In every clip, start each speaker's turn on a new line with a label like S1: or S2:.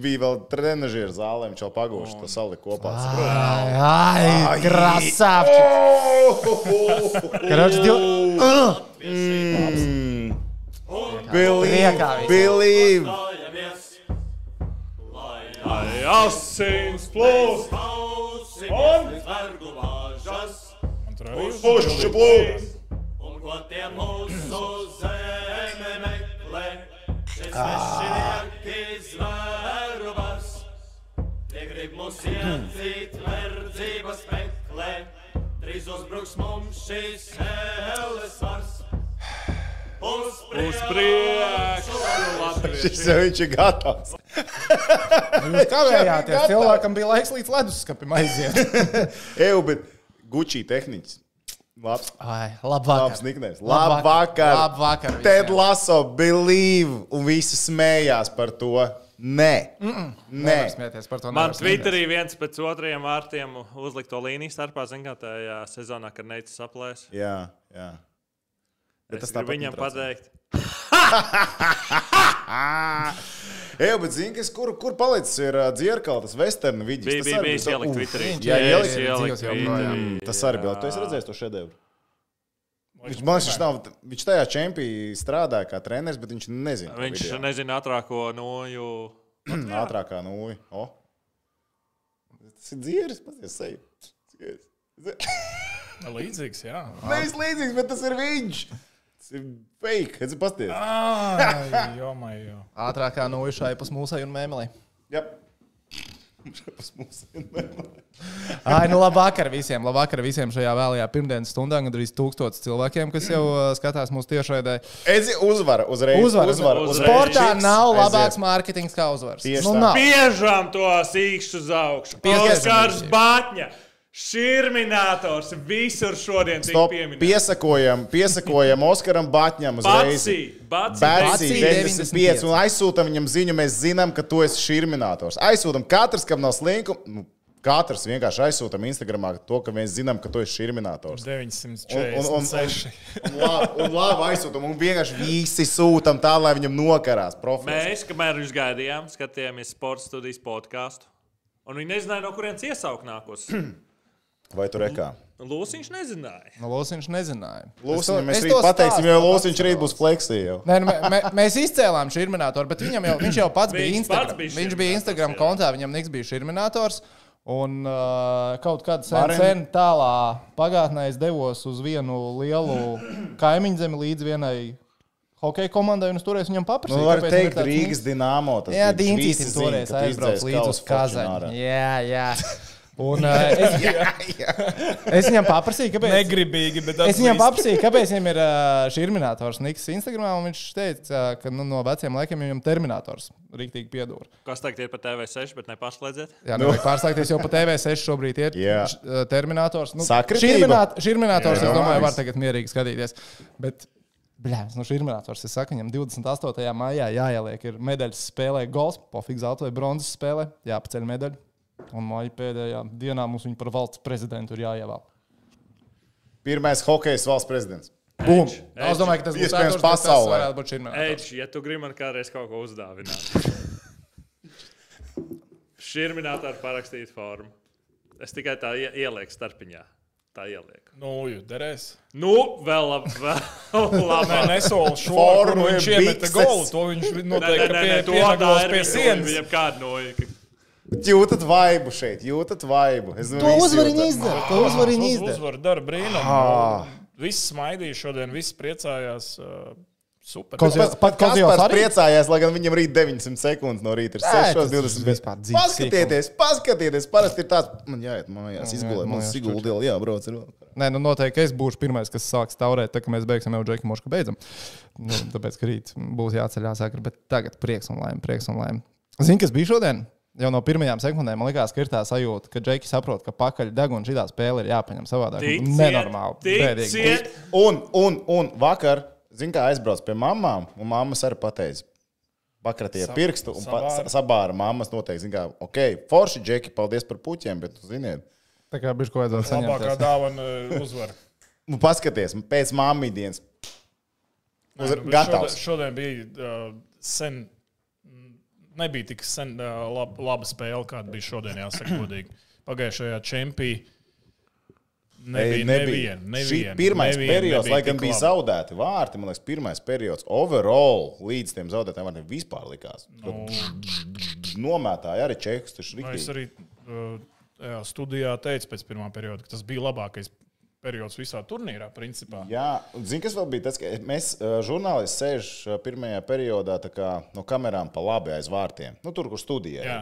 S1: bija vēl trenižera zālē, viņš jau pagūst to saliku kopā.
S2: Ai, ai, krasāpči. Karoči, div... Ugh!
S1: Mm.
S2: Priekā
S1: Billy!
S2: visiem.
S1: Billy!
S3: Lai asins plūst,
S4: Un vergu bāžas,
S1: Pušu plūks!
S4: un ko tie mūsu zeme meklē. Šis svešinieki zvērubas, tie grib mūs iedzīt verdzības meklē. Drīz uzbruks mums šis helles vars. Uz
S3: uz priekšu,
S1: Šis
S3: Latvijas!
S1: jau viņš ir gatavs.
S2: Jūs kavējāties.
S1: gatavs.
S2: Cilvēkam bija laiks līdz leduskapim aiziet.
S1: Eju, bet Gucci tehniķis. Labs,
S2: Ai, labvakar.
S1: labs niknēs.
S2: Labvakar.
S1: Labvakar!
S2: Labvakar visiem.
S1: Ted Lasso, believe! Un visi smējās par to. Nē, nē.
S2: Nevar smieties par to.
S3: Man
S2: nevar smieties.
S3: Twitterī viens pēc otriem vārtiem uzlikt to līniju starpā, zinām, kā tajā sezonā, kad neicis saplēs.
S1: Jā, jā. Bet tas
S3: Es gribu
S1: tāpat
S3: viņam
S1: netraucē.
S3: pateikt,
S1: Jā, bet zini, kas kur, kur palicis ir uh, dzirkals, tas vesternu vidus.
S3: bija
S1: tas arī
S3: bijis
S1: tā-
S3: ielikt
S1: Uf,
S3: Twitterī.
S2: viņš
S1: Jā,
S2: ir
S1: ielikt
S2: dzīvs joprojām.
S3: Twitterī.
S1: Tas arī bija. Tu esi redzējis to šedevru. Viņš, man, liekas, viņš, nav, viņš tajā čempionā strādāja kā treneris, bet viņš nezina. to
S3: Viņš
S1: video.
S3: nezina ātrāko noju.
S1: ātrākā nūja. O. Tas ir dzirkals, paties seju. Dzieris.
S5: Līdzīgs, jā.
S1: Nevis līdzīgs, bet tas ir viņš. Tas ir fake. Tas ir pasties.
S5: Ai, jomai, jo.
S2: Ātrākā nojušai pus mūsai un mēmelī.
S1: Jā. Tas mums ir.
S2: Ai, nu labvakar visiem. Labvakar visiem šajā vēlajā pirmdienas stundā. Gandrīz tūkstots cilvēkiem, kas jau uh, skatās mūsu tiešraidē.
S1: Edzi, uzvara uzreiz.
S2: Uzvara.
S1: uzvara,
S3: Uzreiz.
S1: uzreiz.
S2: Sportā
S1: Čiks,
S2: nav
S1: aiziet.
S2: labāks mārketings kā uzvaras.
S1: Tieši
S2: Nu,
S1: tā.
S2: nav.
S3: Piežām to sīkšu uz augšu.
S2: Piespiežam
S3: Oskars
S2: viņus.
S3: Batņa, šurminātors, visur šodien tiek
S1: Stop,
S3: pieminēts.
S1: piesakojam, piesakojam Oskaram Batņam uzreiz.
S3: Batsī, Batsī,
S1: Bērns
S2: Batsī
S1: 95
S2: 95.
S1: un aizsūtām viņam ziņu, mēs zinām, ka tu esi šurminātors. Aizsūtām katrs, kam nav slinku. nu, Katrs vienkārši aizsūtām Instagramā to, ka mēs zinām, ka tu esi šurminātors. Un, un, un,
S5: 946.
S1: un, labi, un labi aizsūtām, un vienkārši visi sūtām tā, lai viņam nokarās. Profils.
S3: Mēs, kamēr jūs gaidījām, skatījāmies sporta studijas podkāstu. Un viņi nezināja, no kurienes iesaukt nākos.
S1: Vai tur ir kā?
S3: Lūsiņš nezināja.
S2: Nu, Lūsis nezināja.
S1: Lūsiņš,
S2: Es
S1: mēs
S2: to
S1: rīt pateiksim,
S2: stāstu
S1: jo
S2: pats
S1: Lūsiņš rīt būs fleksija.
S2: Nē, nu, mē, mē, mēs izcēlām šo īrminātoru, bet viņam jau, viņš jau pats bija
S3: Viņš
S2: Instagram.
S3: pats
S2: viņš
S3: bija
S2: bija
S3: šurminators,
S2: Instagram
S3: jā.
S2: kontā, viņam niks bija īrminators. Un uh, kaut kādā sen,
S1: Maren-
S2: sen tālā pagātnē es devos uz vienu lielu kaimiņu zemi līdz vienai hokeja komandai, un es toreiz viņam
S1: Nu,
S2: paprasīju,
S1: var
S2: kāpēc viņam ir
S1: teikt,
S2: tāds
S1: Rīgas dīnāmo. tas
S2: Jā,
S1: bija.
S2: Dīsīs
S1: Visi
S2: ir
S1: zina,
S2: toreiz
S1: ka tu
S2: aizbraucis
S1: izdzēs
S2: līdz uz
S1: Kalus Fortunāra.
S2: Kazani. Jā, jā. Un, uh, es, es viņam paprasīju, kāpēc.
S5: Negribīgi, bet
S2: Es viņam
S5: atzīst.
S2: paprasīju, kāpēc viņam ir ā, šī terminators Niks Instagramā, un viņš teica, ka nu, no veciem laikiem viņam terminators rīktīgi piedūr.
S3: Kas tagad ir pa TV6, bet nepašlēdziet.
S2: Jā, nu, vajag pārslēgties, jo pa TV6 šobrīd ir
S1: Jā.
S2: š- ā, terminators. Nu,
S1: Sakritība.
S2: Šī terminators,
S1: Jā.
S2: es domāju, var tagad mierīgi skatīties. Bet, Bļāvis, nu šī ir monēta. Es saku, viņam 28. maijā jāieliek, ir medaļas spēlē, golfs, pofīgs zelta vai bronzas spēlē, jāpaceļ medaļa. Un maija pēdējā dienā mums viņa par valsts prezidentu ir jāievēl.
S1: Pirmais hokejais valsts prezidents.
S2: Bum!
S3: Edge,
S2: Es
S3: edge.
S2: domāju, ka tas būs
S1: Iespējams,
S2: Edwards, bet tas
S1: pasaulē.
S2: varētu būt šī monēta.
S3: Edž, ja tu gribi man kādreiz kaut ko uzdāvināt, šī ir minēta ar parakstītu formu. Es tikai tā ie- ielieku starpiņā. Tā ielieku.
S5: Nu, jū, derēs.
S3: Nu, vēl labi. Vēl
S5: Nē,
S3: labi.
S5: nesolu šo
S1: Formu
S5: formu. Viņš
S1: ir
S5: iemeta
S1: bikses.
S5: golu. To viņš noteikti pie, pienaglos pie sienas.
S3: Viņam kāda noika.
S1: Jūtat vaibu šeit, jūtat vaibu. Es domāju,
S2: To
S1: visi
S2: uzvariņu
S1: jūtat.
S2: izdara. To uzvariņu
S5: Uz,
S2: izdara.
S5: uzvaru dara brīnumu. Viss smaidīja šodien, viss priecājās. ā, Super.
S2: Kaut
S1: Pats- Pat
S2: Pat Kozijovs
S1: Kaspars
S2: arī?
S1: priecājās, lai gan viņam rīt 900 sekundes no rīta ir
S2: Nē, tas
S1: 6.25.
S2: vispār dzīves
S1: Paskatieties, paskatieties, parasti ir tāds, man jāiet, man jās izgulēt, man
S2: mājās
S1: siguldiela jābrauc. ir vēl."
S2: Nē, nu noteikti es būšu pirmais, kas sāks taurēt, tā kā mēs beigsim jau Džeku Mošku beidzam. Nu, tāpēc, ka rīt būs jāceļās agri, bet tagad prieks un laime, prieks un laime. Zini, kas bija šodien? Jau no pirmajām sekundēm man liekas, ka ir tā sajūta, ka Džeki saprot, ka pakaļ deguns šī spēle ir jāpaņem savādāk. Nenormāli. bēdīgi.
S3: Ticiet,
S1: Un, un, un vakar, zin kā aizbrauc pie mamām, un mammas arī pateica. Pakratīja pirkstu un pa,
S5: sabāra.
S1: sa- sabāra mammas noteikti. Zin kā, ok, forši, Džeki, paldies par puķiem, bet, nu, ziniet,
S2: Tā kā bija ko vajadzētu
S5: Labākā
S2: saņemt.
S5: dāvana ā, uzvara.
S1: nu, paskaties, pēc mammī dienas. Uz,
S5: Nu, bet
S1: gatavs.
S5: Šodien, šodien bija uh, sen mm, nebija tik sen, uh, lab, laba spēle, kāda bija šodien, jāsaka, godīgi. Pagājušajā čempionā nebija.
S1: Ei,
S5: nebija.
S1: Šī
S5: nebija
S1: pirmais
S5: nevien,
S1: periods,
S5: nebija
S1: lai gan
S5: tik
S1: bija
S5: laba.
S1: zaudēti vārti, man liekas, pirmais periods overall līdz tiem zaudētājiem vārtiem vispār likās. No. Nomētāji arī čehus, tas ir
S5: Nu, Es
S1: rīktīgi.
S5: arī uh, jā, studijā teicu pēc pirmā perioda, ka tas bija labākais periods visā turnīrā, principā.
S1: Jā, un zini, kas vēl bija tas, ka mēs, eh, žurnālisti, sēž eh, pirmajā periodā tā kā, no kamerām pa labi aiz vārtiem. Nu, tur, kur studijā.
S5: Jā.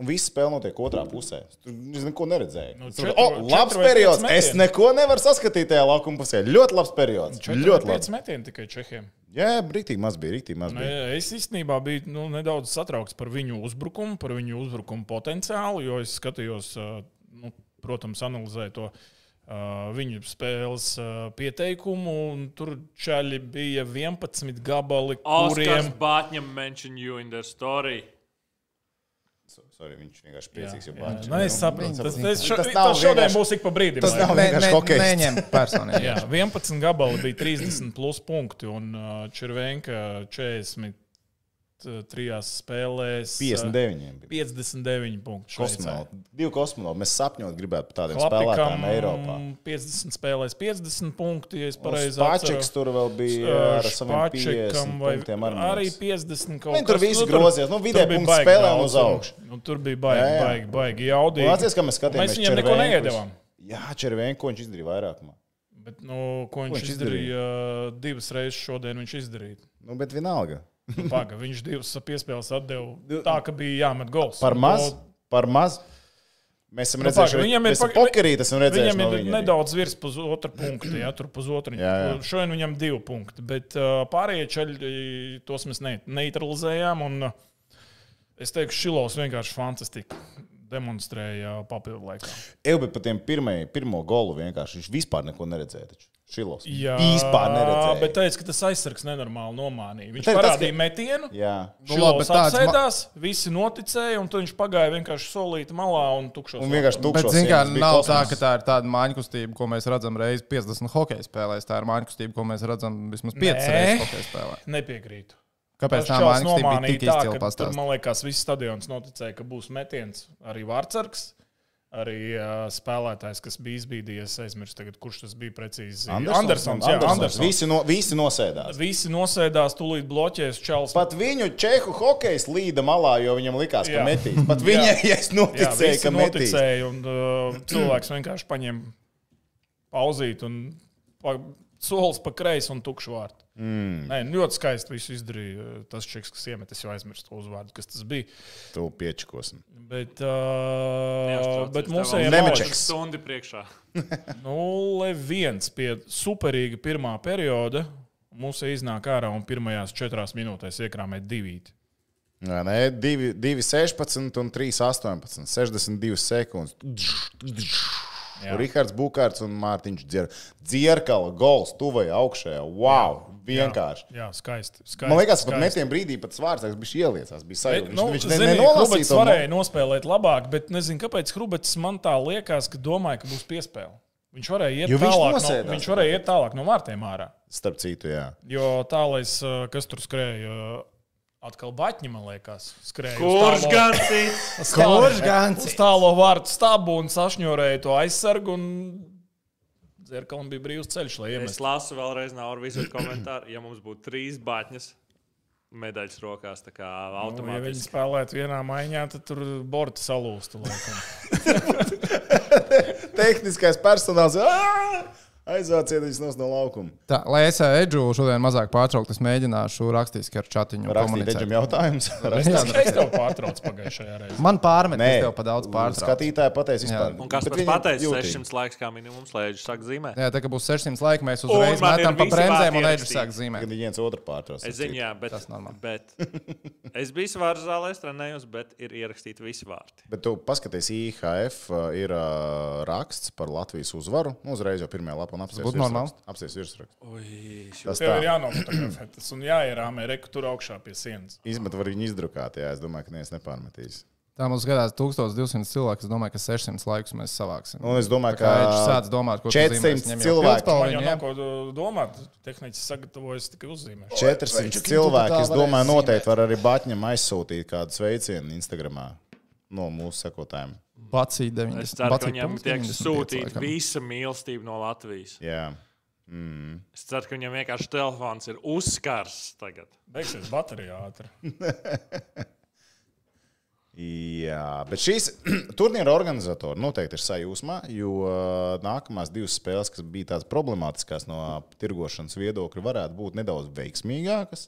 S1: Un viss spēle notiek otrā pusē. Tur es neko neredzēju.
S5: Nu,
S1: Nu,
S5: četru-
S1: četru, o, labs
S5: četru vai
S1: periods.
S5: piec
S1: Es
S5: metienu.
S1: neko nevaru saskatīt tajā laukuma pusē. Ļoti labs periods. Ļoti labs.
S5: 45 metieni tikai čehiem.
S1: Jā, brītīgi maz bija, rītīgi maz
S5: Nu,
S1: bija.
S5: jā, Es īstenībā biju nu, nedaudz satraukts par viņu uzbrukumu, par viņu uzbrukumu potenciālu, jo es skatījos, uh, nu, protams, analizēju to uh, viņu spēles uh, pieteikumu. un Tur čaļi bija 11 gabali,
S3: Oskars
S5: kuriem
S3: Bātņam mentioned you in their story.
S1: Sorry, viņš vienkārši priecīgs. Jā,
S5: Jā, Nu, es saprotu, tas, tas, šo,
S1: Tas
S5: tas,
S1: nav
S5: tas šodien
S1: vienkārši-
S5: būs ik pa brīdim.
S1: Tas nav
S5: laikam.
S1: vienkārši hokejists.
S2: Neņem personīgi.
S5: Jā, 11 gabali bija 30 plus punkti, un uh, Červenka 43 spēlēs. ā,
S1: 59. bija.
S5: 59 punkti.
S1: Kosmonauti. Divi kosmonauti. Mēs sapņot gribētu par tādiem
S5: Lapikam
S1: spēlētājiem Eiropā.
S5: 50 spēlēs 50 punkti, ja es pareizi
S1: Pačiks tur vēl bija ar saviem
S5: Pačekam
S1: 50
S5: vai
S1: punktiem. ar
S5: arī
S1: mums.
S5: 50 kaut
S1: Viņi tur visi grozījās, nu, vidē punkti spēlē un uz augšu.
S5: Nu, tur bija baigi,
S1: Jā, jā.
S5: baigi, baigi jaudīgi.
S1: Un atceries, Nu, ka mēs skatījāmies
S5: Mēs viņiem neko
S1: Červenkus.
S5: neiedavām.
S1: Jā, Červenko viņš izdarīja vairākumā.
S5: Bet, nu, ko viņš,
S1: viņš
S5: viņš izdarīja? izdarīja? Divas reizes šodien viņš izdarīja.
S1: Nu, bet vienalga.
S5: Nu, Paga, viņš divas piespēles atdeva tā, ka bija jāmet gols.
S1: Par maz,
S5: Nu,
S1: par maz. Mēs esam
S5: Nu,
S1: redzējuši,
S5: paga, viņam ir
S1: mēs esam
S5: paga-
S1: pokerī, tas esam redzējuši.
S5: Viņam
S1: no
S5: ir
S1: viņa arī.
S5: nedaudz virs pusotra punkta, ja tur pusotra.
S1: Jā, jā.
S5: Šodien viņam divi punkti, bet uh, pārējie ceļi tos mēs ne, neutralizējām. Un, uh, es teiktu, Šilovs vienkārši fantastiski demonstrēja uh, papildu laikā.
S1: Eju, bet par tiem pirmajiem, pirmo golu vienkārši viņš vispār neko neredzēja. Taču. Šilos.
S5: Jā,
S1: Vispār neredzēja.
S5: Bet teica, ka tas aizsargs nenormāli nomānīja. Viņš
S1: Bet tas,
S5: parādīja
S1: ka-
S5: metienu.
S1: Jā.
S2: Nu,
S5: Nu,
S2: labi,
S5: labi,
S2: bet tāds ma-
S5: apsēdās, visi noticēja, un tad viņš pagāja vienkārši solīti malā un tukšos.
S1: Un vienkārši
S2: Bet,
S1: tukšos.
S2: zināmā
S1: sienas
S2: mērā,
S1: bija
S2: nav tā,
S1: kosmos.
S2: ka tā ir tāda mājiņa kustība, ko mēs redzam reizes 50 hokeja spēlēs. Tā ir mājiņa kustība, ko mēs redzam vismaz 5
S5: Nē.
S2: reizes hokeja spēlē.
S5: nepiekrītu.
S2: Kāpēc
S5: Tas
S2: tā
S5: čels
S2: mājiņa kustība bija
S5: nomānīja
S2: tik
S5: tā,
S2: izcila
S5: ka tur,
S2: pastāstīt?
S5: man liekas, viss stadions noticēja, ka būs metiens. Arī Vārtsargs, arī uh, spēlētājs, kas bija izbīdījies, aizmirst, tagad, kurš tas bija precīzi. Andersons, jā, Andersons.
S1: Visi, no, visi nosēdās.
S5: Visi nosēdās, tūlīt bloķēs Čels.
S1: Pat viņu čehu hokejs līda malā, jo viņam likās, ka
S5: Jā.
S1: metīs. Pat viņai ja es
S5: jā,
S1: noticēju,
S5: visi
S1: ka metīs.
S5: noticēja, un uh, cilvēks vienkārši paņēma pauzīt un pa, solis pa kreisi un tukšu vārtu. Mm. Nē, nu, ļoti skaisti viss izdarīja. uh, Tas čiks, kas iemet, es jau aizmirsu to uzvārdu, kas tas bija.
S1: Tu piečikosim.
S5: Bet, uh, bet mums ir
S1: Nemečeks.
S5: jāatcerās,
S1: Nemečeks.
S3: Stundi priekšā.
S5: ka 0-1 pie superīga pirmā perioda mums iznāk ārā un pirmajās četrās minūtēs iekrāmē divīti.
S1: Nē, nē, 2,16 un 3,18. 62 sekundes.
S5: Jā.
S1: Rihards Bukārs un Mārtiņš Dzier- Dzierkala gols tuvajā augšējā. Wow! Vienkārši!
S5: Jā, skaisti. skaisti
S1: Man liekas, ka
S5: skaisti.
S1: metiem brīdī pat svārstās bija ieliecās, bija
S5: Bet,
S1: sajūta.
S5: Nu,
S1: Viņš, viņš ne,
S5: zini, Hrubets
S1: nenolasīja to.
S5: varēja nospēlēt labāk, bet nezinu, kāpēc Hrubets man tā liekas, ka domāja, ka būs piespēle. Viņš varēja iet,
S1: Jo viņš
S5: tālāk,
S1: nosēdās.
S5: no, viņš varēja iet tālāk no vārtiem ārā.
S1: Starp citu, jā.
S5: Jo tālais, uh, kas tur skrēja, uh, atkal baņķi, man liekas, skrēja. uz
S3: Kurš
S5: tālo-
S3: gan cits?
S5: Kurš
S2: gan
S5: uz tālo vārtu stabu un sašņorēja to aizsargu. Un... Zirkalam bija brīvs ceļš, lai
S3: Es
S5: iemestu.
S3: lasu vēlreiz, nav ar visu komentāru. Ja mums būtu trīs baņas, medaļas rokās, tā kā
S5: Nu, ja viņi
S3: automātiski.
S5: spēlētu vienā maiņā, tad tur borti salūstu. laikam.
S1: Tehniskais personāls. "Ā! Aizvāciet viņus nost no laukuma.
S2: Tā, lai es ā, Edžu šodien mazāk pārtrauktu, es mēģināšu rakstiski ar chatiņu
S1: Rakstīt
S2: komunicēt.
S1: Edžam jautājumus.
S5: Es
S1: Rakstīt.
S5: tev- es tev pārtraucu pagājušajā reizē.
S2: Man pārmet, ka es tev pa daudz pārtraucu.
S1: Skatītāji pateiks vispār.
S3: Un kas
S1: Bet
S3: pats
S1: viņiem
S3: pateica,
S1: jūtīgi.
S3: 600 laiks kā minimums, lai viņš sāk zīmēt.
S2: Jā, tā kā būs 600 laika, mēs uzreiz
S3: man ir
S2: metam pa
S3: visi
S2: bremzēm un
S3: vārdi
S2: Edžu sāk zīmēt.
S1: Kad viens otru pārtrauc.
S3: Es zinu, jā, bet,
S2: Tas normāli.
S3: bet es biju svāra zālē, es trenējos, bet ir ierakstīti visi vārti.
S1: Bet tu paskaties, IHF uh, ir uh, raksts par Latvijas uzvaru. Nu, uzreiz jau pirmajā lapā apsies.
S2: būtu normāli.
S1: Apsies virsrakstu.
S3: Ui, š-
S1: Tas
S5: Tev ir
S1: tā.
S5: jānofotografē tas un jāierāmē reku tur augšā pie sienas.
S1: Izmet var viņu izdrukāt, jā, es domāju, ka neviens nepārmetīs.
S2: Tā mums skatās 1200 cilvēku. Es domāju, ka 600 laikus mēs savāksim.
S1: Un Nu, es domāju,
S2: Tā kā
S1: ka
S2: viņš sāc domāt, ko
S1: 400 cilvēku.
S5: Man jau nav
S2: cilvēku.
S5: ko domāt. Tehnicis sagatavojas tikai uzzīmēt.
S1: 400
S2: Vai-
S1: cilvēki. Es
S2: Tu tā
S1: domāju,
S2: varēsi
S1: noteikti var arī Batņam aizsūtīt kādu sveicienu Instagramā no mūsu sekotājiem.
S2: Bacī
S3: Es
S2: 90.
S3: ceru, ka
S2: Bacī
S3: viņam
S2: punkts
S3: tiek
S2: 95
S3: sūtīta
S2: laikam.
S3: visa mīlestība no Latvijas.
S1: Jā. Mm.
S3: Es ceru, ka viņam vienkārši telefons ir uzkars tagad.
S5: Beigsies baterija ātri.
S1: Jā, bet šīs turnīra organizatori noteikti ir sajūsmā, jo ā, nākamās divas spēles, kas bija tādas problemātiskas no ā, tirgošanas viedokļa, varētu būt nedauz veiksmīgākas.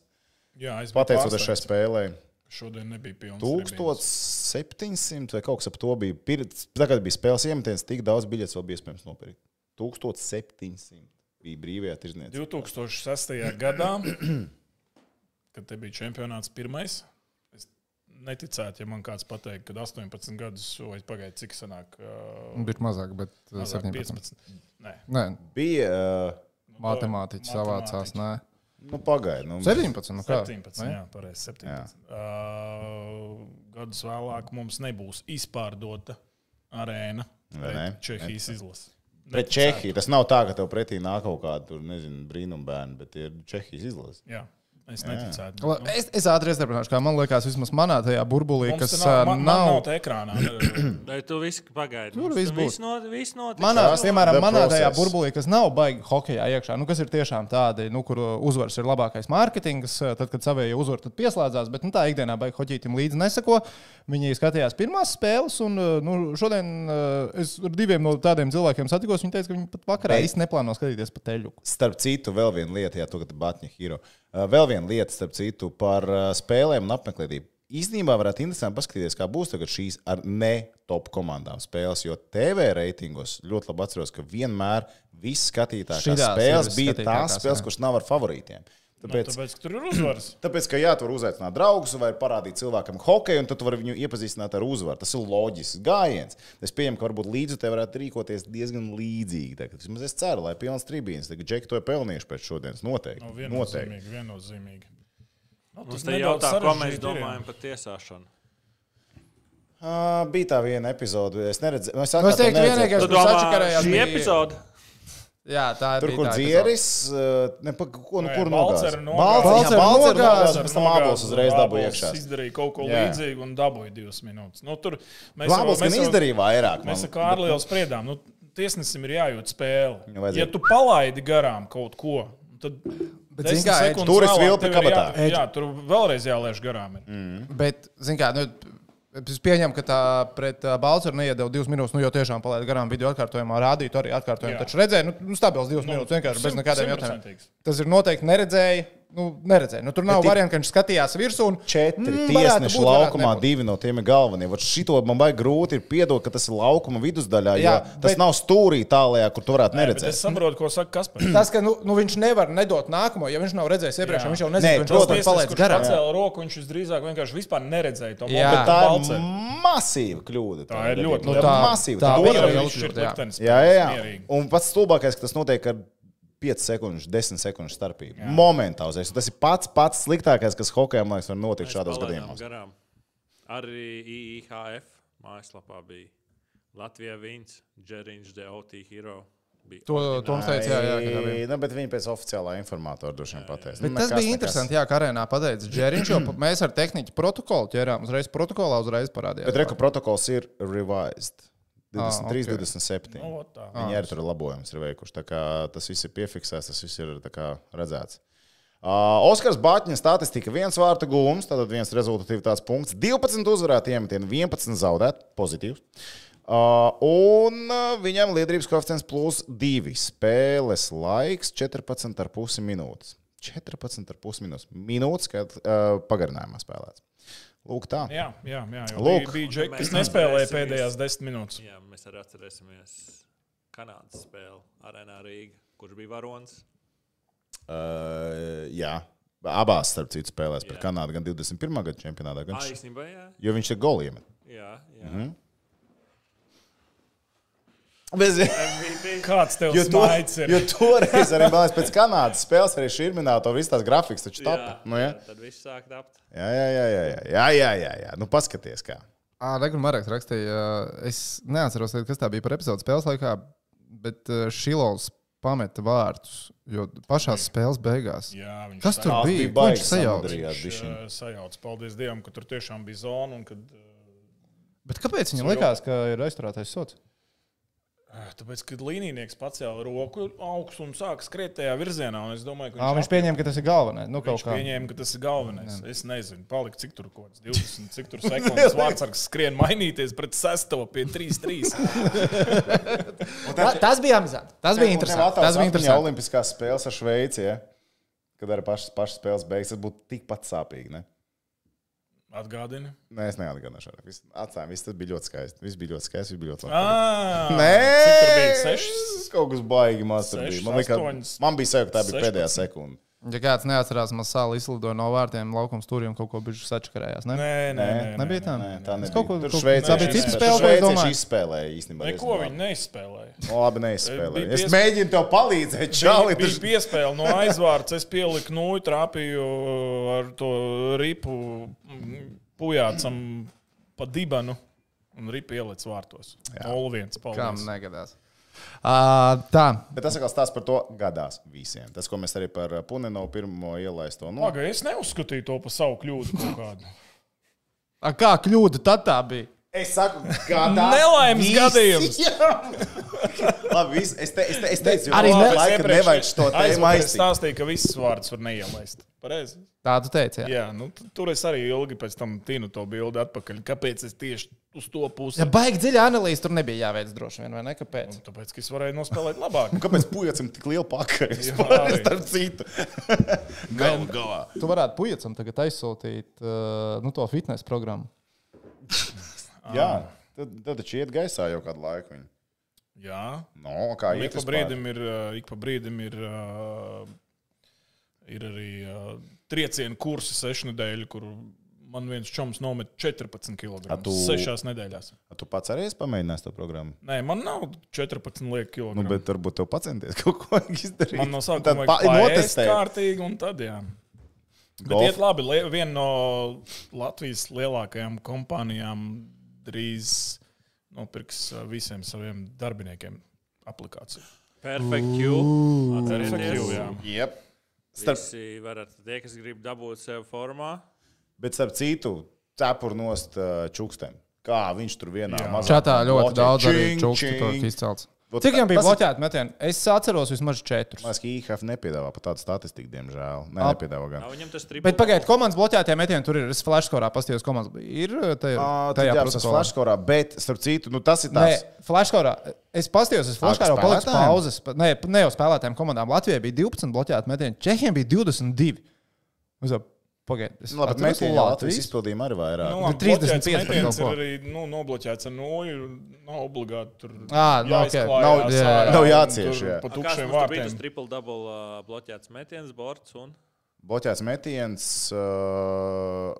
S5: Jā, es biju
S1: Pateicoties šai
S5: pārsteigts.
S1: spēlei,
S5: Šodien nebija pilns.
S1: 1700 vai kaut kas ap to bija. pir- Tagad bija spēles iemetiens, tik daudz biļetes vēl bija iespējams nopirkt. 1700 bija brīvajā tirdzniecībā.
S5: 2006. gadā, kad te bija čempionāts pirmais, es neticētu, ja man kāds pateikt, ka 18 gadus vai pagaidu, cik sanāk, uh,
S2: Bija mazāk, bet eh,
S5: mazāk,
S2: 17.
S5: 15. Nē,
S2: Nē,
S1: Bija, ā,
S2: matemātiķi savācās.
S5: Matemātiķi.
S2: Nē.
S1: nu, pagaidi, nu,
S2: 17. Nu kā?
S5: 17.
S2: Ne?
S5: Jā, pareizi. 17. Uh, gadus vēlāk mums nebūs izpārdota arēna.
S1: Vai ne?
S5: pret Čehijas izlase.
S1: pret Čehiju. Tas nav tā, ka tev pretī nāk kaut kāda, tur nezinu, brīnumbērni, bet tie ir Čehijas izlase.
S5: Jā, es neticētu.
S2: La-
S5: Nu,
S2: Es, es ātri iestrādāšu, kā man liekas, vismaz manā tajā burbulī,
S5: mums
S2: kas
S5: te
S2: eh,
S5: nav, man, nav, nav
S2: nav.
S5: tā ekrānā.
S3: Lai tu viss pagaidi.
S2: Tur
S3: Mums
S2: viss
S3: tam
S2: būs.
S3: Viss not, viss notiks.
S2: Manā,
S1: Tas
S2: piemēram,
S1: the
S2: manā tajā
S1: process.
S2: burbulī, kas nav baigta hokeja iekšā, nu, kas ir tiešām tādi, nu, kur uh, uzvaras ir labākais mārketings, uh, tad, kad savējie uzvar, tad pieslēdzās, bet nu, tā ikdienā baigta hoķītim līdzi neseko. Viņi skatījās pirmās spēles, un uh, nu, šodien uh, es ar diviem no tādiem cilvēkiem satikos. Viņi teica, ka viņi pat vakarā
S1: Bet-
S2: īsti neplāno skatīties pa teļu.
S1: Starp citu, vēl viena lieta, ja tu gribi Batņa Hero. Uh, Vēl viena lieta, starp citu, par uh, spēlēm un apmeklētību. Īstenībā varētu interesanti paskatīties, kā būs tagad šīs ar ne top komandām spēles, jo TV reitingos ļoti labi atceros, ka vienmēr viss skatītākās
S2: Šitās ir
S1: spēles bija
S2: visskatītākās,
S1: tās spēles,
S2: jā.
S1: kuras nav ar favorītiem. Tāpēc,
S5: Tāpēc, ka Nu, tur ir uzvaras.
S1: tāpēc, ka jā, tu vari uzaicināt draugus vai parādīt cilvēkam hokeju, un tad tu vari viņu iepazīstināt ar uzvaru. Tas ir loģisks gājiens. Es pieņemu, ka varbūt līdzi te varētu rīkoties diezgan līdzīgi. Tagad. Vismaz es ceru, lai pilns tribīns. Tagad Džeki to ir pelnījuši pēc šodienas. Noteikti.
S5: No,
S1: noteikti.
S5: Nu, viennozīmīgi, viennozīmīgi. Nu,
S3: Mums
S5: tas
S3: te
S5: nedaudz
S3: jautā, ko mēs
S5: sarežģīti ir, jā.
S3: domājam par tiesāšanu.
S1: Uh, bija tā viena epizode. Es neredzēju, es
S2: Nu, es teiktu, vienīgais-
S3: Tu
S2: Mēs
S3: domā,
S2: atšakarējās
S3: šī
S2: bija-
S3: epizode?
S2: Jā, tā ir.
S1: Tur, kur dzieris, uh, ne, pa, ko, nu,
S5: Nē,
S1: kur
S5: Balcer
S1: nogāzis?
S5: nogāza.
S1: Balcer
S2: Balcer
S1: nogāzis,
S2: nogāza,
S1: pēc tam abos uzreiz dabūja
S5: Ābols
S1: iekšā.
S5: Izdarīja kaut ko
S1: Jā.
S5: līdzīgu un dabūja divas minūtes. Nu, tur mēs
S1: Abos gan izdarīja vairāk.
S5: Mēs
S1: man-
S5: ar Kārliju spriedām, nu, tiesnesim ir jājūt
S1: Jā,
S5: spēle.
S1: Nu, vajadzēja.
S5: Ja tu palaidi garām kaut ko, tad
S2: Bet,
S5: desmit
S2: zini kā, Ed,
S5: sekundes
S1: tur es
S5: vēlāk
S1: vilku
S5: tev ir
S1: kabatā. Mm.
S5: Jā, jā, tur vēlreiz jālaiž garām. Ir.
S2: Bet, zin kā, nu, es pieņemu, ka tā pret uh, Balceru neiedeva divas minūtes, nu, jo tiešām palaida garām video atkārtojumā, rādīja to arī atkārtojumu.
S5: Jā.
S2: Taču redzēja, nu, nu stabils divas
S5: Nu,
S2: nu, minūtes vienkārši bez
S5: simt-
S2: nekādiem jautājumiem.
S5: simtprocentīgs.
S2: Tas ir noteikti neredzēja. Nu, neredzēja. Nu, tur nav
S1: Bet ir-
S2: variantu, ka viņš skatījās virsū. Un,
S1: četri
S2: "Mm,
S1: mm,
S2: varētu
S1: tiesneši
S2: būt, varētu
S1: laukumā,
S2: nebūt."
S1: divi no tiem ir galvenie. Vat šito man vajag grūti ir piedot, ka tas ir laukuma vidusdaļā, jo
S2: Jā,
S1: tas
S2: bet-
S1: nav stūrī tālajā, kur tu varētu
S5: Bet es
S1: neredzēt.
S5: saprotu, ko saka Kaspars.
S2: Tas, ka nu, nu, viņš nevar nedot nākamo, ja viņš nav redzējis iepriekš,
S5: Jā.
S2: viņš jau
S1: Nē,
S2: nezina, ka
S1: protams,
S2: viņš to palaidis
S5: garām.
S2: garām.
S5: Viņš pacēla roku, viņš visdrīzāk vienkārši vispār neredzēja to
S2: Jā.
S1: Tā
S5: momentu.
S1: ir masīva kļūda.
S5: Tā ir ļoti-
S1: nu,
S2: Nu,
S1: tā,
S2: tā-
S1: masīva.
S2: tā
S1: Tā
S2: bija
S1: dod-
S2: jau
S5: Viņš ir
S2: ļoti, jā.
S5: liktenis.
S1: jā, jā, jā.
S5: mierīgi.
S1: Un pats stulbākais, ka tas notiek ar 5 sekundžu, 10 sekundžu starpību. Jā. Momentā uzreiz. Un Tas ir pats pats sliktākais, kas hokejam liekas, var notikt
S3: Mēs
S1: šādos
S3: palaidām
S1: gadījumos.
S3: Garām. Arī IHF mājaslapā bija Latvijā viens, Džeriņš, DOT Hero. bija
S2: To Toms teica, jā, jā, ka tā bija.
S1: Ai, Nu, bet viņi pēc oficiālā informātora droši vien pateiks. Nu,
S2: Bet tas bija interesanti, jā, kā arēnā pateica Džeriņš, jo mēs ar tehniku protokolu ķērām uzreiz protokolā, uzreiz parādījām.
S1: Bet reku protokols ir revised. 23,
S2: Ah, ok.
S1: 27.
S5: Nu, vot tā.
S1: Viņi arī tur labojums ir veikuši. Tā kā Tas viss ir piefiksēts, tas viss ir tā kā, redzēts. Uh, Oskars Batņa statistika - viens vārta gūms, tātad viens rezultatīvs punkts, 12 uzvarēti iemetieni, 11 zaudēti, pozitīvs. Uh, un uh, viņam līderības koeficients plus 2. Spēles laiks 14,5 minūtes. 14,5 minūtes. Minūtes, kad uh, pagarinājumā spēlēts. Lūk, tā.
S5: Jā, jā, jā. jo
S1: Lūk.
S5: bija- Bija džeki, kas
S3: Mēs
S5: nespēlēja
S3: atcerēsimies.
S5: pēdējās desmit minūtes.
S3: Jā, mēs arī atcerēsimies Kanādas spēli Arēnā Rīgā, kurš bija varonis.
S1: Uh, jā. Abās, starp citu, spēlēs pret
S3: Jā.
S1: Kanādu gan 21. gada čempionātā, gan šeit.
S3: Aizsnībā, jā.
S1: Jo viņš ir goliem.
S3: jā, jā.
S1: Mhm.
S3: Mm -hmm.
S1: Bez...
S5: Kāds tev
S1: Jo, to,
S5: smaids ir?
S1: jo toreiz arī bija pēc kanādas spēles, arī šī ir minēta, visas tās grafikas taču tapa. Nu, jā.
S3: Tad viss sāk dabūt.
S1: Jā, jā, jā, jā, jā, jā, jā, jā, jā. Nu, paskaties, kā.
S2: Reikam, Marks rakstīja, ā, es neatceros, kas tā bija par epizodu spēles laikā, bet ā, Šilovs pameta vārtus, jo pašā spēles beigās.
S5: Jā, viņš
S2: Kas tur
S5: sajauc-
S1: Tās
S2: bija?
S1: bija
S2: Ko viņš
S1: baigas
S2: sajauca?
S1: Andrija. Bijāt
S5: Viņš
S1: bišķiņ.
S5: ā, sajauc. Paldies Dievam, ka tur tiešām bija zona. Un, kad, uh,
S2: Bet kāpēc viņam likās, ka ir aizturētais sots?
S5: ā, Ah, tāpēc, kad līnijnieks pacēla roku augstu un sāka skriet tajā virzienā, un es domāju, ka
S2: Ā, Viņš pieņēma, ka tas ir galvenais. Nu, kaut
S5: Viņš
S2: kā.
S5: pieņēma, ka tas ir galvenais. Jā. Es nezinu, palika cik tur kaut kāds 20, cik tur sekundes vārdsargs skrien mainīties pret 6, pie 3, 3.
S1: Tā-
S2: Nu, Tas bija amizants. Tas bija interesanti. Tas bija
S1: Ja
S2: interesanti.
S1: Olimpiskās spēles ar Šveici, ja? kad arī pašas, pašas spēles beigas, tas būtu tikpat sāpīgi. Ne?
S5: Atgādini.
S1: Nē, es neatgādināšu. vairāk. Viss- Atstājam, viss tas bija ļoti skaisti. Viss bija ļoti skaisti, viss bija ļoti labi.
S5: Ah, Cik tur bija?
S1: Nē,
S5: 6.
S1: kaut kas baigi maz tur
S5: Sešas,
S1: bija. Man, lika,
S5: astoņas,
S1: man bija sajūta, ka tā bija
S5: 16.
S1: pēdējā sekunde.
S2: Ja kāds neatcerās, man sāla izlidoja no vārtiem, laukums tur jau kaut ko bijuši sačakarējās. Ne?
S5: Nē, nē, nē. nē.
S2: Nebija tā?
S1: Nē, tā nebija.
S2: kaut ko-
S1: tur
S2: kaut-
S1: Šveicē
S5: tā bija cita
S1: izspēlē-
S2: spēle, ko es
S1: šveicieši
S2: domāju.
S1: izspēlēja īstenībā.
S5: Neko
S1: diezgan
S5: viņi neizspēlēja.
S1: labi. Labi, neizspēlēja.
S5: Bija
S1: Es
S5: pies-
S1: mēģinu tev palīdzēt, Čāli.
S5: Bija piespēle no aizvārds. Es pieliku nūju, trāpīju ar to ripu mm, pujācam pa dibanu un ripu ielicu vārtos. 0-1.
S2: Kam
S5: Paldies.
S2: negadās? Uh, tā.
S1: Bet tas atkal stāsta par to gadās visiem. Tas, ko mēs arī par uh, Puninu pirmo ielaisto no.
S5: Labi, es neuzskatīju to par savu kļūdu kaut kādu.
S2: A, kā kļūda tad tā bija?
S1: Es saku, gadās.
S5: Nelaimes
S1: visiem.
S5: gadījums.
S1: Labi, viss. es, te, es, te, es teicu,
S2: Arī
S1: arī
S2: ne-
S1: ne... laika nevajag šo tēmu
S5: aizvakar es
S1: aizstāt.
S5: stāstīju, ka visas vārdas var neielaist. Pareizi.
S2: Tā tu teici. Jā.
S5: Jā, nu, t- tur es arī ilgi pēc tam tinu to bildi atpakaļ. Kāpēc es tieši uz to pusi?
S2: Ja baigi dziļa analīze, tur nebija jāveic droši vien, vai ne? Kāpēc?
S5: Nu, Tāpēc, ka es varēju nospēlēt labāk.
S1: Kāpēc pujacim tik liela pakaļ?
S5: Jā,
S1: Vispār,
S5: arī.
S1: Starp citu. Galu galā.
S2: Tu varētu puicam tagad aizsūtīt
S1: eh,
S2: uh, nu, to fitnes programmu.
S1: Jā,
S5: Ah.
S1: tad, tad taču iet gaisā jau kādu laiku. Viņa.
S5: Jā,
S1: No, kā
S5: un
S1: iet
S5: ik pa
S1: vispār?
S5: brīdim ir, uh, ik pa brīdim ir, uh, ir arī uh, triecienu kursi sešu nedēļu, kur man viens čoms nomet 14 kg.
S1: A tu-
S5: Sešās nedēļās.
S1: A Tu pats arī esi pamēģinājis to programmu.
S5: Nē, man nav 14 lieka
S1: Nu,
S5: kg.
S1: bet varbūt tev pacenties kaut ko izdarīt.
S5: Man no
S1: Tad
S5: sākuma
S1: pa-
S5: bija
S1: notestē.
S5: notestēta kārtīgi, un tad jā. Bet
S1: Golf.
S5: iet labi. Lie- Viena no Latvijas lielākajām kompānijām drīz nopirks uh, visiem saviem darbiniekiem aplikāciju.
S3: Perfect Q.
S5: Perfect Q, jā.
S3: Atcerieties,
S1: Yep. Starp,
S3: visi varat, tie, kas grib dabūt sev formā,
S1: bet starp citu, cepur nost uh, čukstēm. Kā viņš tur vienā
S5: Jā.
S1: mazā
S2: Čatā ļoti
S1: bloķē.
S2: daudz arī
S1: Čing,
S2: čūsku
S1: čing.
S2: tiek izcelts.
S1: Vot
S2: Cik viņam
S1: tā-
S2: bija
S1: tas ir-
S2: bloķēti metieni? Es atceros vismaz četrus.
S1: Man liekas, ka IHF nepiedāvā pat tādu statistiku, diemžēl. Nē,
S2: Ap-
S1: nepiedāvā gan.
S3: nav viņam tas triples.
S2: Bet pagaidiet, komandas bloķētajā metienā tur ir. Es flashkorā paskatījos, komandas bija. Ir uh,
S1: Ā,
S2: tajā,
S1: tad
S2: tajā
S1: Jā, tas ir
S2: protokolā.
S1: flashkorā, bet starp citu, nu, tas ir
S2: Nē,
S1: tāds.
S2: flashkorā. Es paskatījos, es
S1: Ak,
S2: flashkorā paliku
S1: spēlētājiem?
S2: pauzes. pat- Ne, ne jau spēlētājiem komandām. Latvijai bija 12 bloķēti metieni, Čehiem bija 22. Es jau pagaidu. Es
S1: Nu, labi,
S2: atceros
S1: mēs tam Latvijas
S2: Latvijas.
S1: izpildījām arī vairāk.
S5: Nu,
S1: Nu,
S5: labi,
S2: 35
S5: bloķēts
S2: par
S5: metiens
S2: kaut ko.
S5: ir arī nu, nobloķēts ar nulli. Nav obligāti tur.
S2: Ā, nu, ok.
S5: jāizklājās
S2: Nav- jā, jā,
S5: ārā
S1: nav
S5: un
S1: jācieš,
S5: tur
S1: jā.
S5: Pa
S3: Kā tas
S5: tukšiem
S3: mums bija tas
S5: vārtiem.
S3: triple double uh, bloķēts metiens, borts un
S1: Bloķēts metiens, uh,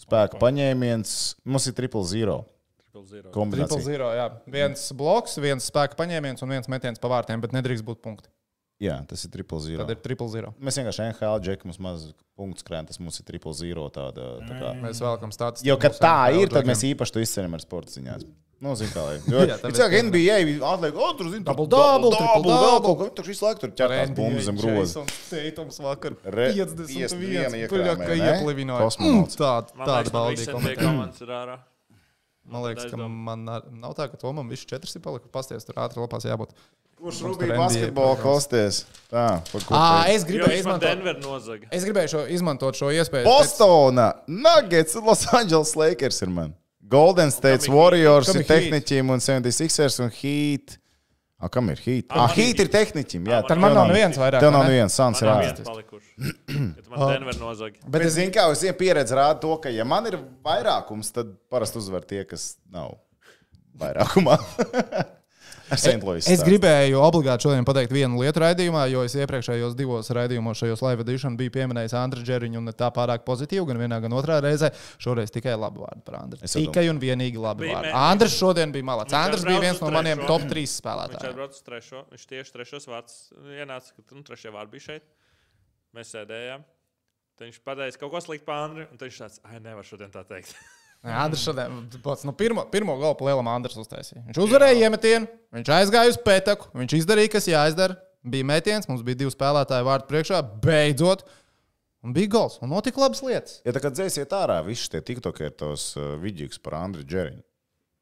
S1: spēka paņēmiens. Mums ir triple zero.
S3: triple zero.
S2: Triple
S1: Kombinācija.
S2: zero, jā. Viens bloks, viens spēka paņēmiens un viens metiens pa vārtiem, bet nedrīkst būt punkti.
S1: Jā, tas ir triple zero.
S2: Tad ir triple zero.
S1: Mēs vienkārši NHL džekam mums maz punkts krājām, tas mums ir triple zero. Tāda, tā kā.
S2: Mm. Mēs vēlamies tādu
S1: Jo, kad tā ir, tad mēs īpaši to izceļam ar sporta ziņām. Nu, zinu, kā lai. Jo,
S2: Jā,
S1: jā,
S2: tāpēc
S1: tā ir NBA. Atliek, o, tur zinu,
S2: Double double, triple double.
S1: Viņi tur visu laiku tur ķerās bumbas zem groza.
S2: Teitums vakar.
S1: Re- 51 iekrāmē,
S2: 51. Puļaka
S1: ne?
S2: ieplivināja.
S1: Kosmonauts.
S2: Mm, tā-
S3: Man
S2: Tāda
S3: liekas, ka viss
S2: baudīja
S3: NBA
S2: komentāra.
S3: komandas ir ārā.
S2: Man liekas, ka man ar- nav tā, ka Tomam viss četras ir palikuši. Pasties, tur ātri lapās jābūt.
S1: Kurš
S2: Mums tur
S1: rubīja
S2: NBA
S1: basketbolu
S2: programmas.
S1: kosties? Tā, par ko.
S2: À,
S1: tu-
S2: es
S3: Jo
S2: gribēju
S3: viņš man
S2: izmantot.
S3: Denver nozaga.
S2: Es gribēju šo, izmantot šo iespēju.
S1: Bostona, Nuggets, Los Angeles Lakers ir man. Golden State
S3: kam ir
S1: Warriors
S2: Heat?
S1: ir
S2: Kam ir Heat?
S1: tehniķiem un 76ers un Heat. A, kam ir Heat?
S3: Ah,
S1: Ah,
S3: man
S1: Heat
S3: ir
S1: ir tehniķim, jā.
S2: Tad man
S1: tev
S2: nav neviens vairāk.
S1: Tev
S2: vai
S1: nav
S2: ne?
S1: neviens, Sans ir
S3: Man ir
S1: ārā.
S3: viens palikuši. Kad man Denver nozaga.
S1: Bet, bet zinu, kā jau es zinu, pieredze rāda to, ka, ja man ir vairākums, tad parasti uzvar tie, kas nav vairākumā. Ar St. Louis.
S2: Es gribēju obligāti šodien pateikt vienu lietu raidījumā, jo es iepriekšējos divos raidījumos, šajos laiva vadīšanā, biju pieminējis Andriņu Čēriņu, un ne tā pārāk pozitīvi, gan vienā, gan otrā reizē. Šoreiz tikai labu vārdu par Andriņu.
S1: Es jau
S2: Tikai un vienīgi labi
S3: Bija
S2: vārdi.
S3: mē-
S2: Andriņš šodien bija malāts.
S3: Viņš
S2: Andriņš bija
S3: atbrauc
S2: viens
S3: uz
S2: no maniem
S3: trešo.
S2: top 3
S3: Viņš
S2: spēlētājiem.
S3: atbrauca uz trešo. Viņš tieši trešos vārds ienāca, kad nu, trešie vārdi bija šeit. Mēs sēdējām. Tad viņš pateica kaut ko sliktu par Andriu. un Tad viņš tāds, ah, nevar šodien tā teikt.
S2: Andrius šodien pats no pirmo, pirmo gala plēlam Andrius uztaisīja. Viņš uzvarēja iemetienu, viņš aizgāja uz pētaku, viņš izdarīja, kas jāizdara. Bija mētījums, mums bija divi spēlētāji vārtu priekšā, beidzot. Un bija gals, un notika labas lietas.
S1: Ja tā kā dzēsiet ārā, visi tie tiktokie ir tos uh, vidīgs par Andriu Džeriņu.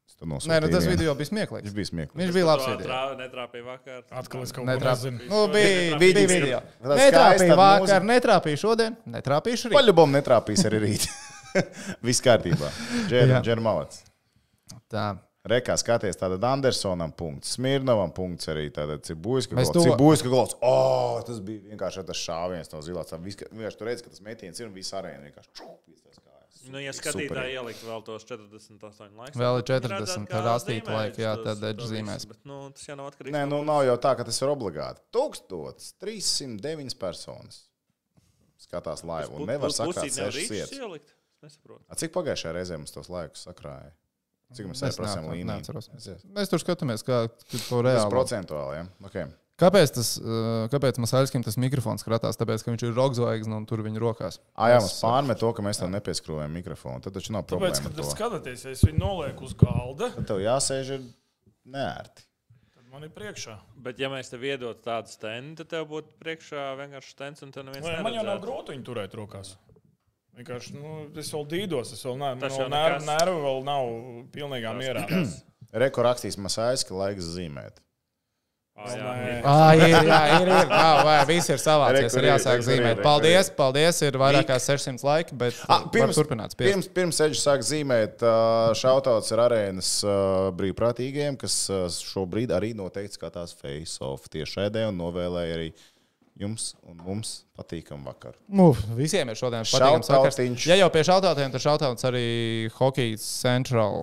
S1: Es tev nosūtīju
S2: Nē, nu, tas
S1: vienu.
S2: video bija smieklīgs.
S1: Viņš bija smieklīgs.
S2: Viņš bija labs. video.
S3: Netrāpīja vakar.
S5: Atkal es kaut ko nezinu.
S2: Netrāpīja. Nu, bija, bija
S1: Vidīgs.
S2: video.
S1: Tā
S2: Netrāpīja
S1: skaista
S2: vakar,
S1: mūzika.
S2: netrāpīja šodien, netrāpīja rīt.
S1: Paļubam netrāpīs arī rīt. Viss kārtībā.
S2: Jā.
S1: Džermavats.
S2: Tā.
S1: Rekā skaties, tātad Andersonam punkts, Smirnovam punkts arī tātad Cibuļska
S2: Mēs
S1: gols.
S2: to-
S1: Cibuļska gols. O, tas bija vienkārši tas šāviens no zilās. Tā viska- Vienkārši tur redz, ka tas metiens ir un viss arēna vienkārši čup, iztais kājas.
S3: Nu, ja skatītāji ielikt vēl tos 48 laikus,
S2: Vēl ir 40, tad rāstītu laiku, jā, tad edge zīmēs.
S3: Bet, nu, tas jau nav atkarīgs.
S1: Nē, nu nav jau tā, ka tas ir obligāti. 1309 personas skatās laivu un nevar sakrāt sešas vietas.
S3: ielikt. Es nesaprotu.
S1: A, Cik pagājušajā reizē mums tos laikus sakrāja? Cik mums
S2: Es
S1: aizprasām
S2: neatceros,
S1: līniju?
S2: neatceros.
S1: Aizies.
S2: Mēs tur skatāmies, kā kā to
S1: Tas
S2: reāli.
S1: procentuāli, jā. Ja? Okay.
S2: Kāpēc, tas, uh, kāpēc Masaļskim tas mikrofons krātās? Tāpēc, ka viņš ir rokas un tur viņa rokās.
S1: Ah, jā,
S2: Es
S1: mums pārmet to, ka mēs tam nepieskrūvējam mikrofonu. Tad taču nav
S5: Tāpēc,
S1: problēma.
S5: kad
S1: ar
S5: jūs
S1: to.
S5: skatāties, ja es viņu nolieku uz galda,
S1: Tad tev jāsēž ir nērti.
S5: tad man ir priekšā.
S3: Bet, ja mēs tev iedotu tādu stendu, tad tev būtu priekšā vienkārši stends, un tu neviens
S5: Vai, Nu, man jau nav
S3: neredzētu.
S5: grūti viņu turēt rokās. Vienkārši, nu, es vēl dīdos, es vēl
S3: Tas jau
S5: neesmu
S3: nekas.
S5: nervu, vēl nav pilnīgā mierā.
S1: Reko rakstīs masājas, ka laiks zīmēt.
S3: Ā, jā,
S5: Nē.
S2: Ah, ir, jā, ir, ir. Jā, vai, visi ir savācies.
S1: Re, kur
S2: Ir
S1: ir, re,
S2: jāsāk
S1: kur ir, re,
S2: zīmēt.
S1: kur
S2: Paldies, paldies. Ir vairāk kā 600 laika, bet
S1: Ah, pirms-
S2: pirms, turpināt.
S1: Pirms,
S2: Pirms.
S1: pirms Eģis sāk zīmēt, šautauts ir arēnas ā, brīvprātīgajiem, kas ā, šobrīd arī noteikti skatās Face Off tiešraidē un novēlēja arī jums un mums patīkamu vakaru.
S2: Nu, visiem ir šodien patīkams vakars.
S1: Šautautiņš.
S2: Ja jau pie šautautiem, tad šautauts arī Hockey Central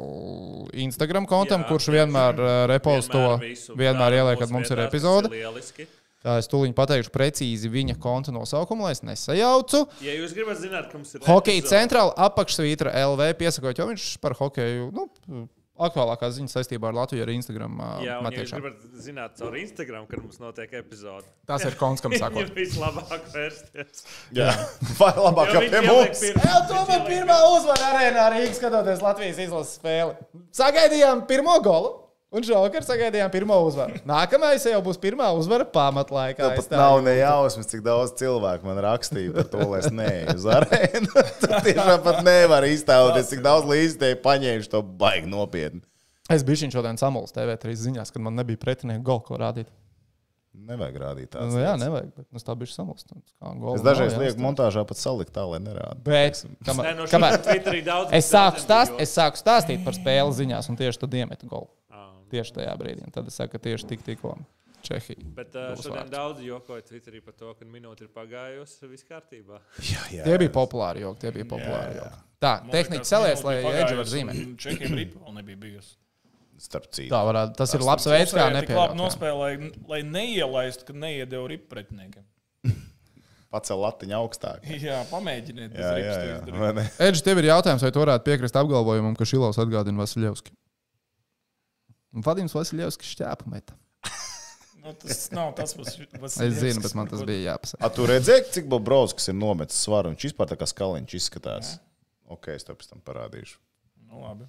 S2: Instagram kontam,
S3: Jā.
S2: kurš vienmēr uh, reposto,
S3: visu
S2: vienmēr
S3: dara
S2: ieliek, kad mums
S3: mūsu
S2: ir
S3: vietās, tas
S2: epizode.
S3: Lieliski.
S2: Tā es tūlīt pateikšu precīzi viņa konta nosaukumu, lai es nesajaucu.
S3: Ja jūs gribat zināt, ka mums ir
S2: Hokeja
S3: epizode,
S2: centrāla apakšsvītra LV piesakot, jo viņš par hokeju, nu, aktuālākās ziņas saistībā ar Latviju arī Instagram eh,
S3: Jā, un ja jūs
S2: matiekšā.
S3: gribat zināt caur Instagram, kad mums notiek epizode.
S2: Tas ir konts, kam
S3: Viņam
S2: sakot.
S3: vislabāk vērsties.
S1: Jā, vai labāk kā pie mums?
S2: Jā, tomēr pirmā uzvara arēnā Rīgas skatoties Latvijas izlases spēli. Sagaidījām pirmo golu. Un šovakar sagaidījām pirmo uzvaru. Nākamais jau būs pirmā uzvara pamatlaikā.
S1: Tev
S2: es
S1: Nu, pat
S2: tā
S1: nav
S2: jūtu.
S1: nejausmas, cik daudz cilvēku man rakstīja par to, lai es neju uz arēnu. Tu tiešām pat nevar iztēloties, cik daudz līdzekļu paņēmuši to baigi nopietni.
S2: Es biju šodien samulis TV3 ziņās, kad man nebija pretinieku golu, ko rādīt.
S1: Nevajag rādīt tādu.
S2: Nu, jā, nevajag, bet nu, es tā biju samulis.
S1: Es dažreiz lieku montāžā pat salikt tā, lai nerādītu.
S2: Bet, kamēr,
S3: Nē, nu, no šī
S2: kamēr,
S3: Twitterī daudz.
S2: Es sāku,
S3: daudziem
S2: stāst,
S3: bija
S2: es sāku stāstīt par spēli ziņās, un tieši tad iemetu golu.
S3: joki.
S2: Tieši tajā brīdī. Un Tad es saku, ka tieši tik, tikko Čehija.
S3: Bet uh,
S2: Būs
S3: šodien
S2: vārds.
S3: daudz jokoja Twitterī par to, ka minūte ir pagājusi, viss kārtībā.
S1: Jā, jā.
S2: Tie bija populāri joki. Tie bija populāri joki. Tā,
S5: nu,
S2: tehnika celēs, lai Edžers var zīmēt.
S5: Čekiem rīpa vēl nebija bijusi.
S1: Starp citu,
S2: Tā varētu, tas ir labs veids, kā
S5: Uzvarēja tik Labi
S2: nepieļaut. jā.
S5: nospēlēja, lai neielaistu, ka neiedeva ripu pretiniekam.
S1: pacel latiņu augstāk.
S5: Jā, pamēģiniet,
S1: Jā,
S5: tas
S1: jā,
S5: rips
S1: jā.
S5: tiek darīts.
S1: Vai ne?
S2: Edžers, tev ir jautājums, vai tu varētu piekrist apgalvojumam, ka Šilovs atgādina Vasiljevski? Un Vadims Vasiljevskis šķēpa metā.
S5: Nu, tas nav tas, kas man ir.
S2: Es zinu, bet man tas bija jāpasaka.
S1: A, tu redzēji, cik Bobrovskis ir nometis svaru? Viņš vispār tā kā skaliņš izskatās. Ok, es tev pēc tam parādīšu.
S5: Nu, labi.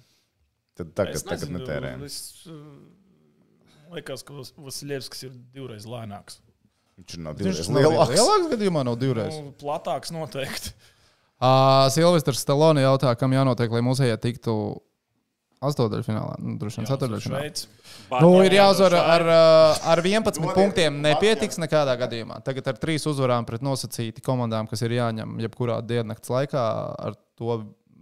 S1: Tad tagad,
S5: Es
S1: tagad
S5: nezinu,
S1: netērējam.
S5: es, uh, Liekas, ka Vas- Vasiljevskis ir divreiz lēnāks.
S1: Viņš ir no
S2: Viņš
S1: divreiz
S2: nav lielāks.
S1: lielāks.
S2: Lielāks gadījumā nav divreiz.
S5: Nu, platāks noteikti.
S2: Uh, Silvestris Staloni jautā, kam jānotiek, lai mūzijā tiktu astotdaļfinālā. Nu, droši vien ceturdaļfinālā.
S5: Šveic.
S2: Nu,
S3: Batman
S2: ir jāuzvar ar, uh, ar 11
S1: Dodiet
S2: punktiem.
S1: viņam
S2: Nepietiks nekādā gadījumā. Tagad ar trīs uzvarām pret nosacīti komandām, kas ir jāņem jebkurā diennakts laikā, ar to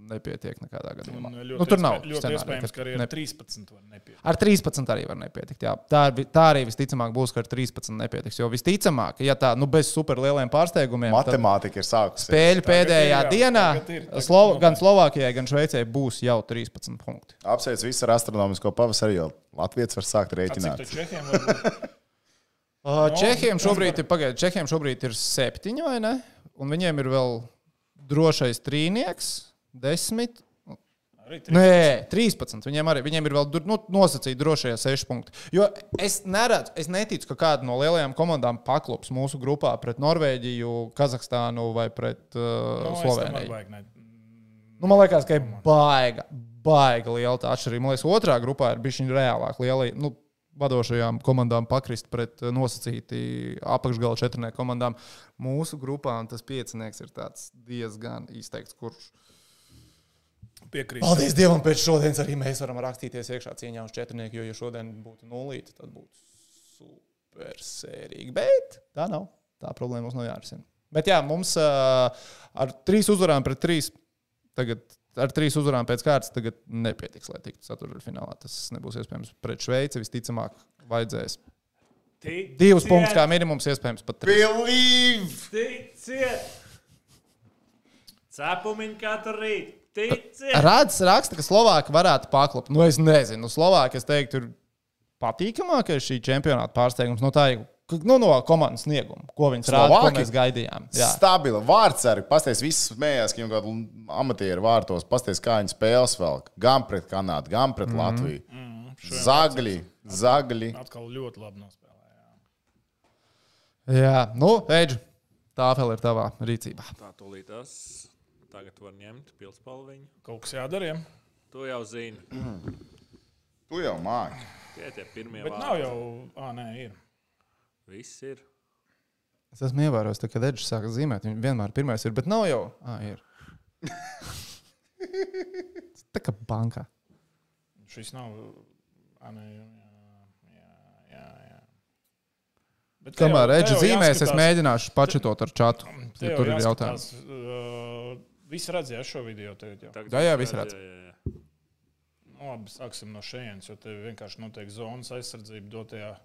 S2: nepietiek nekādā gadījumā.
S5: Un uh,
S2: Nu,
S5: ļoti
S2: tur
S5: iespē-
S2: nav.
S5: Ļoti
S2: scenārija,
S5: iespējams, ka
S2: kad
S5: arī
S2: ne-
S5: ar 13 var nepietikt.
S2: Ar 13 arī var nepietikt. Jā. Tā, ir vi- tā arī visticamāk būs, ka ar 13 nepietiks. Jo visticamāk, ja tā nu, bez superlieliem pārsteigumiem, tad
S1: Matemātika ir sākusies.
S2: spēļu pēdējā
S5: ir, jā,
S2: dienā
S5: tagad ir, tagad
S2: Slo
S5: notiek.
S2: gan Slovākijai, gan Šveicē būs jau 13 punkti.
S1: Apsveic visu ar astronomisko pavasaru, jo Latvijas var sākt
S5: Cik
S1: rēķināt.
S5: to čehiem var būt?
S2: Uh,
S5: Nu,
S2: Čehiem,
S5: tas
S2: šobrīd, ir- pagaid, Čehiem šobrīd ir septiņi, vai ne? Un viņiem ir vēl drošais trīnieks, desmit.
S5: Arī trīs.
S2: Nē, 13. Viņiem, arī, viņiem ir vēl dur- nu, nosacīti drošie seši punkti. Jo es neredzu, es neticu, ka kāda no lielajām komandām paklups mūsu grupā pret Norvēģiju, Kazahstānu vai pret uh,
S5: Nu,
S2: no,
S5: es tam arī
S2: Sloveniju.
S5: vajag ne-
S2: Nu, man liekas, ka ir baiga, baiga liela tā atšķirība. Man liekas, otrā grupā ir bijusi reālāk. Lielai, nu, vadošajām komandām pakrist pret eh, nosacīti apakšgala četrnieku komandām. Mūsu grupā un tas piecinieks ir tāds diezgan izteikts, kurš.
S5: Piekrītu.
S2: Paldies Dievam, pēc šodienas arī mēs varam rakstīties iekšā cīņā uz četrnieku, jo, ja šodien būtu nulīte, tad būtu super sērīgi. Bet tā nav. Tā problēma mums nav jārisina. Bet jā, mums uh, ar trīs uzvarām pret trīs. Tagad, ar trīs uzvarām pēc kārtas tagad nepietiks, lai tiktu ceturdaļfinālā. Tas nebūs iespējams pret Šveici. Visticamāk, vajadzēs
S3: Ticiet,
S2: divus punktus kā minimums, iespējams pat trīs.
S1: Believe!
S3: Ticiet! Cepumiņu katru rītu! Ticiet!
S2: Rāds raksta, ka Slovākija varētu paklapt. Nu, es nezinu, Slovākija, es teiktu, ir patīkamākais šī čempionāta pārsteigums no tā, ka- nu, no komandas snieguma, ko viņi rāda, ko
S1: Slovāki?
S2: mēs gaidījām. Jā.
S1: Stabila vārdsarga. Pastāstiet, viss smējās, ka viņam kaut kāda amatieru vārtos. Pastāstiet, kā viņi spēles velk. Gan pret Kanādu, gan pret mm. Latviju.
S5: Mhm.
S1: Mm, zagļi, zagļi.
S5: Atkal ļoti labi nospēlēja.
S2: Jā, nu, Eidž, tā vēl ir tavā rīcībā.
S3: Tā tūlīt tas. Tagad var ņemt pilspalviņu.
S5: Kaut kas jādara. ja?
S3: Tu jau zini,
S1: Tu jau māki.
S3: tie tie pirmie
S5: Bet nav jau. Ah, nē, ir.
S3: Viss ir.
S2: Es esmu ievērojis, ka, kad Eidžs sāk zīmēt, viņš vienmēr pirmais ir, bet nav jau. Ah, ir. tā kā bankā.
S5: Šis nav. Ah, nē, jā, jā, jā, jā. Bet te
S2: Kamēr
S5: jau- te
S2: Eidžs
S5: jau
S2: zīmēs, es
S5: jāskatās-
S2: mēģināšu pačetot ar čatu.
S5: te
S2: Ja
S5: jau
S2: tur ir jautājums.
S5: jāskatās, uh, Visi redzēja šo video. Tagad, jau.
S3: Tagad
S2: Jā, jā,
S3: mēs
S2: viss
S3: redz-
S2: redz.
S3: jā, jā.
S5: Nu, labi, sāksim no šejienes, jo te vienkārši notiek zonas aizsardzība dotajā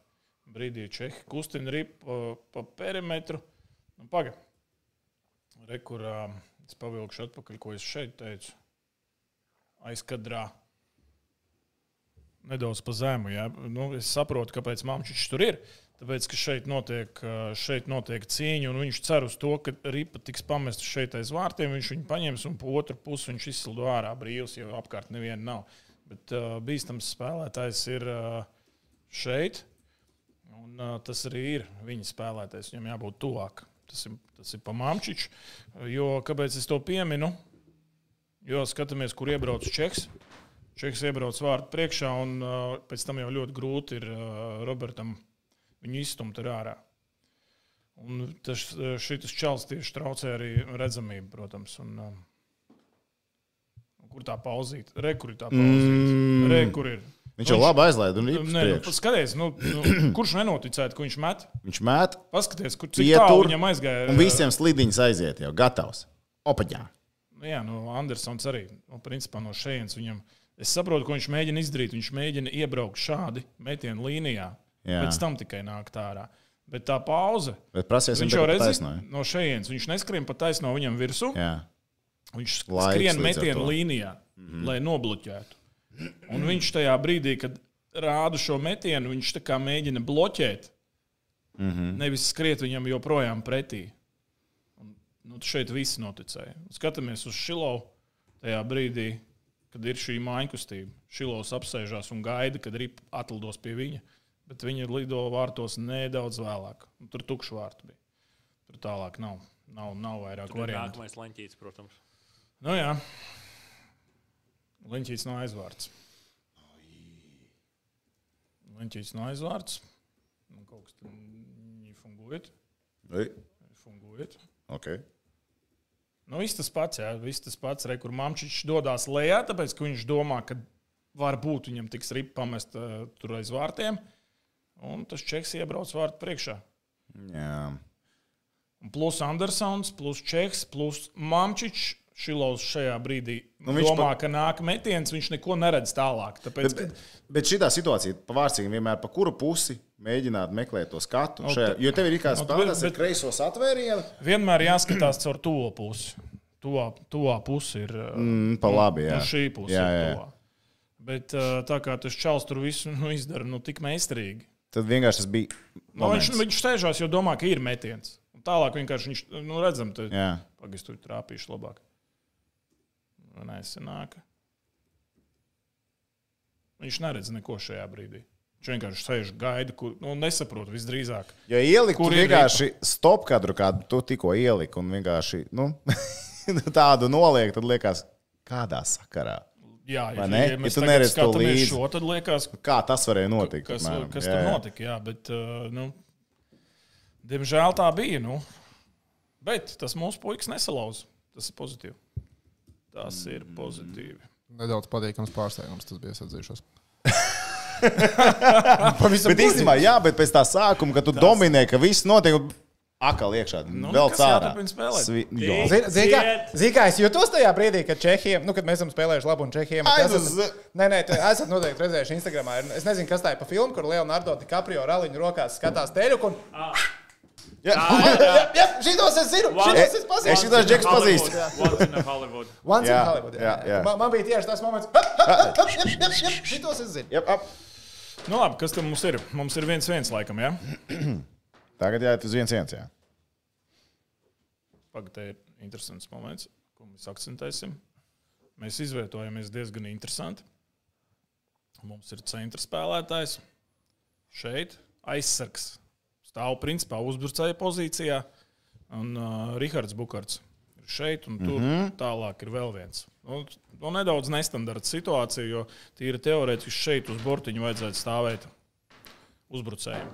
S5: brīdī. Čehi kustina ripu pa, pa perimetru. Nu, Pagaid, rekurā es pavilkšu atpakaļ, ko es šeit teicu. Aizkadrā. Nedaudz pa zemu. Jā. Nu, es saprotu, kāpēc Māmčiņš tur ir. Tāpēc, ka šeit notiek, ā, šeit notiek cīņa, un viņš cer uz to, ka ripa tiks pamesta šeit aiz vārtiem. Viņš viņu paņems, un pa otru pusi viņš izsildo ārā brīvs, jo apkārt neviena nav. Bet uh, bīstams spēlētājs ir uh, šeit, un uh, tas arī ir viņa spēlētājs. Viņam jābūt tuvāk. Tas ir, tas ir pamāmčiņš. Jo kāpēc es to pieminu? Jo skatāmies, kur iebrauc Čeks. Čeks iebrauc vārtu priekšā, un uh, pēc tam jau ļoti grūti ir uh, Robertam viņu izstumt ar ārā. Un tas ā, šitas čels tieši traucē arī redzamību, protams. Un, uh, kur tā pauzīt? Rekur ir tā pauzīt. Mm. Rekur ir.
S1: Viņš jau labi aizlaida un
S5: Nē, nu,
S1: īpaši.
S5: skaties, nu, nu, kurš nenoticētu, ka viņš met?
S1: Viņš mēt
S5: Paskaties, kur cik tālu
S1: Ietur,
S5: viņam aizgāja. eh,
S1: un visiem slidiņas aiziet jau gatavs. Opaģā.
S5: Nu, Jā, nu, Andersons arī. Nu, principā no šejienes viņam. Es saprotu, ko viņš mēģina izdarīt. Viņš mēģina iebraukt šādi metienu līnijā.
S1: Jā.
S5: Jā. Pēc tam tikai nāk tā ārā. Bet tā pauze.
S1: Bet prasiesim,
S5: Viņš jau
S1: tagad
S5: redz
S1: taisnoju.
S5: no šejienes. Viņš neskrien pa taisno viņam virsū.
S1: Jā.
S5: Viņš
S1: Laiks
S5: skrien
S1: līdz ar
S5: metienu
S1: to. Mhm.
S5: līnijā, mm. lai nobloķētu. Un viņš tajā brīdī, kad rāda šo metienu, viņš tā kā mēģina bloķēt. Mm
S1: Mhm.
S5: -hmm. Nevis skriet viņam joprojām pretī. Un, nu, šeit viss noticēja. Skatāmies uz Šilovu tajā brīdī, kad ir šī mājiņa kustība. Šilovs apsēžās un gaida, kad arī atlidos pie viņa. Bet viņi lido vārtos nedaudz vēlāk. Un tur tukšs vārti bija. Tur tālāk nav. Nav, nav vairāk
S3: Tur ir
S5: variantu.
S3: nākamais leņķis, protams.
S5: Nu, jā. Liņķis no aizvārds. Liņķis no aizvārds. Nu, kaut kas tur nefunguiet.
S1: Ui,
S5: Funguiet.
S1: Okay.
S5: Nu, viss tas pats, jā, viss tas pats. Re, kur mamčiņš dodas lejā, tāpēc, ka viņš domā, ka varbūt viņam tiks rips pamest uh, tur aiz vārtiem. Un tas čeks iebrauc vārtu priekšā.
S1: Jā.
S5: Un plus Andersons, plus Čeks, plus Mamčičs. Šilovs šajā brīdī nu,
S1: viņš
S5: domā, pa... ka nāk metiens, viņš neko neredz tālāk. Tāpēc,
S1: Bet, bet šī situācija, pavārsīgi, vienmēr pa kuru pusi mēģināt meklēt to skatu. Šajā, jo tev ir kā
S5: nu,
S1: spēlētājs ar
S5: bet-
S1: kreiso satvērienu.
S5: Vienmēr jāskatās caur to pusi. Tuvā, tuvā puse ir.
S1: Mm, pa labi, jā.
S5: Nu, šī puse
S1: Jā,
S5: jā,
S1: jā.
S5: ir tuvā. Bet uh, tā kā tas čels tur visu nu, izdara, nu tik meistarīgi.
S1: Tad vienkārši tas bija.
S5: Nu, viņš,
S1: moments.
S5: viņš stežās, jo domā, ka ir metiens. Un tālāk vienkārši viņš, nu, redzam, tur
S1: Jā.
S5: pagaidu tur trāpīšu labāk. Nu, Nē, senāk. Viņš neredz neko šajā brīdī. Viņš vienkārši sēž, gaida, kur nu, nesaprot visdrīzāk.
S1: Ja ielikt,
S5: Kur
S1: kur
S5: ir
S1: vienkārši stop kadru, kādu tu tikko ieliki, un vienkārši nu, tādu nu, noliek, tad liekas, Kādā sakarā?
S5: Jā,
S1: Vai
S5: ja,
S1: ne?
S5: ja
S1: Ja
S5: mēs
S1: tu
S5: ja tagad
S1: neredz to
S5: skatāmies
S1: līdzi.
S5: šo, tad liekas,
S1: Kā tas varēja notikt?
S5: kas,
S1: apmēram?
S5: kas
S1: Jā,
S5: tur
S1: jā.
S5: notika. Jā, bet, uh, nu, diemžēl tā bija. Nu. Bet tas mūsu puikas nesalauz. Tas ir pozitīvi. Tas ir pozitīvi.
S2: Nedaudz patīkams pārsteigums tas bija, es atzīšos. Pavisam
S1: Bet īstenībā, jā, bet pēc tā sākuma, kad tu tas... dominē, ka viss notiek un akal iekšā, nu, vēl
S5: nekas
S1: cārā.
S5: jāturpina spēlēt.
S1: Svi-
S3: Tī-
S1: jo.
S3: Ciet!
S2: Ziniet, kā es jutos tajā brīdī, kad Čehijam, nu, kad mēs esam spēlējuši labu un Čehijam.
S1: Ai,
S2: esam,
S1: nu, z-
S2: nē, nē, tu esat noteikti redzējuši Instagramā. ir- Es nezinu, kas tā ir pa filmu, kur Leonardo DiCaprio raliņu rokās skatās teļu. Un...
S1: Ah, Jā.
S2: Jā, jā, šitos es zinu,
S3: Wow.
S2: šitos es
S1: Es
S2: pazīstu.
S1: šitos džekus pazīstu.
S3: Once in a Hollywood.
S2: Once in
S1: Jā,
S2: Hollywood, jā,
S1: jā,
S2: jā.
S1: jā.
S2: Man, man bija tieši tas moments, kad šitos es zinu.
S1: Jep, ap.
S5: Nu, labi, kas tam mums ir? Mums ir viens, viens laikam, jā.
S1: Tagad jāiet uz viens viens. Jā.
S5: Pagaidā, te ir interesants moments, ko mēs akcentēsim. Mēs izvietojamies diezgan interesanti. Mums ir centra spēlētājs šeit, aizsargs. Stāv principā uzbrucēja pozīcijā, un uh, Rahards Bukarts ir šeit, un tur mm -hmm. tālāk ir vēl viens. Nu, nu, nedaudz nestandarta situācija, jo tīri teorētiski šeit uz bortiņa vajadzētu stāvēt uzbrucējiem.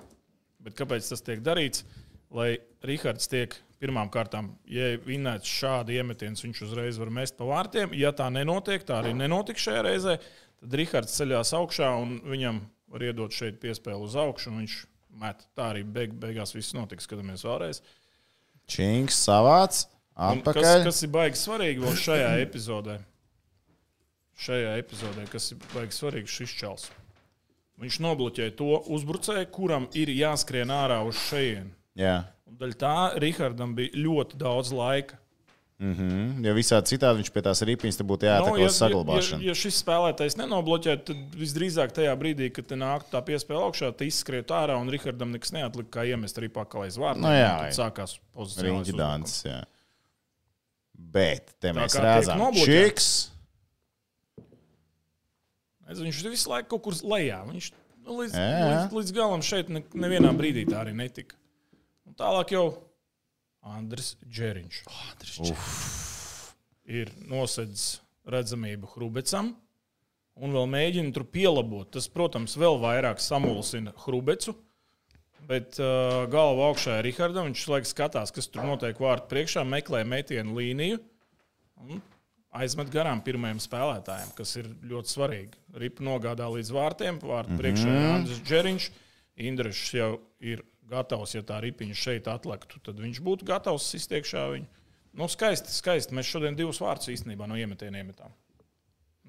S5: Bet kāpēc tas tiek darīts? Lai Rīgards tiek pirmām kārtām, ja ir vinnēts šādi iemetiens, viņš uzreiz var mest pa vārtiem. Ja tā nenotiek, tā arī nenotika šajā reizē, tad Rīgards ceļās augšā un viņam var iedot šeit piespēli uz augšu, un viņš met. Tā arī beig, beigās viss notiks, skatāmies vēlreiz.
S1: Činks savāds.
S5: Un Kas,
S1: Atpakaļ.
S5: kas ir baigi svarīgi vēl šajā epizodē? Šajā epizodē, kas ir baigi svarīgi, šis čels. Viņš nobloķēja to uzbrucēju, kuram ir jāskrien ārā uz šejienu.
S1: Jā.
S5: Un Daļa tā Rīgardam bija ļoti daudz laika.
S1: Mm, Ja visādi citādi viņš pie tās ripiņas te būtu jāatkal
S5: Nu, ja,
S1: uz saglabāšanu.
S5: Ja, ja šis spēlētājs nenobloķē, tad visdrīzāk tajā brīdī, kad te nāk tā piespēle augšā, tad izskriet ārā un Rīgardam nekas neatlika, kā iemest arī pakalais vārdu.
S1: Nu jā,
S5: tad sākās pozīcijas.
S1: Riņķi dāns. jā. Bet te mēs
S5: kā tiek
S1: redzam,
S5: nobloķēts.
S1: čiks.
S5: Es, viņš ir visu laiku kaut kur lejā. Viņš nu, līdz,
S1: Jā, jā.
S5: līdz, līdz galam šeit ne, nevienā brīdī tā arī netika. Un tālāk jau Andris Džeriņš.
S1: Oh,
S5: Andris Džeriņš. Ir nosedzis redzamību Hrubecam. Un vēl mēģina tur pielabot. Tas, protams, vēl vairāk samulsina Hrubecu. Bet uh, galva augšā ir Rīgardam. Viņš laikam skatās, kas tur notiek vārtu priekšā, meklē metienu līniju aizmet garām pirmajam spēlētājam, kas ir ļoti svarīgi. Ripa nogādā līdz vārtiem, vārtu mm -hmm. priekšā ir Andris Džeriņš. Indrišs jau ir gatavs, ja tā ripiņa šeit atliktu, tad viņš būtu gatavs iztiekšā viņu. Nu, skaisti, skaisti. Mēs šodien divus vārdus īstenībā no iemetieniem iemetām.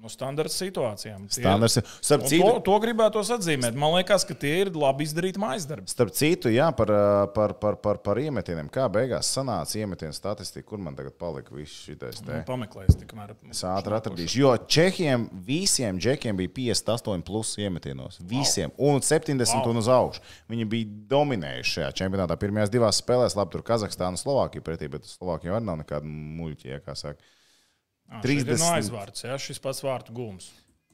S5: No standarta situācijām. Tie-
S1: Standarts. Starp
S5: Un
S1: citu,
S5: To, to gribētu atzīmēt. Man liekas, ka tie ir labi izdarīti mājas darbi.
S1: Starp citu, jā, par, ā, par, par, par, par iemetieniem. Kā beigās sanāca iemetienu statistika, kur man tagad palika viss šis te?
S5: Pameklēsim, tikmēr.
S1: Es ātri atradīšu, jo Čehijam visiem džekiem bija 58 plus iemetienos. Visiem, un 70 wow. un uz augšu. Viņi bija dominējuši šajā čempionātā. Pirmajās divās spēlēs, labi, tur Kazahstāna un Slovākija pretī, bet Slovākija arī nav nekāda muļķa, ja, kā saka.
S5: Ā, šeit ir
S1: 30.
S5: No aizvārds, jā, šis pats vārtu gūms.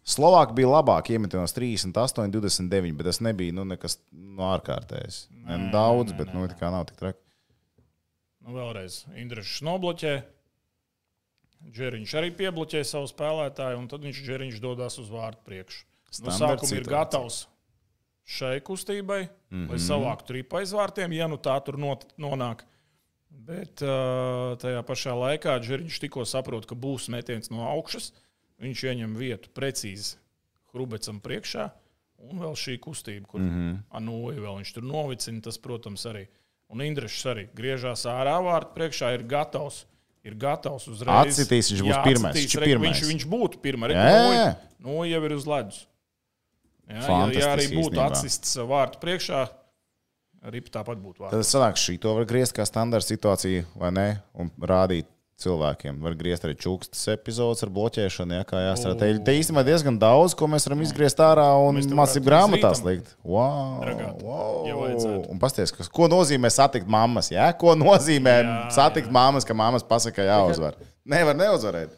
S1: Slovāki bija labāki iemetienos 38, 29, bet tas nebija nu, nekas no ārkārtējs. Ne, daudz, bet nu, tā kā nav tik traki.
S5: Nu, vēlreiz Indrišs nobloķē. Džeriņš arī piebloķē savu spēlētāju, un tad viņš Džeriņš dodas uz vārtu priekšu. No
S1: Standarta
S5: sākuma ir
S1: situācija. Mhm.
S5: gatavs šai kustībai, mm -hmm. lai savāktu ripu aiz vārtiem, ja nu tā tur not, nonāk. Bet uh, tajā pašā laikā Džeriņš tikko saprot, ka būs metiens no augšas. Viņš ieņem vietu precīzi Hrubecam priekšā, un vēl šī kustība, kur mm
S1: Mhm.
S5: -hmm. anuja vēl viņš tur novicina, tas, protams, arī. Un Indrišs arī griežās ārā vārtu priekšā, ir gatavs. Ir gatavs uzreiz.
S1: Atcitīs, viņš būs
S5: Jā,
S1: pirmais,
S5: atcitīs,
S1: viņš ir
S5: re,
S1: pirmais.
S5: Viņš, viņš būtu pirmais.
S1: Jā, jā, jā.
S5: Nu, jau ir uz ledus. Jā, ja, ja arī
S1: Fantastiski
S5: būtu
S1: īstenībā.
S5: atsists vārtu priekšā, arī tāpat būtu vārds.
S1: Tad es sanāku, šī to var griezt kā standarta situācija, vai ne? Un rādīt cilvēkiem. Var griezt arī čūkstas epizodes ar bloķēšanu, ja kā jāsaka. Te, te īstenībā diezgan daudz, ko mēs varam izgriezt ārā un
S5: Mēs te
S1: mācību
S5: varētu
S1: grāmatās
S5: uz rītam
S1: likt. Wow,
S5: dragāt, ja
S1: wow.
S5: vajadzētu.
S1: Un pasties, kas, ko nozīmē satikt mammas, ja? Ko nozīmē jā,
S5: Jā,
S1: satikt jā. mammas, ka mammas pasaka, jāuzvar. Nevar neuzvarēt.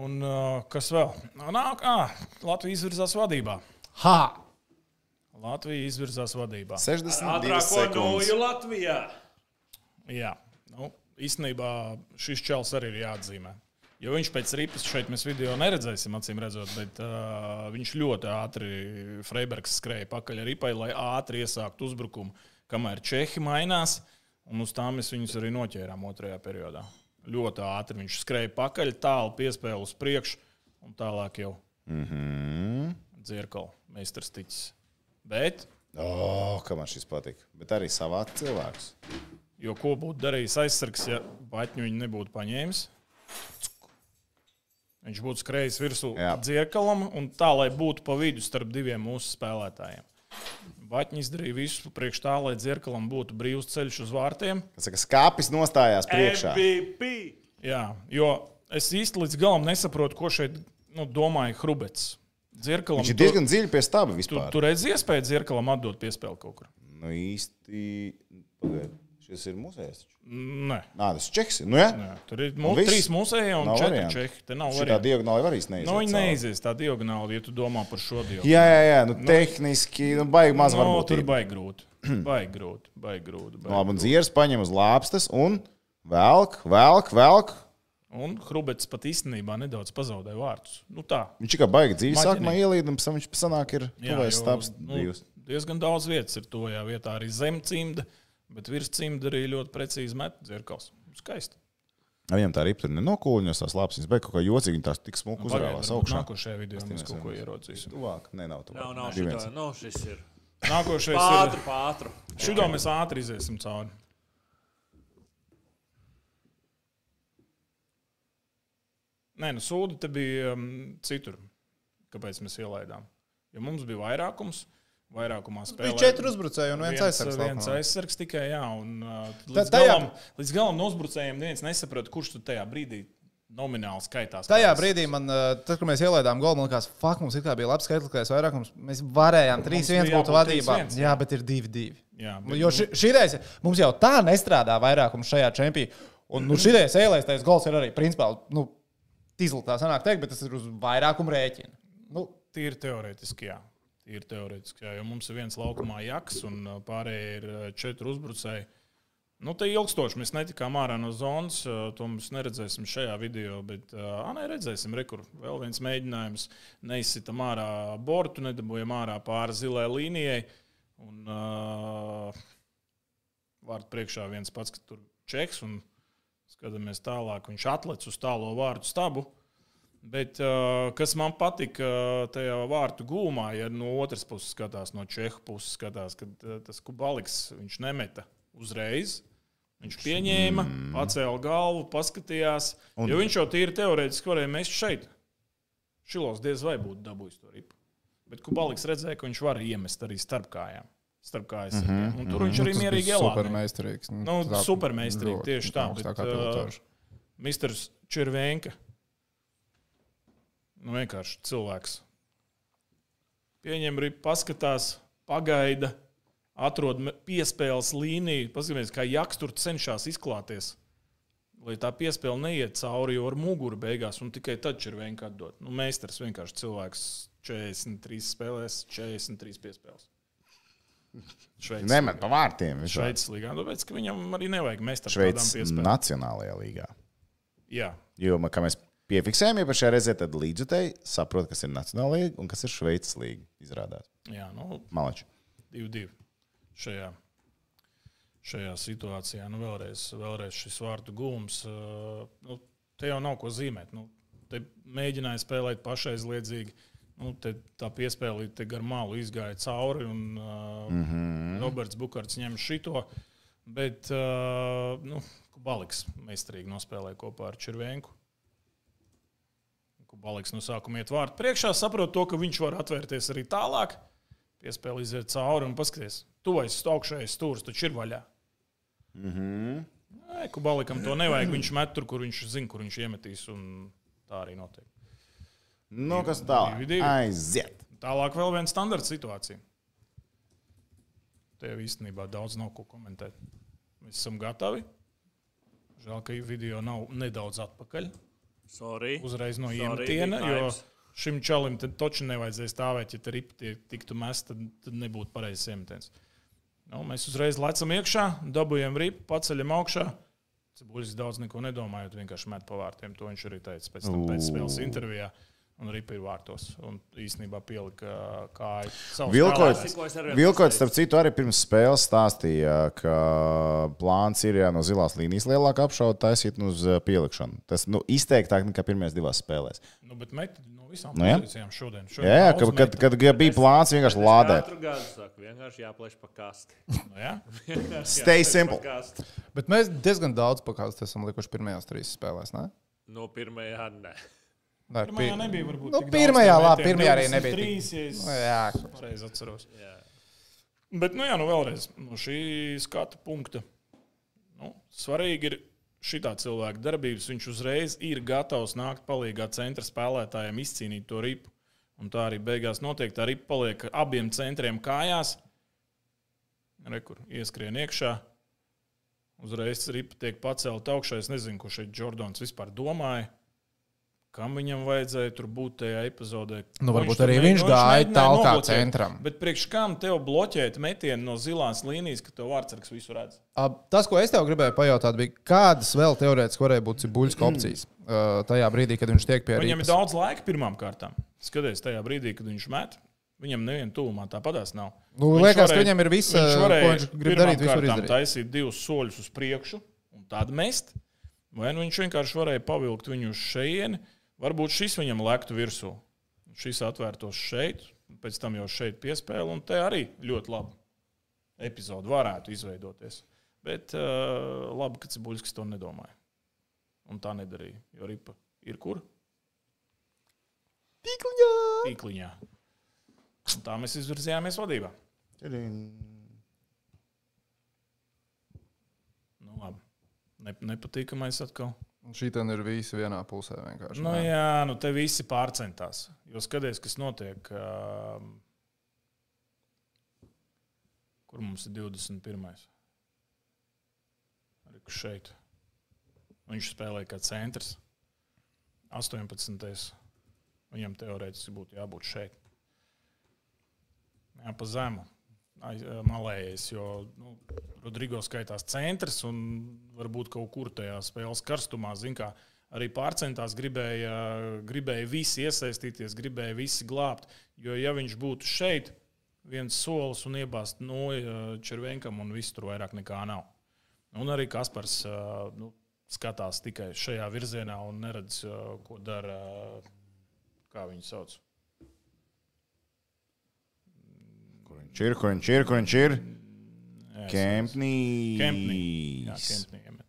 S5: Un uh, kas vēl? Nāk, ah, Latvija izvirzās vadībā.
S2: Ha!
S5: Latvija izvirzās vadībā.
S1: 62
S3: Ātrāko
S1: sekundes.
S3: nūju Latvijā.
S5: Jā, nu, īstenībā šis čels arī ir jāatzīmē. Jo viņš pēc ripas šeit mēs video neredzēsim, acīm redzot, bet uh, viņš ļoti ātri, Freibergs skrēja pakaļ ripai, lai ātri iesāktu uzbrukumu, kamēr Čehi mainās. Un uz tām mēs viņus arī noķērām otrajā periodā. Ļoti ātri viņš skrēja pakaļ, tālu piespēlēja uz priekšu un tālāk jau dzirkala meistars ticis. Bet,
S1: Oh, kā man šis patīk. Bet arī savā cilvēks.
S5: jo ko būtu darījis aizsargs, ja Batņu viņu nebūtu paņēmis? Viņš būtu skrējis virsū
S1: Jā.
S5: dzirkalam un tā, lai būtu pa vidu starp diviem mūsu spēlētājiem. Batņi izdarīja visu priekš tā, lai dzirkalam būtu brīvs ceļš uz vārtiem.
S1: Tas kā skāpis nostājās priekšā.
S3: MVP!
S5: Jā, jo es īsti līdz galam nesaprotu, ko šeit nu, domāja Hrubets. Dzirkalam
S1: Viņš ir
S5: tu-
S1: diezgan dziļi pie stūra
S5: Tu,
S1: vispār.
S5: tu redzi, iespēju dzirkalam atdot piespēli kaut kur.
S1: Nu, īsti. Pagaid, šis ir muzejs. taču.
S5: Nē,
S1: Nā, tas ir čeks. Nu, jā,
S5: nē. tur ir mū,
S1: viss?
S5: trīs mūsejie un
S1: Nav
S5: četri
S1: variantu.
S5: čehi. Te nav
S1: tā
S5: variantu.
S1: diagonāla arī neizdevās.
S5: Nu, viņi neizies tā diagonāli, ja tu domā par šo dienu.
S1: Jā, jā, jā nu, tehniski, nu, baigi maz
S5: no,
S1: varbūt.
S5: tur
S1: ir.
S5: baigi grūti. Baigi grūti, baigi grūti. Baigi.
S1: Nu, Labi, un dzieras paņem uz lāpstas un velk, velk, velk.
S5: Un Hrubets pat īstenībā nedaudz pazaudēja vārdus. Nu tā.
S1: Viņš kā baigi dzīvi
S5: Maģinīgi.
S1: sākumā ielīd, un pēc tam viņš sanāk ir
S5: Jā,
S1: tuvais
S5: jo,
S1: stāvs
S5: nu,
S1: divs.
S5: Diezgan daudz vietas ir to jā, vietā, arī zem cimta, bet virs cimta arī ļoti precīzi met dzirkals. Skaisti.
S1: Viņam tā ripa tur nenokūļņos, tās lāpstas, viņš beig kaut kā jocīgi, viņi tās tik smuki uzrāvās augšā.
S5: Nākošajā video mēs kaut ko ierodzīsim.
S1: Tuvāk, nē, nav tuvāk.
S3: Nav, nav
S1: Divi
S3: šitā,
S1: viens.
S3: nu, šis ir.
S5: Nākošais
S3: Pātri,
S5: ir.
S3: pātri.
S5: Šito mēs ātri iziesim cauri. Nē, nu sūdi te bija um, citur. Kāpēc mēs ielaidām? Jo mums bija vairākums. Vairākumā
S2: Bija
S5: spēlēja.
S2: četri uzbrucēji un viens aizsargs.
S5: Viens
S2: laukumā.
S5: aizsargs tikai, jā. Un, uh, līdz,
S2: tajā-
S5: galam, līdz galam no uzbrucējiem neviens nesaprata, kurš tu tajā brīdī nomināli skaitās.
S2: Tajā
S5: Pēc-
S2: brīdī, man, eh, tad, kad mēs ielaidām golu, man liekas, fuck, mums it kā bija labs skaitlis, vairākums. Mēs varējām 3-1
S5: bija
S2: būt
S5: jābūt
S2: vadībā.
S5: 3:1,
S2: Jā, bet ir 2-2.
S5: Jā,
S2: Nu,
S5: bet,
S2: Jo ši- šī reize mums jau tā nestrādā vairākums šajā čempionā. Un nu, šī reize ielaistais gols ir arī principā nu, izlūkā, sanāk teikt, bet tas ir uz vairākumu rēķina. Nu,
S5: Tīri teorētiski, jā. Tīri teorētiski, jā. Jo mums ir viens laukumā jaks, un uh, pārējie ir uh, četri uzbrucēji. Nu, te ilgstoši mēs netikām ārā no zonas. uh, To mēs neredzēsim šajā video, bet uh, nē, redzēsim, rekur. Vēl viens mēģinājums. Neizsitam ārā bortu, nedabūjam ārā pāri zilai līnijai. Un uh, vārdu priekšā viens pats, ka tur čeks, un skatāmies tālāk. Viņš atlec uz tālo vārdu stabu. Bet, uh, kas man patika uh, tajā vārtu gūmā, ja no otras puses skatās, no čehu puses skatās, kad uh, tas kubaliks viņš nemeta uzreiz. Viņš pieņēma, mm. pacēla galvu, paskatījās. Un... Jo viņš jau tīri teorētiski varēja mest šeit. Šilos diez vai būtu dabūjis to ripu. Bet kubaliks redzēja, ka viņš var iemest arī starp kājām. Starp kājas. Mm -hmm. Un tur viņš arī mierīgi ielādēja.
S2: supermeistarīgs.
S5: Nu, supermeistarīgi, tieši tā, bet, uh, Mistrs Červenka. Nu, vienkārši cilvēks. Pieņem ripu, paskatās, pagaida, atrod me- piespēles līniju. Paskatieties, kā jaks tur cenšas izklāties. Lai tā piespēle neiet cauri, jau ar muguru beigās, un tikai tad Červenka atdod. Nu, meistars vienkārši cilvēks 43 spēlēs, 43 piespēles. Šveicis.
S1: Nemet pa vārtiem. viņš vēl.
S5: Šveicis līgā, Nu, tāpēc, ka viņam arī nevajag meistars tādām
S1: Šveicis
S5: piespēlēm.
S1: Nacionālajā līgā.
S5: Jā,
S1: Jo, man- kā mēs piefiksējām iepriekšējā reizē, tad līdzjutēji saprot, kas ir Nacionālajā līga un kas ir Šveices līga. Izrādās.
S5: jā nu,
S1: Malači.
S5: 2-2 šajā, šajā situācijā. Nu, vēlreiz, vēlreiz šis vārtu gūms. ā, Nu, te jau nav ko zīmēt. Nu, te mēģināja spēlēt pašaizliedzīgi. Nu, te tā piespēlīte gar malu izgāja cauri, un uh, mm -hmm. Roberts Bukārts ņem šito. Bet uh, nu, Baliks meistarīgi nospēlēja kopā ar Čirvenku. Baliks no sākuma iet vārtu priekšā, saprot to, ka viņš var atvērties arī tālāk piespēle iziet cauri un paskatās. Tuvais augšējais stūris taču ir vaļā. Mhm. Kubalikam to nevajag. Viņš met tur, kur viņš zina, kur viņš iemetīs. un Tā arī notiek.
S1: Nu, kas tālāk?
S5: Divi, divi.
S1: Aiziet.
S5: Tālāk vēl viena standarta situācija. Tev īstenībā daudz nav ko komentēt. Mēs esam gatavi. Žēl, ka video nav nedaudz atpakaļ.
S3: Sorry.
S5: uzreiz no
S3: Sorry,
S5: iemetiena,
S3: big
S5: jo
S3: times.
S5: šim čalim tad taču nevajadzēja stāvēt, ja tur tiktu mest, tad, tad nebūtu pareizs iemetiens. Nu, mēs uzreiz lecam iekšā, dabūjam ripu, paceļam augšā, Cibuļs daudz neko nedomājot, vienkārši met pa vārtiem. To viņš arī teica pēc, tam, pēc spēles intervijā. Un arī bija vārtos. Un īsnībā pielika uh, kāju. savus
S1: Vilkots,
S5: spēlētājus.
S3: Tikko es arī
S1: Vilkots, starp citu, arī pirms spēles stāstīja, ka plāns ir jā, no zilās līnijas lielāka apšauda taisīt nu, uz eh, pielikšanu. Tas nu, izteiktāk nekā pirmajās divās spēlēs.
S5: Nu, bet met no visām
S1: Nu, jā.
S5: pozīcijām šodien. šodien
S1: Jā, jā
S5: daudz
S1: kad,
S5: meta.
S1: kad, kad bija plāns vienkārši lādēt.
S3: Katru gadu saka, vienkārši jāplēš pa kasti.
S5: Nu, jā?
S1: Stay
S3: Jāplēš pa
S1: simple.
S3: kasti.
S2: Bet mēs diezgan daudz pakāpstus esam likuši pirmajās trīs spēlēs. Ne?
S3: No pirmajā, nē.
S2: Nē,
S5: Pirmajā
S2: pi-
S5: nebija varbūt.
S2: Nu,
S5: tik daudz
S2: pirmajā,
S5: tie
S2: labi,
S5: metieni,
S2: pirmajā arī nebija.
S5: 23,
S2: tik-
S5: ja es-
S2: Nu, jā,
S5: Pareizi atceros.
S3: Jā.
S5: Bet, nu, jā, nu vēlreiz, no šī skatu punkta. Nu, svarīgi ir šitā cilvēka darbības. Viņš uzreiz ir gatavs nākt palīdzīgā centra spēlētājiem izcīnīt to ripu. Un tā arī beigās notiek. Tā ripa paliek abiem centriem kājās. Rekur ieskrien iekšā. Uzreiz ripa tiek pacelt augšā. Es nezinu, ko šeit Jordans vispār domāja. Kam viņam vajadzēja tur būt tajā epizodē?
S2: Nu,
S5: Ko
S2: varbūt
S5: tur
S2: arī
S5: mēģināja-
S2: viņš
S5: nu,
S2: gāja
S5: mēģināja
S2: tālāk kā
S5: noblokēt.
S2: centram.
S5: Bet priekš kam tev bloķēt metienu no zilās līnijas, ka tev vārdsargs visu redz?
S2: Ab- Tas, ko es tev gribēju pajautāt, bija, kādas vēl teorētiski varēja būt buļbuļsaktas opcijas uh, tajā brīdī, kad viņš tiek pie
S5: Viņam
S2: rīpas.
S5: ir daudz laika pirmām kārtām. Skaties, tajā brīdī, kad viņš met, viņam neviena tuvumā tāpatās nav.
S2: Nu, liekas, ka viņam ir viss, ko viņš grib darīt, visu var
S5: pirmām kārtām
S2: izdarīt.
S5: Taisīt divus soļus uz priekšu un tad mest. Vai nu viņš vienkārši varēja pavilkt viņu uz šejieni, varbūt šis viņam lektu virsū. Šis atvērtos šeit, pēc tam jau šeit piespēle, un te arī ļoti labi epizode varētu izveidoties. Bet uh, labi, ka Cibuļskis to nedomāja. Un tā nedarīja. Jo ripa ir kur? Tīkliņā. Tīkliņā. Un tā mēs izvirzījāmies vadībā. Nu, labi. Ne, nepatīkamais atkal.
S2: Šī tā ir visi vienā pusē vienkārši.
S5: Nu,
S2: nē?
S5: jā, nu te visi pārcentās. Jo skaties, kas notiek. Um, kur mums ir 21. Arī kurš šeit. Viņš spēlēja kā centrs. 18. Viņam teorētiski būtu jābūt šeit. Jā, pa zemu. aiz- Malējais, jo nu, Rodrigo skaitās centrs un varbūt kaut kur tajā spēles karstumā, zin kā arī pārcentās, gribēja, gribēja visi iesaistīties, gribēja visi glābt. Jo ja viņš būtu šeit, viens solis un iebāzt no Červenkam un viss tur vairāk nekā nav. Un arī Kaspars ā, nu, skatās tikai šajā virzienā un neredz, ā, ko dara, ā, kā viņu sauc.
S1: Kur viņš ir, kur viņš ir, kur viņš ir?
S5: Jā, es- Kempnī. Jā,
S1: Kempnīs.
S5: Kempnī iemet.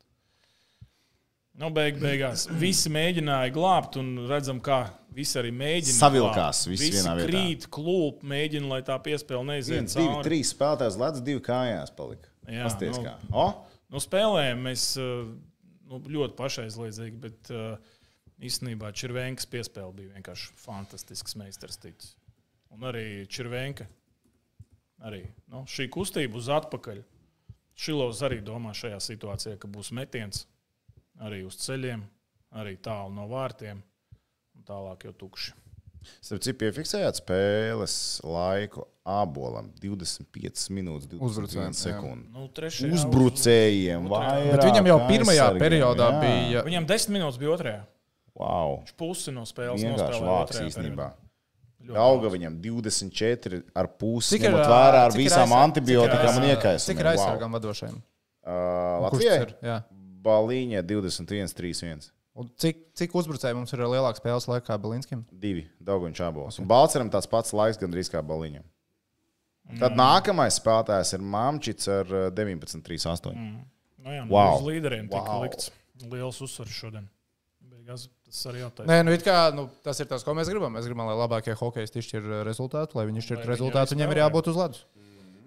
S5: Nu, beig, beigās visi mēģināja glābt, un redzam, kā visi arī mēģina.
S1: Savilkās
S5: glābt.
S1: visi vienā vietā.
S5: Krīt, klūp, mēģina, lai tā piespēle neizietu.
S1: Viens, divi, trīs spēlētājs ledus, divi kājās palika.
S5: Jā,
S1: Pasties,
S5: nu.
S1: kā. O,
S5: Nu, spēlējām mēs uh, nu, ļoti pašaizliedzīgi, bet uh, īstenībā Čirvenkas piespēle bija vienkārši fantastisks meistarstības. Un arī Čirvenka. Arī, nu, šī kustība uz atpakaļ. Šilovs arī domā šajā situācijā, ka būs metiens arī uz ceļiem, arī tālu no vārtiem un tālāk jau tukši.
S1: Starp citu, piefiksējāt spēles laiku abolam 25 minūtes, 21
S2: Uzbrucējiem, jā.
S1: sekundes.
S5: Nu, trešajā uz-
S1: Uzbrucējiem,
S5: vairāk
S1: vairāk.
S2: Bet viņam jau pirmajā periodā bija.
S5: Viņam desmit minūtes bija otrajā.
S1: Wow,
S5: Viņš pusi no spēles
S1: vienkārši
S5: nospēlēja
S1: vārds
S5: otrajā periodā.
S1: īstenībā.
S5: Ļoti
S1: Auga viņam 24 ar pusi.
S2: Cik ir,
S1: Ņemot
S2: ā,
S1: vērā ar
S2: cik ir
S1: visām
S2: aizsarg-
S1: antibiotikām un iekaisumiem.
S2: Cik ir aizsargām vadošajiem?
S1: Wow. Uh,
S2: Kurš
S1: Latvijai?
S2: tas ir? Jā.
S1: Balīņa 21, 3,
S2: Un Cik, cik uzbrucēji mums ir lielāka spēles laikā Belinskim?
S1: 2. Dauguņš abos. Un Balceram tāds pats laiks gandrīz kā Balīņam. Tad nākamais spēlētājs ir Mamčits ar eh, ā, 19, 3, 8. Mm.
S5: Nu, jā, nu,
S1: Wow.
S5: wow. Uz līderiem tika
S1: Wow.
S5: wow. likts liels uzsvars šodien. Beigās tas arī jātaisa.
S2: Nē, nu, it kā, nu, tas ir tas, ko mēs gribam. Mēs gribam, lai labākie hokeisti izšķir eh, rezultātu, lai viņi
S5: Lai
S2: izšķirtu
S5: viņi
S2: rezultātu.
S5: arī
S2: Viņiem ir
S5: spēlē.
S2: jābūt uz ledus.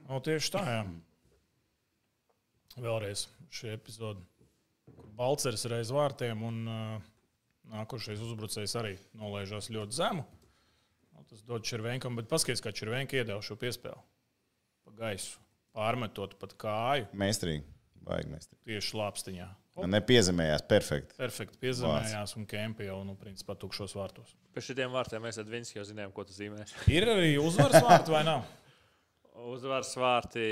S5: No, tieši tā, jā. Vēlreiz šī epizode. kur Balceris ir aiz vārtiem un uh, nākošais uzbrucējs arī nolaižās ļoti zemu. Nu, tas dod Červenkam, bet paskatieties, kā Červenka iedeva šo piespēli. Pa gaisu, pārmetot pat kāju
S1: Meistarīgi. Vajag meistarīgi.
S5: tieši lāpstiņā.
S1: Nepiezemējās perfekti.
S5: Perfekti piezemējās un kempī jau, nu, principā, tukšos vārtos.
S3: Pie šiem vārtiem mēs ar Vinčiju jau zinājām, ko tas nozīmē.
S5: Ir arī uzvaras vārti vai nav?
S3: Uzvaras vārti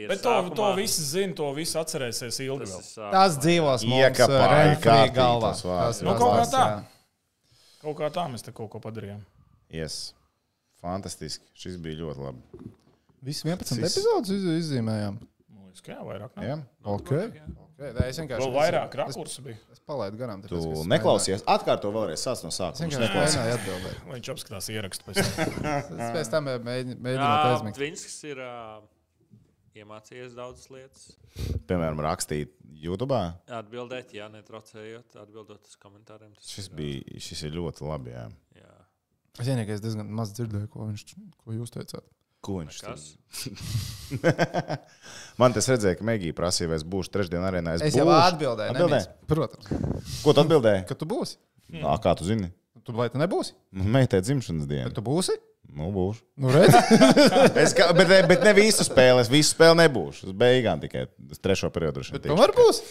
S3: ir.
S5: Bet to, to
S3: sākumā.
S5: visi zina, to visi atcerēsies ilgi.
S3: Tas ir
S5: vēl.
S3: sākumā.
S2: Tas dzīvos mūsu
S1: Iekapāja kārtīgi
S2: galvā.
S1: tos vārdus.
S2: Tas
S5: Nu,
S2: tās
S5: kaut kā
S2: vārds,
S5: tā.
S2: jā.
S5: Kaut kā tā mēs te kaut ko padarījām.
S1: Yes. Fantastiski. Šis bija ļoti labi.
S2: Visu 11
S1: Viss.
S2: epizodus iz, izzīmējām.
S5: Man liekas, ka jā, vairāk. Ne?
S1: Ja?
S2: Okay. Okay, nē, es vienkārši
S5: Vēl vairāk
S2: es,
S5: rakursu bija.
S2: es palaidu garām.
S1: Tu neklausies. Atkārto vēlreiz. Sāc no
S2: Es
S1: sākuma. Viņš
S2: vienkārši
S1: neklausās.
S2: mēģināju atbildēt.
S5: Viņš apskatās ierakstu pēc tam.
S2: Es pēc tam mēģi- mēģinot
S3: Jā,
S2: aizmigt.
S3: Dvinskis ir ā, iemācījies daudzas lietas.
S1: Piemēram, rakstīt YouTube.
S3: Atbildēt, ja netraucējot, atbildot uz komentāriem. Tas
S1: Šis,
S3: ir, ā,
S1: bija, šis ir ļoti labi. Jā.
S3: Jā.
S2: Es vienīgais diezgan maz dzirdēju, ko, viņš, ko jūs teicāt.
S1: Ko viņš
S3: Kas?
S1: Man tas redzēja, ka Megija prasīja, vai es būšu trešdien arēnā.
S2: Es
S1: Es,
S2: jau
S1: būšu.
S2: atbildēju.
S1: Atbildēji?
S2: nemies. Protams,
S1: Ko tu atbildēji?
S2: ka tu būsi.
S1: Nā, kā tu zini?
S2: Tu vai tu nebūsi?
S1: Meitē Nu, dzimšanas
S2: Bet
S1: diena.
S2: tu būsi?
S1: Nu, būšu.
S2: Nu, redz,
S1: Es, kā, bet, ne- bet ne visu spēli. Es visu spēli nebūšu. Es beigām tikai uz trešo periodu. droši vien
S2: bet
S1: tikšu.
S2: tomēr būs.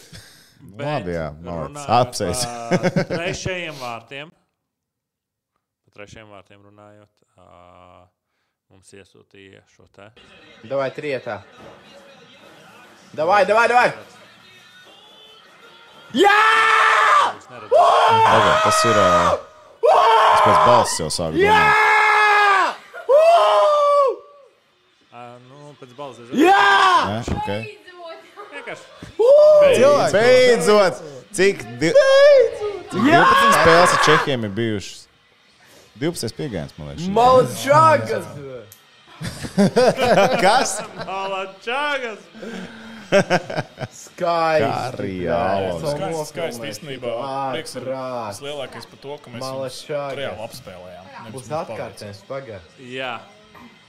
S1: Nu, Labi, jā, malāc. Apsēs.
S3: Apsēsim. Trešajiem vārtiem. Par trešajiem vārtiem runājot, ā, mums iesūtīja šo te.
S6: Давай, три это. Давай, давай, давай!
S3: Jūs neredzat,
S1: Pagaid, Tas ir. ā, Es pēc balss jau sāku domāt.
S3: Ā, nu, pēc balss. Jā!
S1: Ne? Okay.
S3: Vienkārši.
S2: Cilvēki.
S1: Beidzot! Cik, di... Cik 12 spēles ar Čehiem ir bijušas? 12 piegājiens, man liekas. šī.
S6: Молчак!
S1: Kas?
S3: Alačāgas!
S6: Скай!
S1: Karjālo.
S5: Skaisti, skaisti īstenībā. Prieks ir
S6: Prāt.
S5: tas lielākais par to, ka mēs viņus
S6: Malašāga.
S5: reāli apspēlējām. Nevis
S6: Būs
S5: mums paveicās.
S6: atkārtējums pagār.
S3: Jā,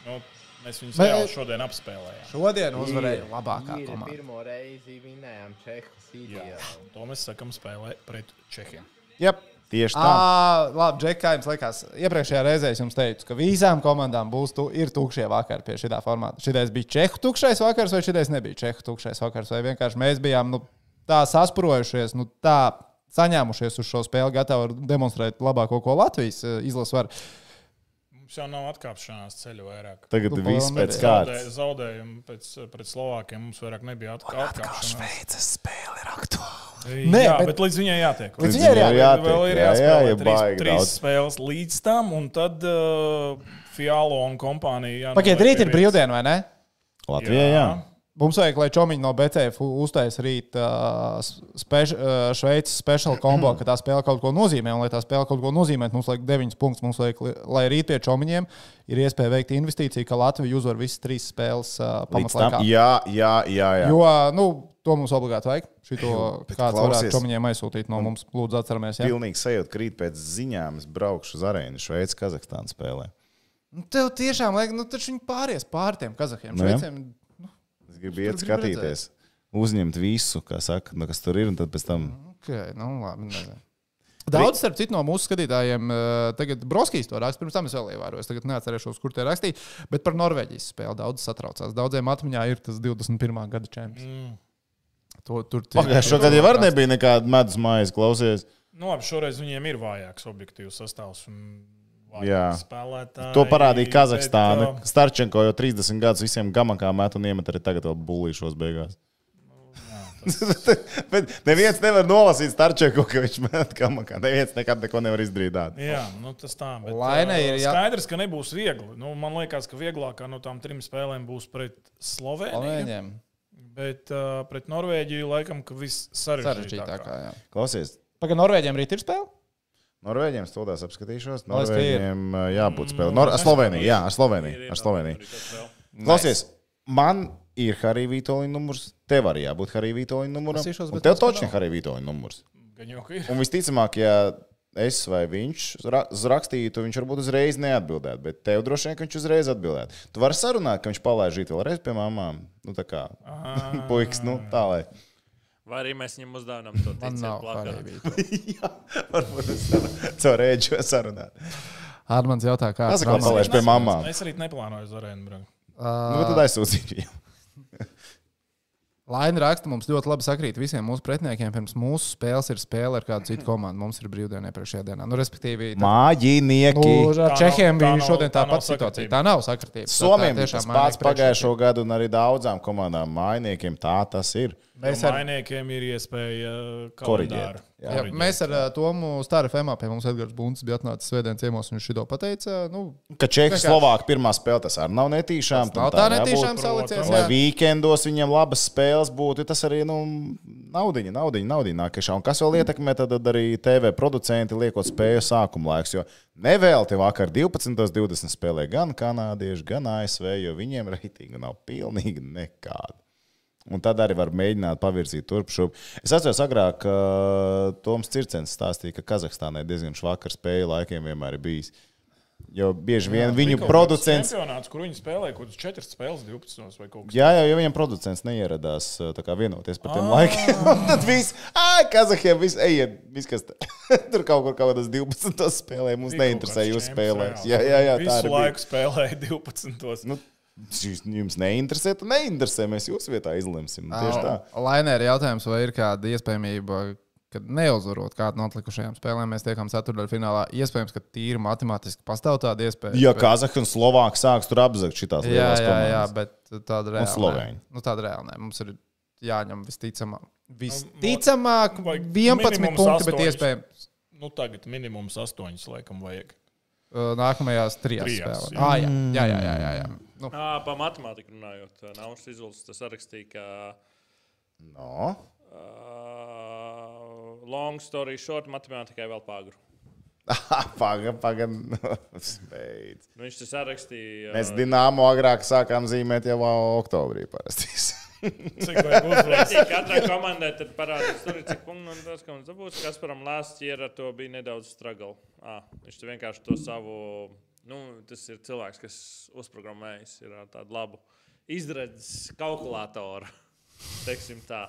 S5: Nu, mēs viņus
S2: Bet-
S5: reāli šodien apspēlējām.
S2: Šodien uzvarēja labākā
S6: Īri
S2: komanda.
S6: pirmo reizi vinējām Čehas
S5: Jā.
S6: ideālu.
S5: To mēs sakam spēlē pret Čehiem.
S1: Jā, tieši tā.
S2: À, labi, Džek, kā jums likās, iepriekšējā reizē es jums teicu, ka visām komandām būs tu, ir tukšie vakari pie šī formāta. Šitais bija Čehu tukšais vakars, vai šitais nebija Čehu tukšais vakars, vai vienkārši mēs bijām nu, tā sasprojušies, nu, tā saņēmušies uz šo spēli, gatavi demonstrēt labāko, ko Latvijas eh, izlase var.
S5: Mums jau nav atkāpšanās ceļu vairāk.
S1: Tagad
S2: Nu,
S1: viss pēc
S2: palam, arī.
S5: Zaudē-
S1: kārtas.
S5: Zaudējumi pēc, pret Slovākiem mums vairāk nebija atkā- atkāpšanās.
S2: Šveices spēle ir aktuāla.
S5: Nē, jā,
S2: bet-
S5: bet, bet līdz viņai jātiek.
S2: Līdz viņai ir
S1: viņai
S2: jā-
S1: jātiek,
S5: Vēl
S1: jā,
S5: ir
S1: jā,
S5: jāspēlē
S1: ja
S5: trīs,
S1: baigi
S5: trīs
S1: daudz.
S5: spēles līdz tam, un tad uh, Fialo un kompānija. nu,
S2: Pagaidiet, rīt ir brīvdiena, vai ne?
S1: Latvijā, jā.
S2: Mums vajag, lai čomiņi no BCF uztaisītu rīt uh, speš, uh, Šveices speciālu kombo, ka tā spēle kaut ko nozīmē. Un, lai tā spēle kaut ko nozīmē, mums vajag 9 punktus. Mums vajag, li- lai rīt pie čomiņiem ir iespēja veikt investīciju, ka Latvija uzvar visas trīs spēles uh,
S1: Līdz tam.
S2: pamatlaikā.
S1: Jā, jā, jā. jā.
S2: Jo ā, nu, to mums obligāti vajag. Šito
S1: bet
S2: kāds varētu
S1: klausies.
S2: čomiņiem aizsūtīt no mums. Lūdzu, atceramies. Ja?
S1: Pilnīgi sajūta, krīt pēc ziņām, es braukšu uz arēnu Šveices, Kazahstānas spēlē.
S2: Nu, Tev tiešām vajag, nu taču viņi pāries pār tiem kazahiem.
S1: Nu, jā.
S2: Šveiciem,
S1: Es gribu iet
S2: gribi
S1: skatīties, uzņemt visu, kā saka, nu, kas tur ir, un tad pēc tam
S2: Okay, nu, labi, nezinu. Daudz, starp citu, no mūsu skatītājiem, eh, tagad Broskīs to raksta. Pirms tam es vēl ievēroju, es tagad neatcerēšos, kur tie rakstīja. Bet par Norvēģijas spēli daudz satraucās. Daudziem atmiņā ir tas 21. gada čempions. Mm. To, tur tie-
S1: Pagājušā gada jau arī nebija nekāda medus mājas, klausies.
S5: Nu, labi, šoreiz viņiem ir vājāks objektīvs sastāvs. un vājāki
S1: Jā.
S5: spēlētāji,
S1: To parādīja Kazahstāna.
S5: bet,
S1: Starčenko jau 30 gadus visiem gamakā met un iemet arī tagad vēl bulīšos beigās.
S5: uh,
S1: Bet neviens nevar nolasīt Starčenko, ka viņš met gamakā. Neviens nekad neko nevar izdarīt.
S5: ā,
S1: tādu.
S5: Jā, nu tas tā. Bet,
S2: Lainai
S5: ā,
S2: ir jā-
S5: skaidrs, ka nebūs viegli. Nu, man liekas, ka vieglākā no tām trim spēlēm būs pret Sloveniju.
S2: Slovēņiem.
S5: Bet uh, pret Norvēģiju laikam, ka viss sarežģītākā.
S2: Sarežģītākā.
S1: Klausies,
S2: Pagaidā, Norvēģiem rīt ir spēle?
S1: Norvēģiem stundās apskatīšos.
S2: Lai spēj.
S1: Norvēģiem uh, jābūt spēlē. Nor ar Sloveniju, jā, ar Sloveniju. Ar Sloveniju. Klausies, man ir Harija Vitoļa numurs. Tev arī jābūt Harija Vitoļa numuram.
S2: Lasīšos,
S1: Un
S2: bet
S1: Tev
S2: tas, ka
S1: točni
S2: nav.
S1: Harija Vitoļa numurs.
S5: Gan jau ka ir.
S1: Un visticamāk, ja es vai viņš ra- rakstītu, viņš varbūt uzreiz neatbildētu. Bet tev droši vien ka viņš uzreiz atbildētu. Tu vari sarunāt, ka viņš palaiž rīt vēlreiz pie mamām. Nu, tā kā puikas, nu tā lai.
S3: vai arī mēs viņam uzdāvinām to
S2: Man
S3: ticēt
S2: nav
S3: plakātu.
S2: plakāta.
S1: Varbūt es tā- caur rēģu sarunāt.
S2: Armāns jautā, kā
S1: Pasaka, lai palaiž pie mamām.
S2: Ah.
S5: Es arī neplānoju uz arēnu braukt.
S1: Nu, bet tad aizsūtīšu viņam.
S2: Laina raksta, mums ļoti labi sakrīt visiem mūsu pretiniekiem. Pirms mūsu spēles ir spēle ar kādu citu komandu. Mums ir brīvdiena iepriekšējā dienā. Nu, respektīvi, tā, nu,
S1: Māģinieki!
S2: ar
S5: nav-
S2: Čehiem
S5: tā
S2: bija
S5: nav-
S2: šodien tā
S5: tā nav
S2: pati situācija.
S5: sakritība.
S2: Tā nav sakritība. Tā- tā
S1: Somijam bija
S2: tiešām
S1: tas
S2: mainīja
S1: pats pagājušo gadu, un arī daudzām komandām mājiniekiem tā tas ir.
S2: priekšrocības.
S5: Mēs
S2: Mēs
S5: ar
S2: ar,
S5: mainiekiem ir iespēja uh,
S1: Koriģēt.
S5: korrigēt.
S1: Jā.
S2: jā, mēs ar ā, Tomu Stāru FMā pie mums Edgars Bunts bija atnācis svētdien ciemos, un viņš šito pateica. Nu,
S1: Ka Čehija
S2: Vienkārši.
S1: Slovākija pirmā spēle tas arī nav netīšām.
S2: nav
S1: tam
S2: tā
S1: jābūt.
S2: netīšām salicies.
S1: Lai
S2: jā.
S1: Vīkendos viņam labas spēles būtu, tas arī nu, naudiņa, naudiņa, naudiņa nāk iekšā. Un kas vēl ietekmē, tad arī TV producenti liekot spēju sākuma laiks. Jo nevēlti vakar 12.20 spēlē gan kanādieši, gan ASV, jo viņiem reitinga nav pilnīgi nekāda. Un tad arī var mēģināt pavirzīt turpšup. Es atceros, agrāk uh, Toms Cirkens stāstīja, ka Kazahstānai diezgan švakar spēju laikiem vienmēr ir bijis. Jo bieži vien viņu producents
S5: Čempionāts, kur viņi spēlē, kaut kādas 4 spēles 12 vai kaut kas
S1: Jā, jā, jo viņam producents neieradās uh, tā kā, vienoties par
S5: Ah.
S1: tiem laikiem. Tad viss, ah, Kazahiem, viss, ejiet, viss, kas t- tur kaut kur kaut kādas 12 spēlē, mums
S5: Bija
S1: neinteresē
S5: kaut kāds
S1: jūsu
S5: čemps,
S1: spēlēs. Jā, jā, jā, tā
S5: Visu
S1: ir.
S5: laiku spēlēja 12.
S1: Nu, šis jums neinteresē, tad neinteresē, mēs jūsu vietā izlemsim. Nu,
S2: Ah.
S1: Tieši tā.
S2: Lainē ir jautājums, vai ir kāda iespējamība, kad neuzvarot kādu no atlikušajām spēlēm, mēs tiekam ceturdaļfinālā. Iespējams, ka tīri matemātiski pastāv tāda iespēja.
S1: Ja
S2: bet-
S1: Kazahs un Slovāks sāks tur apzakt šitās
S2: jā,
S1: lielās
S2: jā, jā,
S1: komandas.
S2: bet tāda reāla.
S1: Slovēņi.
S2: Nu, tāda reāla. nē. Mums ir jāņem visticamāk. Visticamāk,
S5: Nu, vai
S2: 11
S5: minimums
S2: punkti, bet
S5: astoņus.
S2: iespējams.
S5: Nu, tagad minimums 8, laikam, vajag.
S2: uh, Nākamajās trijās
S5: Trijās,
S2: spēlēs.
S5: jā. Mm.
S2: Ah, jā, jā, jā. jā, jā, jā. Nu,
S3: Ā, Pa matemātiku runājot, Nauns Izolds tas rakstīja, ka
S1: No.
S3: uh, long story short matemātikai vēl pāgru.
S1: Pagaidām, pagaidām.
S3: Nu, viņš tas rakstīja.
S1: Mēs Dienāmo agrāk sākām zīmēt jau oktobrī parasti.
S5: Cik vajag uzvarēt?
S3: Cik Katrā komandai tad parādās, tur ir cik punkti, un tas, ka mums dabūs, kas param lāsts, ir ar to bija nedaudz struggle. À, viņš te vienkārši to savu, nu, tas ir cilvēks, kas uzprogrammējis, ir ar tādu labu izredzes kalkulātoru, teiksim tā.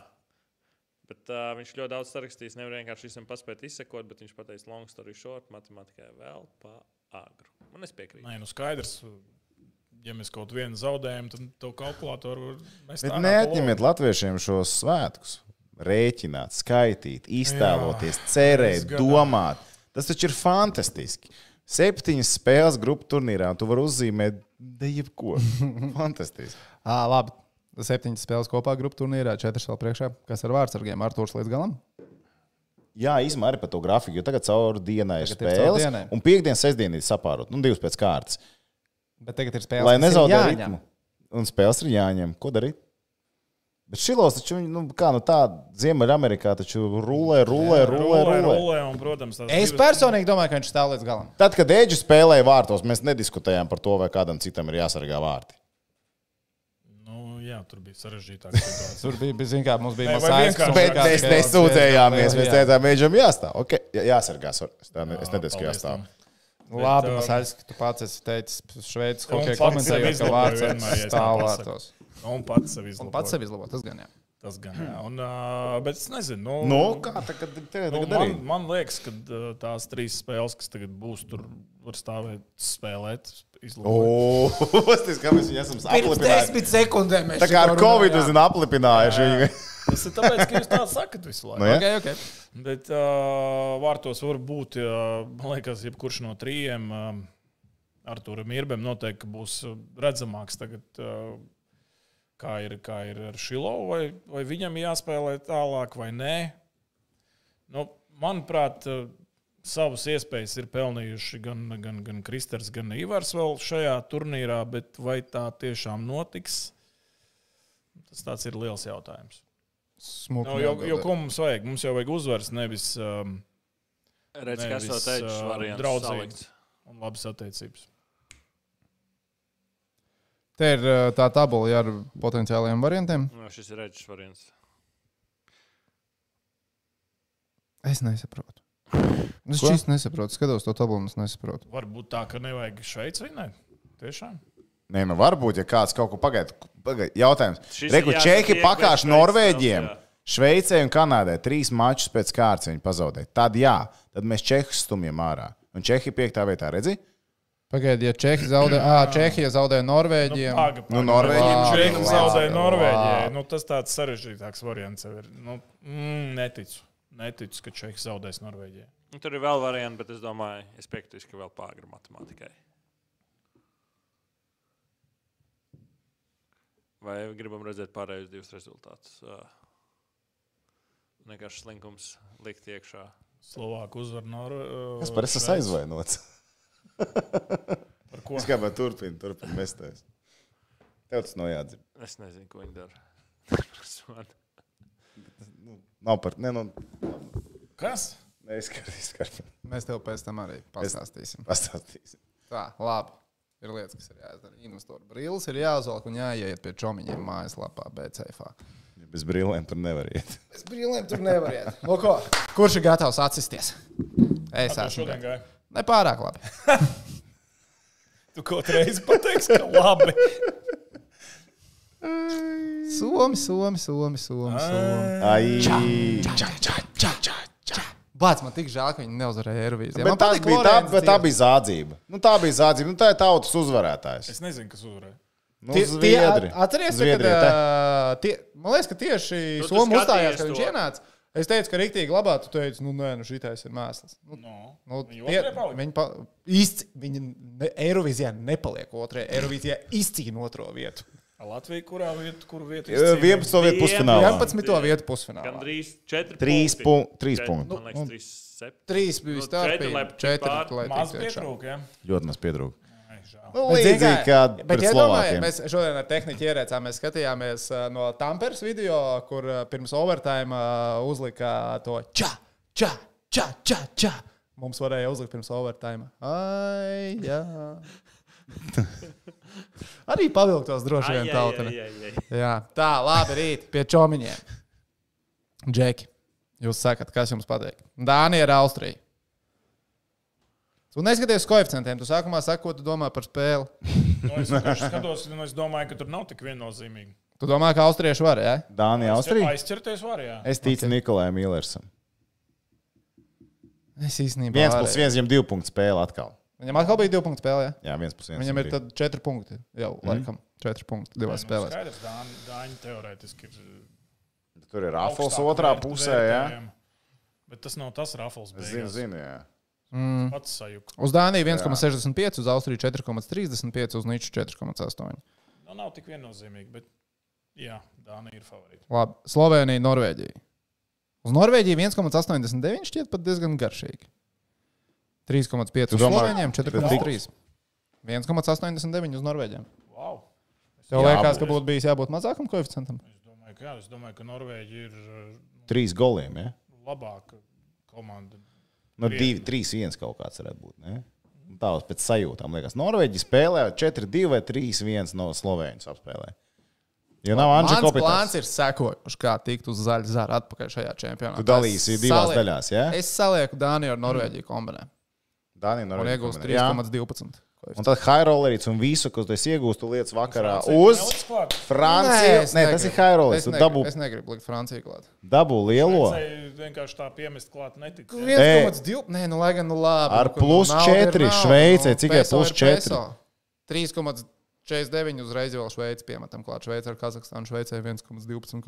S3: Bet uh, viņš ļoti daudz sarakstījis, nevar vienkārši visam paspēt izsekot, bet viņš pateica, long story short, matemātikai vēl pa agru. Un es piekrītu.
S5: Nē, nu skaidrs. Ja mēs kaut vienu zaudējam, tad to kalkulātoru mēs
S1: Bet neatņemiet latviešiem šos svētkus. Rēķināt, skaitīt, iztēloties, cerēt,
S5: gadā.
S1: domāt. Tas taču ir fantastiski. Septiņas spēles grupu turnīrā, un tu vari uzzīmēt de jebko. Fantastiski.
S2: Ā, labi. Septiņas spēles kopā grupu turnīrā, četras vēl priekšā. Kas ar vārdsargiem? Arktūrs līdz galam.
S1: Jā, īstenībā arī par to grafiku, jo tagad caur dienai ir
S2: Tagad ir caur
S1: spēles.
S2: dienai.
S1: Un piekdienas, sestdienas ir sapārot, nu, divas pēc kārtas.
S2: Bet tagad ir spēle.
S1: Lai nezaudētu ritmu. Un spēles ir jāņem. Ko darīt? Bet šilos taču, viņi, nu, kā nu tā, Ziemeļamerikā taču rulē, rulē, rulē,
S5: Rulē,
S1: rulē.
S5: rulē, un, protams, tas
S2: Es personīgi domāju, ka viņš stāv līdz galam.
S1: Tad, kad Eģis spēlēja vārtos, mēs nediskutējām par to, vai kādam citam ir jāsargā vārti.
S5: Nu, jā, tur bija sarežģītāk. situācija.
S2: Tur bija, bija zināms, kā mums bija
S5: Nē, vai
S2: mazais.
S5: vienkārši-
S1: Bet
S5: kā
S1: mēs nesūdzējāmies. Mēs teicām, Eģim, jāstāv. Okay. jā- Jāsargā. sorry. Es tā ne- Es nedēļu, ka
S5: paldies
S1: jāstāv.
S5: tev.
S2: Labi,
S5: Bet, um,
S2: mazais, ka tu pats esi teicis šveicis
S5: un
S2: hokeja
S5: pats
S2: komentējot,
S5: sevi
S2: ka
S5: izlaboju
S2: vārds
S5: vienmēr, ja es tā
S2: stāvētos.
S5: Un pats sev izlabo.
S2: Un pats sevi izlabot, tas gan jā.
S5: Tas gan, jā. Un, uh, bet es nezinu. Nu,
S1: Nu, kā tā, kad tev
S5: Nu,
S1: tagad
S5: man,
S1: darīt?
S5: man liekas, ka ā, tās trīs spēles, kas tagad būs, tur var stāvēt, spēlēt, izlabot.
S1: O, tas, kā mēs viņu esam aplipinājuši.
S2: sekundēm mēs
S1: Tā kā ar Covid esam aplipinājuši. viņu.
S5: Tas ir tāpēc, ka jūs tā sakat visu laiku.
S1: Nu, jā.
S2: Okay, okay.
S5: Bet uh, vārtos var būt, uh, man liekas, jebkurš no trījiem. Uh, ar Turim Irbēm noteikti būs ā, redzamāks tagad, uh, kā, ir, kā ir ar Šilovu. Vai, vai viņam jāspēlē tālāk vai nē? Nu, manuprāt, uh, savas iespējas ir pelnījuši gan, gan, gan Kristers, gan Ivars vēl šajā turnīrā, bet vai tā tiešām notiks? Tas tāds ir liels jautājums.
S2: Smuki.
S5: Nu, jo, jo, ko mums vajag? Mums jau vajag uzvaras, nevis um,
S3: Redz, kas to
S5: nevis,
S3: teica,
S5: ā,
S3: variants
S5: draudzīgi.
S3: salikts.
S5: un labas attiecības.
S2: Te ir uh, tā tabula ja, ar potenciālajiem variantiem.
S3: Nu, šis ir redzes variants.
S2: Es nesaprotu. Es
S1: Ko?
S2: šīs nesaprotu. Skatos to tabulu un es nesaprotu.
S5: Varbūt tā, ka nevajag Šveici vinēt. Tiešām.
S1: Nē, nu varbūt, ja kāds kaut ko pagaida. Pagaid, jautājums.
S3: Šis ir
S1: Reku,
S3: jāsaka
S1: Čehi
S3: iekšpēc
S1: pakāpš
S3: Šveices
S1: Norvēģiem,
S3: spēles, jā.
S1: Šveicē un Kanādai trīs mačus pēc kārtas viņi pazaudēja. Tad jā, tad mēs Čehus stumjam ārā. Un Čehi piektā vietā redzi,
S2: Pagaidiet, ja Čehija zaudē, ā, Čehija zaudē Norvēģiem.
S1: Nu, Ah, Norvēģiem
S5: Čehija
S1: šodien
S5: zaudēja
S1: vācu.
S5: Norvēģijai. Nu, tas tāds sarežģītāks variants. jau Ir. Nu, mm, neticu. Neticu, ka Čehija zaudēs Norvēģijai.
S3: Nu, tur ir vēl variants, bet es domāju, es piekritīšu, ka vēl pāri matemātikai. Vai gribam redzēt pārējos divus rezultātus? Ā. Vienkārši slinkums likt iekšā.
S5: Slovāku uzvaru Norvēģijai.
S1: Es par esmu aizvainots.
S5: Par ko?
S1: Es kā man turpinu, turpinu mesties. Tev tas nav jādzīvo.
S3: Es nezinu, ko viņi dara. Tas man-
S1: Nav par, ne, nu,
S5: Kas?
S1: neizskatīsim, kā
S2: Mēs tev pēc tam arī pastāstīsim.
S1: pastāstīsim.
S2: Tā, labi. Ir lietas, kas ir jāizdara. Investoru brīlis ir jāuzvelk un jāiet pie čomiņiem mājaslapā, BCF.
S1: Ja bez brīlēm tur nevar iet.
S2: Bez brīlēm tur nevar iet. Nu, ko? Kurš ir gatavs atsisties? Es
S5: Tu
S2: esmu.
S5: šodien
S2: gatavs.
S5: gāji.
S2: Ne pārāk labi.
S5: Tu kaut reizi pateiksi, ka labi.
S2: Somi, somi, somi, somi. somi.
S1: Ai,
S2: Bāc, man tik žēl, ka viņi neuzvarēja Eirovīzijā.
S1: bet tā bija, tā, bet tā bija zādzība. Nu, tā bija zādzība. Nu, tā ir tautas uzvarētājs.
S5: Es nezinu, kas uzvarēja.
S1: Nu,
S2: Tie- tie
S1: Zviedri.
S2: at- Atceries,
S1: Zviedri,
S2: kad, uh,
S1: te.
S2: ā, tie, man liekas, ka tieši
S3: tu
S2: Somija uzstājās,
S3: skatījies
S2: kad viņš
S3: to.
S2: ienāca. Es teicu, ka rīktīgi labā, tu teici, nu nē, nu šitais ir mēsls. Nu,
S5: No.
S2: nu,
S5: Viņi otrie palika?
S2: viņi pa, īsti, viņi ne, Eirovizijā nepaliek otrē, Eirovizijā izcīna otro vietu.
S5: Latvija, kurā vietā, kur vietā?
S1: Eh, 11. vietu pusfinālā.
S2: 11. vietu pusfinālā.
S3: Gandrīz 4.
S1: Trīs pu- trīs punkti. Nu,
S3: Man liekas, 3. 7.
S2: 3 bija
S3: Nu, četri,
S2: starpīgi,
S3: lai
S2: 4
S3: pār-
S2: lai
S5: Maz
S2: tiktu iekšā.
S5: pietrūka. Ja?
S1: Ļoti maz pietrūka.
S5: Ai, žēl.
S1: Nu,
S2: Bet,
S1: līdzīgi kā
S2: zini kā, bet
S1: pret
S2: iedomājies,
S1: Slovākiem.
S2: Mēs šodien ar tehniku ierēcām, mēs skatījāmies ā, no Tampers video, kur ā, pirms overtime ā, uzlika to ča, ča, ča, ča, ča. Mums varēja uzlikt pirms overtime. Ai, jā. Arī pavilktos droši vien tautā. Jā, tā, labi, rīt pie čomiņiem. Džeki, jūs sakat, kas jums patīk? Dānija ir Austrija. Tu neskaties uz koeficientiem. Tu sākumā saki, ko tu domā par spēli.
S5: Nu, es vienkārši skatos, un es domāju, ka tur nav tik viennozīmīgi.
S2: Tu domā, ka austrieši var, ja?
S1: Dānija, Austrija.
S5: Aizķerties varēja.
S1: Es ticu Nikolai Millersam.
S2: Es īstenībā.
S1: Viens
S2: varēju.
S1: plus viens, viņam divu punktu spēle atkal.
S2: Viņam atkal bija divi punkti spēlē. Ja?
S1: Jā, viens plus viens. Mhm.
S2: Viņam ir
S1: bija.
S2: tad četri punkti. Jā, mm. laikam. Četri punkti divās spēlēs.
S5: Nu, Skaidrs, Dāņi, Dāņi teorētiski ir. uh,
S1: Tur ir Rafals
S5: augstāk
S1: otrā
S5: vērt-
S1: pusē. Jā.
S5: vērtējami. Bet tas nav tas Rafals.
S1: Es zinu, zinu, jā.
S5: zinu. Pats sajūta.
S2: Mm. Uz Dāniju 1,65, uz Austriju 4,35, uz Nīču 4,8.
S5: Nu, nav tik viennozīmīgi, bet jā, Dānija ir favorīta.
S2: Labi. Slovenija, Norvēģija. Uz Norvēģiju 1,89 šķiet pat diezgan garšīgi. 3,5
S1: Tu
S2: uz
S1: domā,
S2: Slovenijiem,
S1: ka tik-
S2: 4,3. 1,89 uz Norvēģiem.
S5: Wow.
S2: Tev
S1: Jā,
S2: liekas,
S1: būs.
S2: ka būtu bijis jābūt mazākam koeficientam?
S5: Es domāju, ka, jā, es domāju, ka Norvēģija ir uh,
S1: Trīs goliem. Ja?
S5: labāka komanda.
S1: Nu, divi, trīs, viens kaut kāds varētu būt. Ne? Nu, Tā uz pēc sajūtām liekas. Norvēģi spēlē 4, 2 vai 3, 1 no Slovenijas apspēlē. Jo nav Anģela
S2: Mans
S1: Kopitas.
S2: plāns ir sekojošs, kā tikt uz zaļa zara atpakaļ šajā čempionātā.
S1: Tu dalīsi
S2: Es
S1: divās
S2: salieku-
S1: daļās, jā?
S2: Es salieku Dāniju ar Norvēģiju kombinē
S1: Dānija,
S2: un
S1: Norvēģija.
S2: iegūstu
S1: kombinē. Jā.
S2: 3,12.
S1: Un tad Hairollerīts un visu, ko tu esi iegūstu, lietas vakarā uz Franciju. Nē, tas ir Hairollerīts.
S2: Es,
S1: Tu
S2: negribu-
S1: dabū,
S2: es negribu likt Franciju klāt.
S1: dabū lielo.
S5: Franciju vienkārši tā piemest klāt neticu.
S2: 1,2. Nē, nu lai gan nu labi.
S1: Ar
S2: nu, ka
S1: plus
S2: nauda ir
S1: četri
S2: nauda,
S1: Šveicē,
S2: nu,
S1: cik ir
S2: peso
S1: plus
S2: ir
S1: četri?
S2: peso. 3,49 uzreiz vēl Šveici piemetam klāt. Šveice ar Kazahstānu, Šveicē 1,12. ko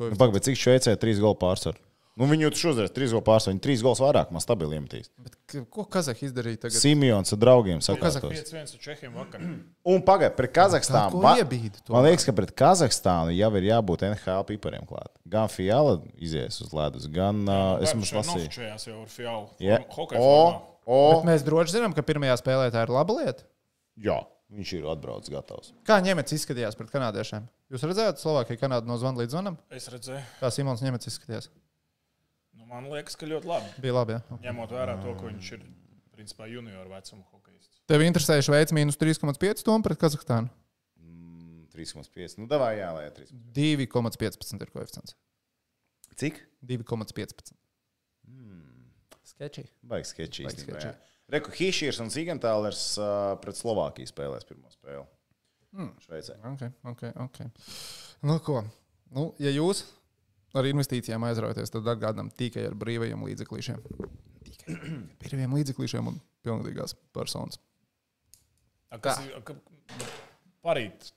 S1: Nu,
S2: ir-
S1: Pagaid, bet cik Šveicē ir trīs golu pārsvars? Nu, viņu tur šodien ir trīs golu pārsvars. Viņi trīs gols vairāk man stabili iemetīs.
S2: Bet k- Ko Kazahstāna izdarīja tagad?
S1: Simjons ar draugiem sakās.
S5: 5-1 uz Čehiem vakar.
S1: Un pagaid, pret Kazahstānu.
S2: Kā ko
S1: ma-
S2: iebīdi to?
S1: Man liekas, ka pret Kazahstānu jau ir jābūt NHL pipariem klāt. Gan Fiala izies uz ledus, gan uh, es mums lasīju.
S5: Čehijās jau ir fiāla.
S1: Jā,
S5: Hokeja
S1: o,
S5: formā.
S1: o,
S2: Bet Mēs droši zinām, ka pirmajā spēlē tā ir laba lieta.
S1: jā, viņš ir atbraucis gatavs.
S2: Kā ņemets izskatījās pret kanādiešiem? Jūs redzējāt, Slovākija Kanāda no zvana līdz zvanam?
S5: Es redzēju,
S2: Kā Simons ņemets izskatījās?
S5: nu, man liekas, ka ļoti labi.
S2: Bija labi. Ja?
S5: Ņemot vērā to, ka viņš ir principā junioru vecuma hokejists.
S2: Tev interesēja Šveice minus 3,5 tomu pret Kazahstānu.
S1: 3,5. Mm, Nu, davā jā, lai 3.
S2: 2,15 ir koeficients.
S1: Cik?
S2: 2,15.
S7: Hmm.
S2: Sketčī.
S1: Baigs sketčī.
S2: Baigs
S1: īstenībā,
S2: sketčī.
S1: jā. Reku Hišers un Zigantālers uh, pret Slovākiju spēlēs pirmo spēli. Hmm. Šveicē.
S2: Okay, okay, okay. Nu, ko? Nu, ja jūs ar investīcijām aizraujaties, tad atgādinām tikai ar brīvajiem līdzeklīšiem. Tikai ar brīvajiem līdzeklīšiem un pilngadīgās personas.
S5: A Kas, ir- ka, nu, parīt.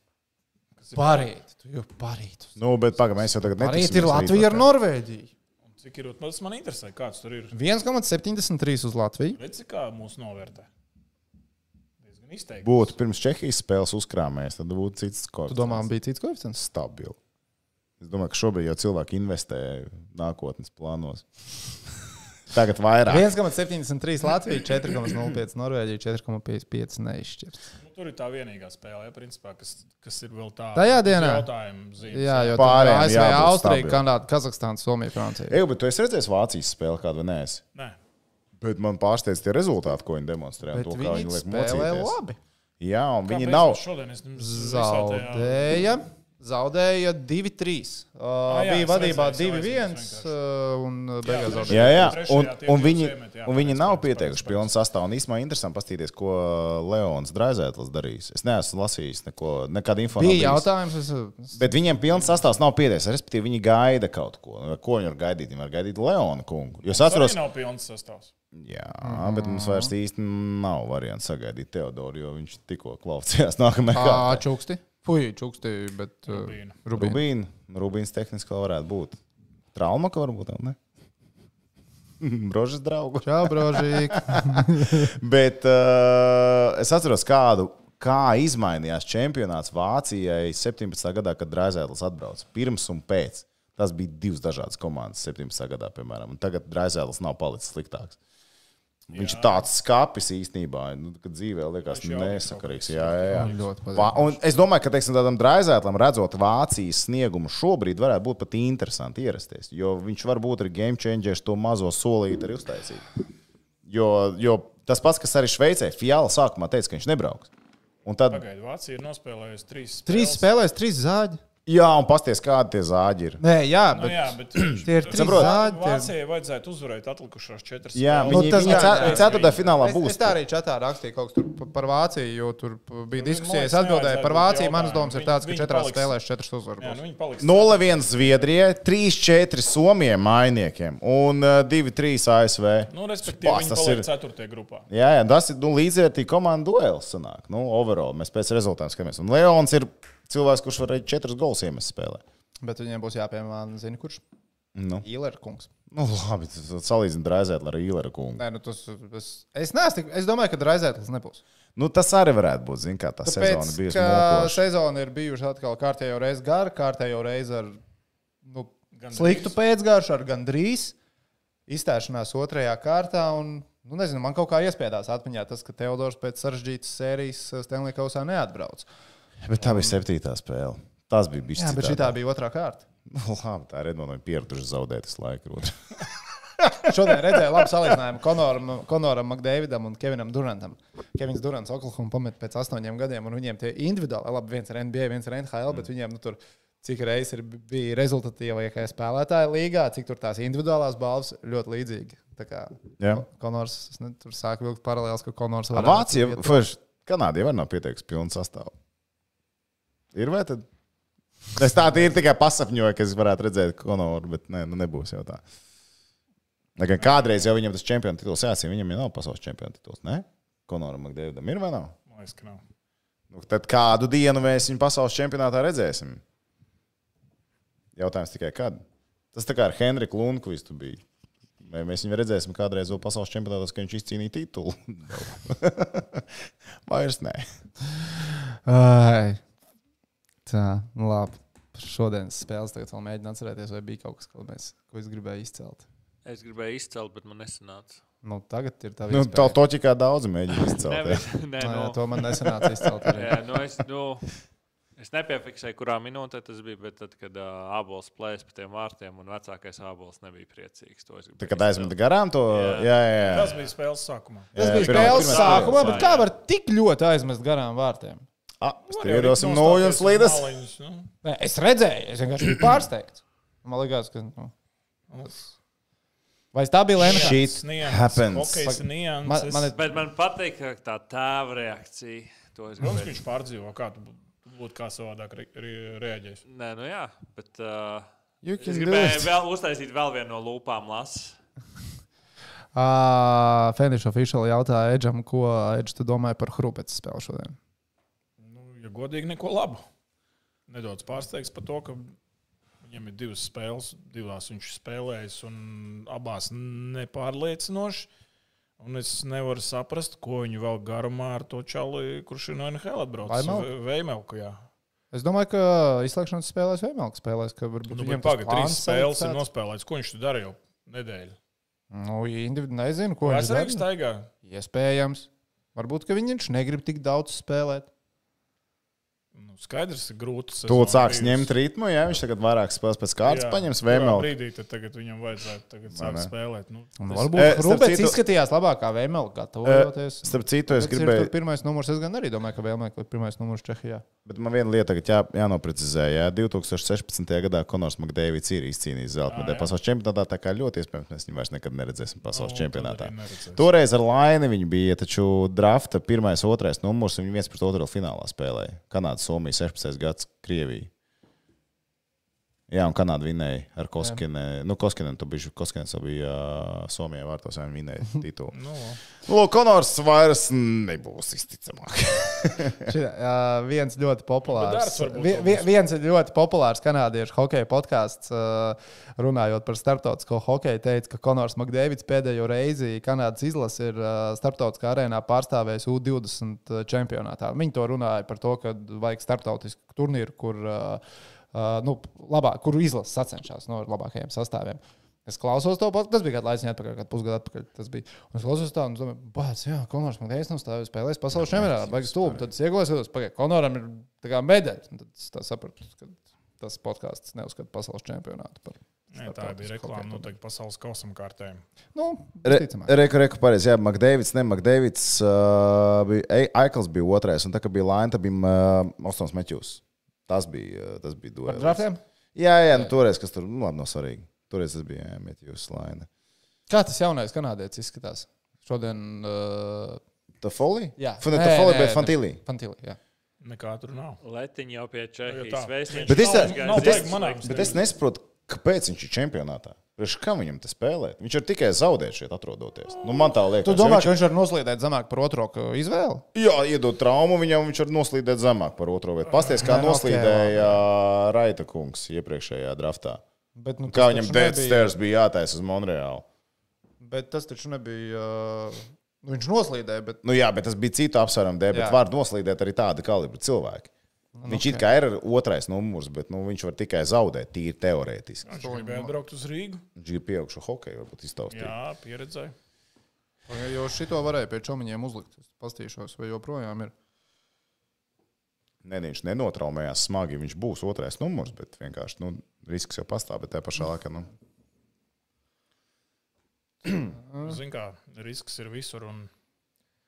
S5: Kas ir-
S7: Parīt, tu jau parīt.
S1: Nu, bet pagaidām, mēs jau tagad nedomājam.
S7: Parīt ir Latvija ar Norvēģiju.
S5: Cik ir? Tas man interesē, kāds tur ir.
S2: 1,73 uz Latviju.
S5: Redzi, kā mūsu novērtē. Diezgan izteikti.
S1: Būtu pirms Čehijas spēles uzkrāmējis, tad būtu cits skors.
S2: Tu domā, bija cits koeficients?
S1: stabili. Es domāju, ka šobrīd jau cilvēki investē nākotnes plānos. Tagad vairāk.
S2: 1,73 Latvija, 4,05 Norvēģija, 4,55 neizšķirts.
S5: Nu, tur ir tā vienīgā spēle, ja, principā, kas, kas ir vēl tāda.
S2: Tajā dienā?
S5: Jautājuma zīme.
S2: Jā, jo
S1: Pārējiem
S2: pārējām ASV,
S1: jābūt
S2: Austrija,
S1: stabilam.
S2: Kanāda, Kazahstāna, Somija, Francija.
S1: Jā, bet tu esi redzējis Vācijas spēli, kādu nē.
S5: Nē,
S1: Bet man pārsteidz tie rezultāti, ko viņi demonstrē. un
S2: Bet
S1: To, kā
S2: viņi
S1: viņi liek
S2: spēlē
S1: mocīties.
S2: labi.
S1: Jā, un viņi
S5: Kāpēc
S1: nav.
S5: mēs Šodien es jums visā tajā-
S2: Zaudēja. Zaudēja 2-3. Uh,
S5: Ah, jā,
S2: bija
S5: es
S2: vadībā
S5: redzēju, es
S2: 2-1
S5: redzēju, es
S2: uh, un uh, beigās
S5: trešajā.
S2: zaudēja.
S1: Jā, jā.
S5: Trešajā
S1: Un,
S5: tie
S1: un
S5: divas
S1: viņi,
S5: iemet, jā,
S1: un viņi
S5: pareizi,
S1: nav
S5: pareizi,
S1: pietiekuši
S5: pareizi,
S1: pilnu sastāvā. Un īstenībā interesanti paskatīties, ko uh, Leons Draizētlis darīs. Es neesmu lasījis neko, nekādu
S2: Bija
S1: informāciju.
S2: jautājums, es, uh,
S1: Bet viņiem pilns sastāvs nav pietiekams. Respektīvi, viņi gaida kaut ko. Nu, Ko viņi var gaidīt? Viņi var gaidīt Leona kungu. Jo es
S5: Tas arī
S1: atceros,
S5: nav pilns sastāvs.
S1: Jā, bet mums vairs
S2: Mhm.
S1: īsti nav variants sagaidīt Teodoru, jo viņš tikko klausījās nākamajā
S2: ā,
S1: kārtā.
S2: čuksti. Puj, čuksti, bet uh,
S5: Rubīna.
S2: Rubīna.
S1: Rubīns. Rubīns tehniski vēl varētu būt. Trauma, ka varbūt tam ne. Brožas draugu.
S2: Čau, brožīgi.
S1: Bet uh, es atceros, kādu, kā izmainījās čempionāts Vācijai 17. gadā, kad Draizēlis atbrauca. Pirms un pēc. Tas bija divas dažādas komandas 17. gadā, piemēram. Un tagad Draizēlis nav palicis sliktāks. Viņš jā. tāds skāpis īstenībā, nu, ka dzīvē liekas
S5: jau
S1: nesakarīgs. Jā, jā, jā.
S2: Ļoti patīk.
S1: Va- Un es domāju, ka teiksim, tādam draizētlam, redzot Vācijas sniegumu, šobrīd varētu būt pat interesanti ierasties. Jo viņš varbūt ir game changers, to mazo solīti arī uztaisīt. Jo, jo tas pats, kas arī Šveicē, Fjāla sākumā teica, ka viņš nebrauks. Un tad,
S5: Pagaidiet, Vācija ir nospēlējusi trīs.
S2: Trīs
S5: spēles.
S2: spēlēs, trīs zāģi.
S1: jā, un pasties, kādi tie zāģi ir.
S2: Nē, jā,
S5: Nu,
S2: bet
S5: jā, bet viņš-
S2: tie ir trīs
S1: Saprotu.
S2: zāģi. tie ir-
S5: Vācijai vajadzētu uzvarēt atlikušās četras.
S1: Jā,
S5: spēles.
S2: Nu,
S1: viņi,
S2: tas
S1: viņi
S2: gan,
S1: ce-
S2: jā.
S1: ceturtajā finālā
S2: Es,
S1: būs.
S2: es tā arī čatā rakstīju kaut ko par, par Vāciju, jo tur p- bija diskusija. Es
S5: Nu, liekas,
S2: atbildēju par
S5: nevajadzētu būt
S2: Vāciju. Manas
S5: jautājumu.
S2: domas ir
S5: Viņi-
S2: tādas, ka
S5: viņi
S2: četrās
S5: paliks.
S2: spēlēs četras
S5: Jā, nu
S2: uzvaras.
S5: viņi paliks.
S1: 0-1 Zviedrijai, 3-4 Somijai mainiekiem un eh, ā, 2-3 ASV.
S5: Nu, respektīvi,
S1: Spās,
S5: viņi
S1: tas
S5: paliek
S1: ir.
S5: ceturtajā grupā.
S1: Jā, jā, tas ir nu, līdzvērtīgi komandu duels. Sanāk. Nu, overall, mēs pēc rezultātiem skatāmies. Un Leons ir cilvēks, kurš var arī četrus golus iemest spēlē.
S2: Bet viņiem būs jāpiemāna, zini, kurš?
S1: Nu,
S2: Ilerkungs.
S1: nu labi, tas salīdzinām Draizētlu ar Īleru kungu.
S2: Nē, nu tas es, es, neesmu, tik- es domāju, ka Raizētlis nebūs.
S1: Nu, tas arī varētu būt, zin, kā tā sezona
S2: Tāpēc,
S1: bija.
S2: ka sezona ir bijusi atkal kārtējo reizi gara, kārtējo reizi ar nu,
S5: Gandrīz.
S2: sliktu pēcgāršu, ar gandrīz izstāšanās otrajā kārtā. Un, nu, nezinu, man kaut kā iespiedās atmiņā tas, ka Teodors pēc sarežģītas sērijas Stanley Kausā neatbrauc.
S1: Bet tā bija septītā spēle. Tas bija bijis.
S2: Jā, bet šī bija otrā kārta.
S1: Nu, labi, tā ir Edmunds, pieraduši zaudēt visu laiku. rodas.
S2: Šodien redzēju labu salīdzinājumu Konoram, Konoram McDavidam un Kevinam Durantam. Kevins Durants Oklahoma pameta pēc astoņiem gadiem, un viņiem tie individuāli, labi, viens ir NBA, viens ir NHL, bet viņiem nu, tur cik reizes ir bija rezultatīvākie spēlētāji līgā, cik tur tās individuālās balvas ļoti līdzīgi. Tā kā
S1: Jā.
S2: Konors es ne, tur sāk vilkt paralēlus, ka Konors
S1: Ar
S2: varētu
S1: Vācija,
S2: iet-
S1: Furš, Kanāda jau nav pieteikusi pilnu sastāvu. Ir vai tad? Es tā tīri tikai pasapņoju, ka es varētu redzēt Konoru, bet nē, nu nebūs jau tā. Tā kā Kādreiz jau viņam tas čempionu tituls jāsaka, viņam jau nav pasaules čempionu tituls. Ne? Konoram Makdēvidam ir vai nav?
S5: Man liekas, ka nav.
S1: Nu, tad kādu dienu mēs viņu pasaules čempionātā redzēsim? Jautājums tikai kad. Tas tā kā ar Henriku Lunkvistu bija. Vai mēs viņu redzēsim kādreiz vēl pasaules čempionātos, ka viņš izcīnīja titulu? Vairs nē.
S2: Ai. Tā, nu labi. Par Šodienas spēles tagad vēl mēģinu atcerēties, vai bija kaut kas, ko, mēs, ko es gribēju izcelt.
S3: Es gribēju izcelt, bet man nesanāca.
S2: Nu, tagad ir tā
S1: Nu,
S2: vispārēja.
S1: tā toķikā daudz mēģina
S3: Nē,
S1: izcelt.
S3: bet, nē,
S2: Nē,
S3: nu,
S2: to man nesanāca izcelt. Arī.
S3: Jā, nu es, nu, es nepiefiksēju, kurā minūtē tas bija, bet tad, kad uh, abolis plēs pa tiem vārtiem, un vecākais abolis nebija priecīgs. To es gribēju
S1: Kad
S3: izcelt.
S1: aizmet garām to. Jā, jā, jā.
S5: Tas bija spēles sākumā.
S2: Tas
S1: Jā,
S2: bija
S1: Eh, pirmā-
S2: spēles
S1: pirmā
S2: sākumā,
S3: spēle,
S2: bet Nu,
S3: jā,
S2: kā
S3: jā.
S2: var tik ļoti aizmest garām vārtiem?
S1: Ah, Mēs
S5: Var
S1: tev
S5: jau
S1: iedosim
S5: likt
S1: nojuņas
S5: nostāties uz
S1: līdes.
S5: maliņus, nu.
S2: Nē, es redzēju, es vienkārši biju pārsteigts. Man liekas, ka. Nu, tas- Vai tā bija Lena?
S1: Shit
S5: Nianses,
S1: happens.
S5: hokejs ir
S2: Man,
S5: nianses.
S2: man ir
S3: Bet man patīk ka tā tēva reakcija. To es
S5: Protams, ka
S3: gribēju.
S5: viņš pārdzīvo, kā tu bū- tu būtu kā savādāk re- re- reaģējis.
S3: Nē, nu jā, bet. Uh,
S2: You
S3: Es
S2: can do
S3: gribēju
S2: it.
S3: vēl uztaisīt vēl vienu no lūpām, lasu.
S2: Uh, Fēnišs oficiāli jautāja Edžam, ko Edžs tu domāji par Hrupēta spēli šodien.
S5: Nu, ja godīgi, neko labu. Nedaudz pārsteigts par to, ka viņam ir divas spēles, divās viņš spēlējis un abās nepārliecinoši. Un es nevaru saprast, ko viņu vēl garumā ar to čali, kurš ir no NHL atbraucis.
S2: Vaimelku?
S5: Ve- Veimelku, jā.
S2: Es domāju, ka izslēgšanas spēlēs Vēmelks spēlēs, ka varbūt
S5: Nu,
S2: viņam
S5: bet
S2: tas
S5: pagaidi, trīs
S2: plāns
S5: spēles
S2: salikts
S5: ir
S2: tāds.
S5: nospēlēts. Ko viņš tur darīja jau nedēļu?
S2: Nu, individu nezinu, ko
S5: Vai
S2: viņš
S5: es arī
S2: darīja.
S5: staigā?
S2: Iespējams. Varbūt, ka viņš negrib tik daudz spēlēt.
S5: Nu, skaidrs, ir grūti.
S1: Tūlīt sāks ņemt ritmu, ja viņš tagad vairāk spēlēs pēc kārtas, paņems vēmēlu.
S5: Brīdī tad tagad viņam vajadzētu tagad
S1: Vai
S5: sākt
S1: ne?
S5: spēlēt. Nu,
S2: Un
S5: tas-
S1: Eh,
S2: varbūt
S1: starp
S2: Rūpēns
S1: citu- Eh,
S2: izskatījās labākā Vēmelka gatavojoties.
S1: Starp citu, es
S2: Tāpēc ir
S1: gribēju,
S2: tur pirmais numurs. Es gan arī domāju, ka Vēlmēka ir pirmais numurs Čehijā.
S1: Bet man viena lieta tagad jā, jānoprecizē. Jā. 2016. gadā Konors Makdēvits ir izcīnījis zelta
S5: Ā,
S1: medaļu
S5: jā.
S1: pasaules čempionātā. Tā kā ļoti iespējams mēs viņu vairs nekad neredzēsim pasaules no,
S5: Nu, tad
S1: čempionātā.
S5: arī neredzēsim.
S1: Toreiz ar Laini viņa bija taču drafta pirmais, otrais numurs, un viņi viens pret otru finālā spēlēja. Kanāda, Somija, 16. gads, Krievija. Jā, un Kanāda vinēja ar Koskinu. Nu, Koskinu tam bija Koskins, jau bija ā, Somijā vārtos, jau vinēja titulu.
S5: Nu,
S1: Nu, lūk, Konors vairs nebūs izticamāk.
S2: Šitā, uh, viens ļoti
S5: Bet
S2: populārs.
S5: Dārs varbūt
S2: vi-
S5: vēl
S2: vi-
S5: būs.
S2: Viens ir ļoti populārs kanādiešu hokeja podkāsts. Uh, runājot par starptautisko hokeju, teica, ka Konors Makdēvids pēdējo reizi Kanādas izlases ir uh, starptautiskā arēnā pārstāvējis U20 čempionātā. Viņi to runāja par to, ka vajag starptautisku turnīru, kur, uh, uh, nu, labāk, kur izlases sacenšas no labākajiem sastāviem. Es klausos to pašu, tas bija kāds laiks, atpakaļ, kad pusgadu atpakaļ tas bija. Un es klausos tā, un es domāju, bāc, jā, Konors man teica, nu, stāvēs spēlēs pasaules čempionātā, baigs stūmu. Tad es ieklausījos, pagaidi, Konoram ir tā kā medaļa. Un Tad es tā sapratu, ka tas podkāsts neuzskata pasaules čempionātu par.
S5: nē, tā bija reklāma nu, noteikti pasaules kausam kārtēm.
S2: Nu,
S1: Re-
S2: visticamāk.
S1: Reku, reku, pareizi. Jā, Makdēvids, ne Makdēvids, uh, bija Ei- Aikls bija otrais, un tā kā bija Laina, tad bija uh, Ostons Meķus. Tas bija, uh, tas bija
S2: Par
S1: duelis.
S2: draftiem?
S1: Jā, jā, nu, toreiz, kas tur, nu, labi, nav svarīgi. Toreiz tas bija jā, Meķus Laina.
S2: Kā tas jaunais kanādietis izskatās? Šodien, uh,
S1: Tā folija?
S2: jā,
S1: tā folija, bet Fantīlī.
S2: Fantīlī, jā.
S5: Nekā tur nav.
S3: Letiņš jau pie
S5: tā.
S3: Čehijas vēstnieka.
S1: Bet es, tā,
S5: nav
S1: bet, es,
S5: vajag manāms
S1: bet es
S5: nevis.
S1: nesaprotu, kāpēc viņš ir čempionātā. Priekš kam viņam tas spēlēt? Viņš ir tikai zaudējis šeit atrodoties. Nu, man tā liekas.
S2: Tu
S1: jo
S2: domā,
S1: viņš-
S2: ka viņš var noslīdēt zemāk par otro ka izvēli?
S1: Jā, iedod traumu viņam, viņš var noslīdēt zemāk par otro vietu. Pastāstiet, kā
S2: Nē, nu, okei,
S1: noslīdēja Raita kungs iepriekšējā draftā.
S2: Bet, nu,
S1: Kā
S2: tas
S1: viņam
S2: taču
S1: Dead
S2: nebija-
S1: Stairs bija jātaisa uz Monreālu.
S2: Bet tas taču nebija. Uh, nu, viņš noslīdēja, bet
S1: Nu jā, bet tas bija citu apsvērumu dēļ,
S2: Jā. Nu,
S1: bet var noslīdēt arī tāda kalibra cilvēki. Viņš it kā ir otrais numurs, bet nu, viņš var tikai zaudēt, tīri teorētiski.
S5: Viņš gribēja braukt uz Rīgu.
S1: Viņš ir pieaugšu hokeju, varbūt iztaustīt.
S5: Jā, pieredzēju.
S2: Jau šito varēja pie čomiņiem uzlikt. Es paskatīšos, vai joprojām ir.
S1: Nē, viņš nenotraumējās smagi, viņš būs otrais numurs, bet vienkārši nu, risks jau pastāv, bet tajā pašā laikā. Nu,
S2: Mm.
S5: Zini, Nu, kā risks ir visur. Un...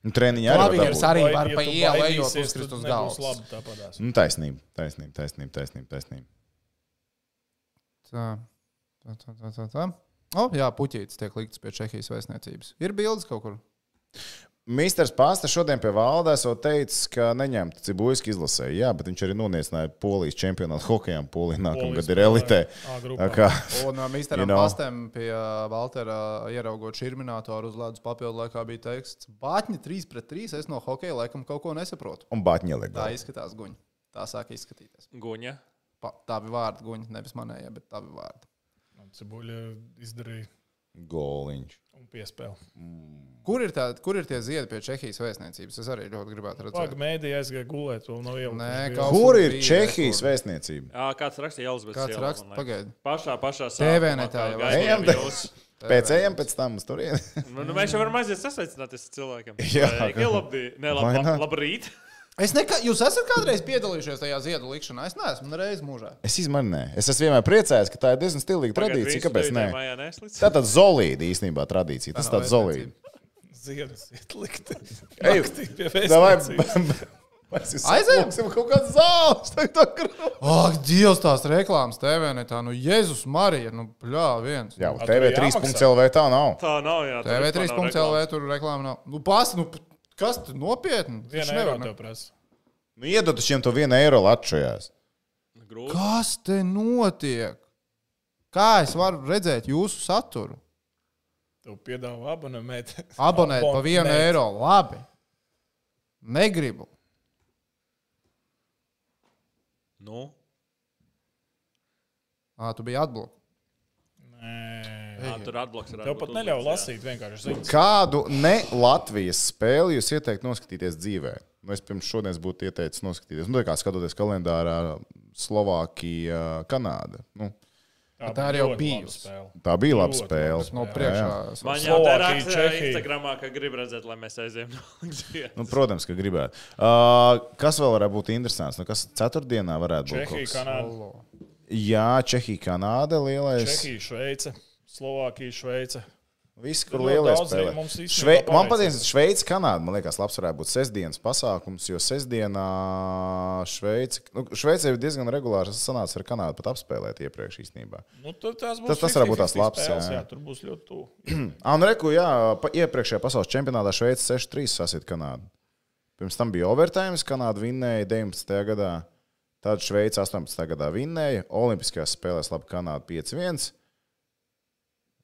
S1: nu, treniņā arī var dabūt.
S2: arī
S5: Vai,
S2: var
S5: ja
S2: pa
S5: tu
S2: ielu
S5: baidīsies,
S2: ejot uz
S5: tad
S2: Kristus
S5: nebūs
S2: galvas.
S5: Labi, tāpatās.
S1: Nu, taisnība, taisnība, taisnība, taisnība. taisnība.
S2: Tā, tā, tā, tā, tā, tā. O, jā, puķītis tiek likts pie Čehijas vēstniecības. Ir bildes kaut kur.
S1: Misters Pasta šodien pie valdes jau teica, ka neņemtu cibuļsku izlasē. Jā, bet viņš arī noniecināja polijas čempionātu hokejā. Polija
S5: Polijas
S1: nākamgad ir
S5: spēlē
S1: elitē.
S5: A grupā.
S1: Tā kā,
S2: Un no mistera
S1: You know.
S2: pastēm pie ā, Valtera ieraugot šurminātoru uz ledus papildu laikā bija teikts, bāķi 3 pret 3. Es no hokeja laikam kaut ko nesaprotu.
S1: un Batņē
S2: Tā
S1: legāli.
S2: izskatās guņa. Tā sāk izskatīties.
S3: Guņa.
S2: Pa, tā bija vārda guņa, nevis manējā, bet tā bija vārda.
S5: Cibuļi eh, izdarīja
S1: Goliņš.
S5: un piespēlēja.
S2: Kur ir, tā, kur ir tie ziedi pie Čehijas vēstniecības? Es arī ļoti gribētu redzēt.
S5: Pagaidā mēdī aizgāja gulēt, vēl nav ielas.
S2: Nē, kaut-
S1: Kur ir
S2: bija,
S1: Čehijas
S2: kur?
S1: vēstniecība?
S3: Jā, kāds raksta Elizabeth.
S2: Kāds raksta? Pagaidi.
S3: Pašā, pašā
S2: TV
S3: sākumā,
S2: netā
S3: kā
S2: jau
S3: gaidījām
S1: aizgāja.
S3: jūs.
S1: Pēc ejam pēc tam uz turieni.
S3: Nu, nu, mēs jau varam aiziet sasveicināties ar cilvēkiem.
S1: Jā.
S3: Sveiki, labdien. Ne,
S1: Why
S3: lab,
S1: not?
S3: labrīt.
S2: Es nekā, jūs esat kādreiz piedalījušies tajā ziedu likšanā? Es neesmu nereiz mūžā.
S1: Es izmanīju. Es esmu vienmēr priecājies, ka tā ir diezgan stilīga tradīcija. Kāpēc nē?
S3: Mājā neslīdz.
S1: Tā tad zolīda īstenībā tradīcija. Tas tāds zolīda.
S5: Ziedus ielikt.
S1: Ej,
S5: Naktī pie
S1: Davai,
S5: vēstniecības.
S1: Aizējām! Kaut kāds zāles! tagad tā krūt.
S2: Ak, Dievs, tās reklāmas TV, ne tā, nu, Jēzus Marija, nu, pļā, viens.
S1: Jā,
S5: A, tur
S1: TV3.CLV tā nav.
S3: Tā nav, jā. tur vispār nav
S2: TV3.CLV tur reklāma nav. Nu, pas, nu, p- kas tu nopietni? Taču
S5: Vienu eiro tev prasa.
S1: Nu, iedod šiem to vienu eiro latčajās.
S3: reklāmas. Grūti.
S2: Kas te notiek? Kā es varu redzēt jūsu saturu?
S5: Tev piedāvā abonēt.
S2: Abonēt pa vienu eiro. Labi. Negribu.
S3: Nu,
S2: Ā, tu biji atblokēts.
S3: ā, tur atbloks ir.
S5: Tev pat neļauj lasīt vienkārši ziņas.
S1: Kādu ne Latvijas spēli jūs ieteiktu noskatīties dzīvē? Nu, es pirms šodienas būtu ieteicis noskatīties. Nu, tā kā skatoties kalendārā, Slovākija, Kanāda. Nu,
S5: Tā,
S2: tā arī jau bijusi.
S1: tā bija laba
S5: Ļoti
S1: spēle.
S5: labi
S2: No
S1: Jā, jā.
S2: priekšā.
S3: Man jau tā
S5: Slovākija,
S3: rakstīja
S5: Čehija.
S3: Instagramā, ka grib redzēt, lai mēs aizējām no Latvijas.
S1: Nu, protams, ka gribētu. Uh, kas vēl varētu būt interesants? Nu, kas ceturtdienā varētu būt?
S5: Čehija,
S1: kaut kas?
S5: Kanāda.
S2: Olo.
S1: Jā, Čehija, Kanāda. Lielais.
S5: Čehija, Šveice, Slovākija, Šveice.
S1: Viss, kur
S5: Nu,
S1: lielie
S5: daudz arī
S1: spēlē.
S5: mums īstenībā
S1: Šve... Man patīk,
S5: paveicas.
S1: ka Šveice, Kanāda, man liekas, labs varētu būt sestdienas pasākums, jo sestdienā Šveice, nu, Šveice ir diezgan regulāri sanāca ar Kanādu pat apspēlēt iepriekš īstenībā.
S5: Nu, tad tās būs
S1: Tas- tas varētu būt
S5: 50-50
S1: tās labs,
S5: spēles,
S1: jā.
S5: jā. Tur būs ļoti tuvu.
S1: Ah, nu, reku, jā, pa, iepriekšējā pasaules čempionātā Šveice 6-3 sasita Kanādu. Pirms tam bija overtime, Kanāda vinnēja 19. gadā, tad Šveice 18. gadā vinnēja, Olimpiskajās spēlēs labi Kanāda 5-1.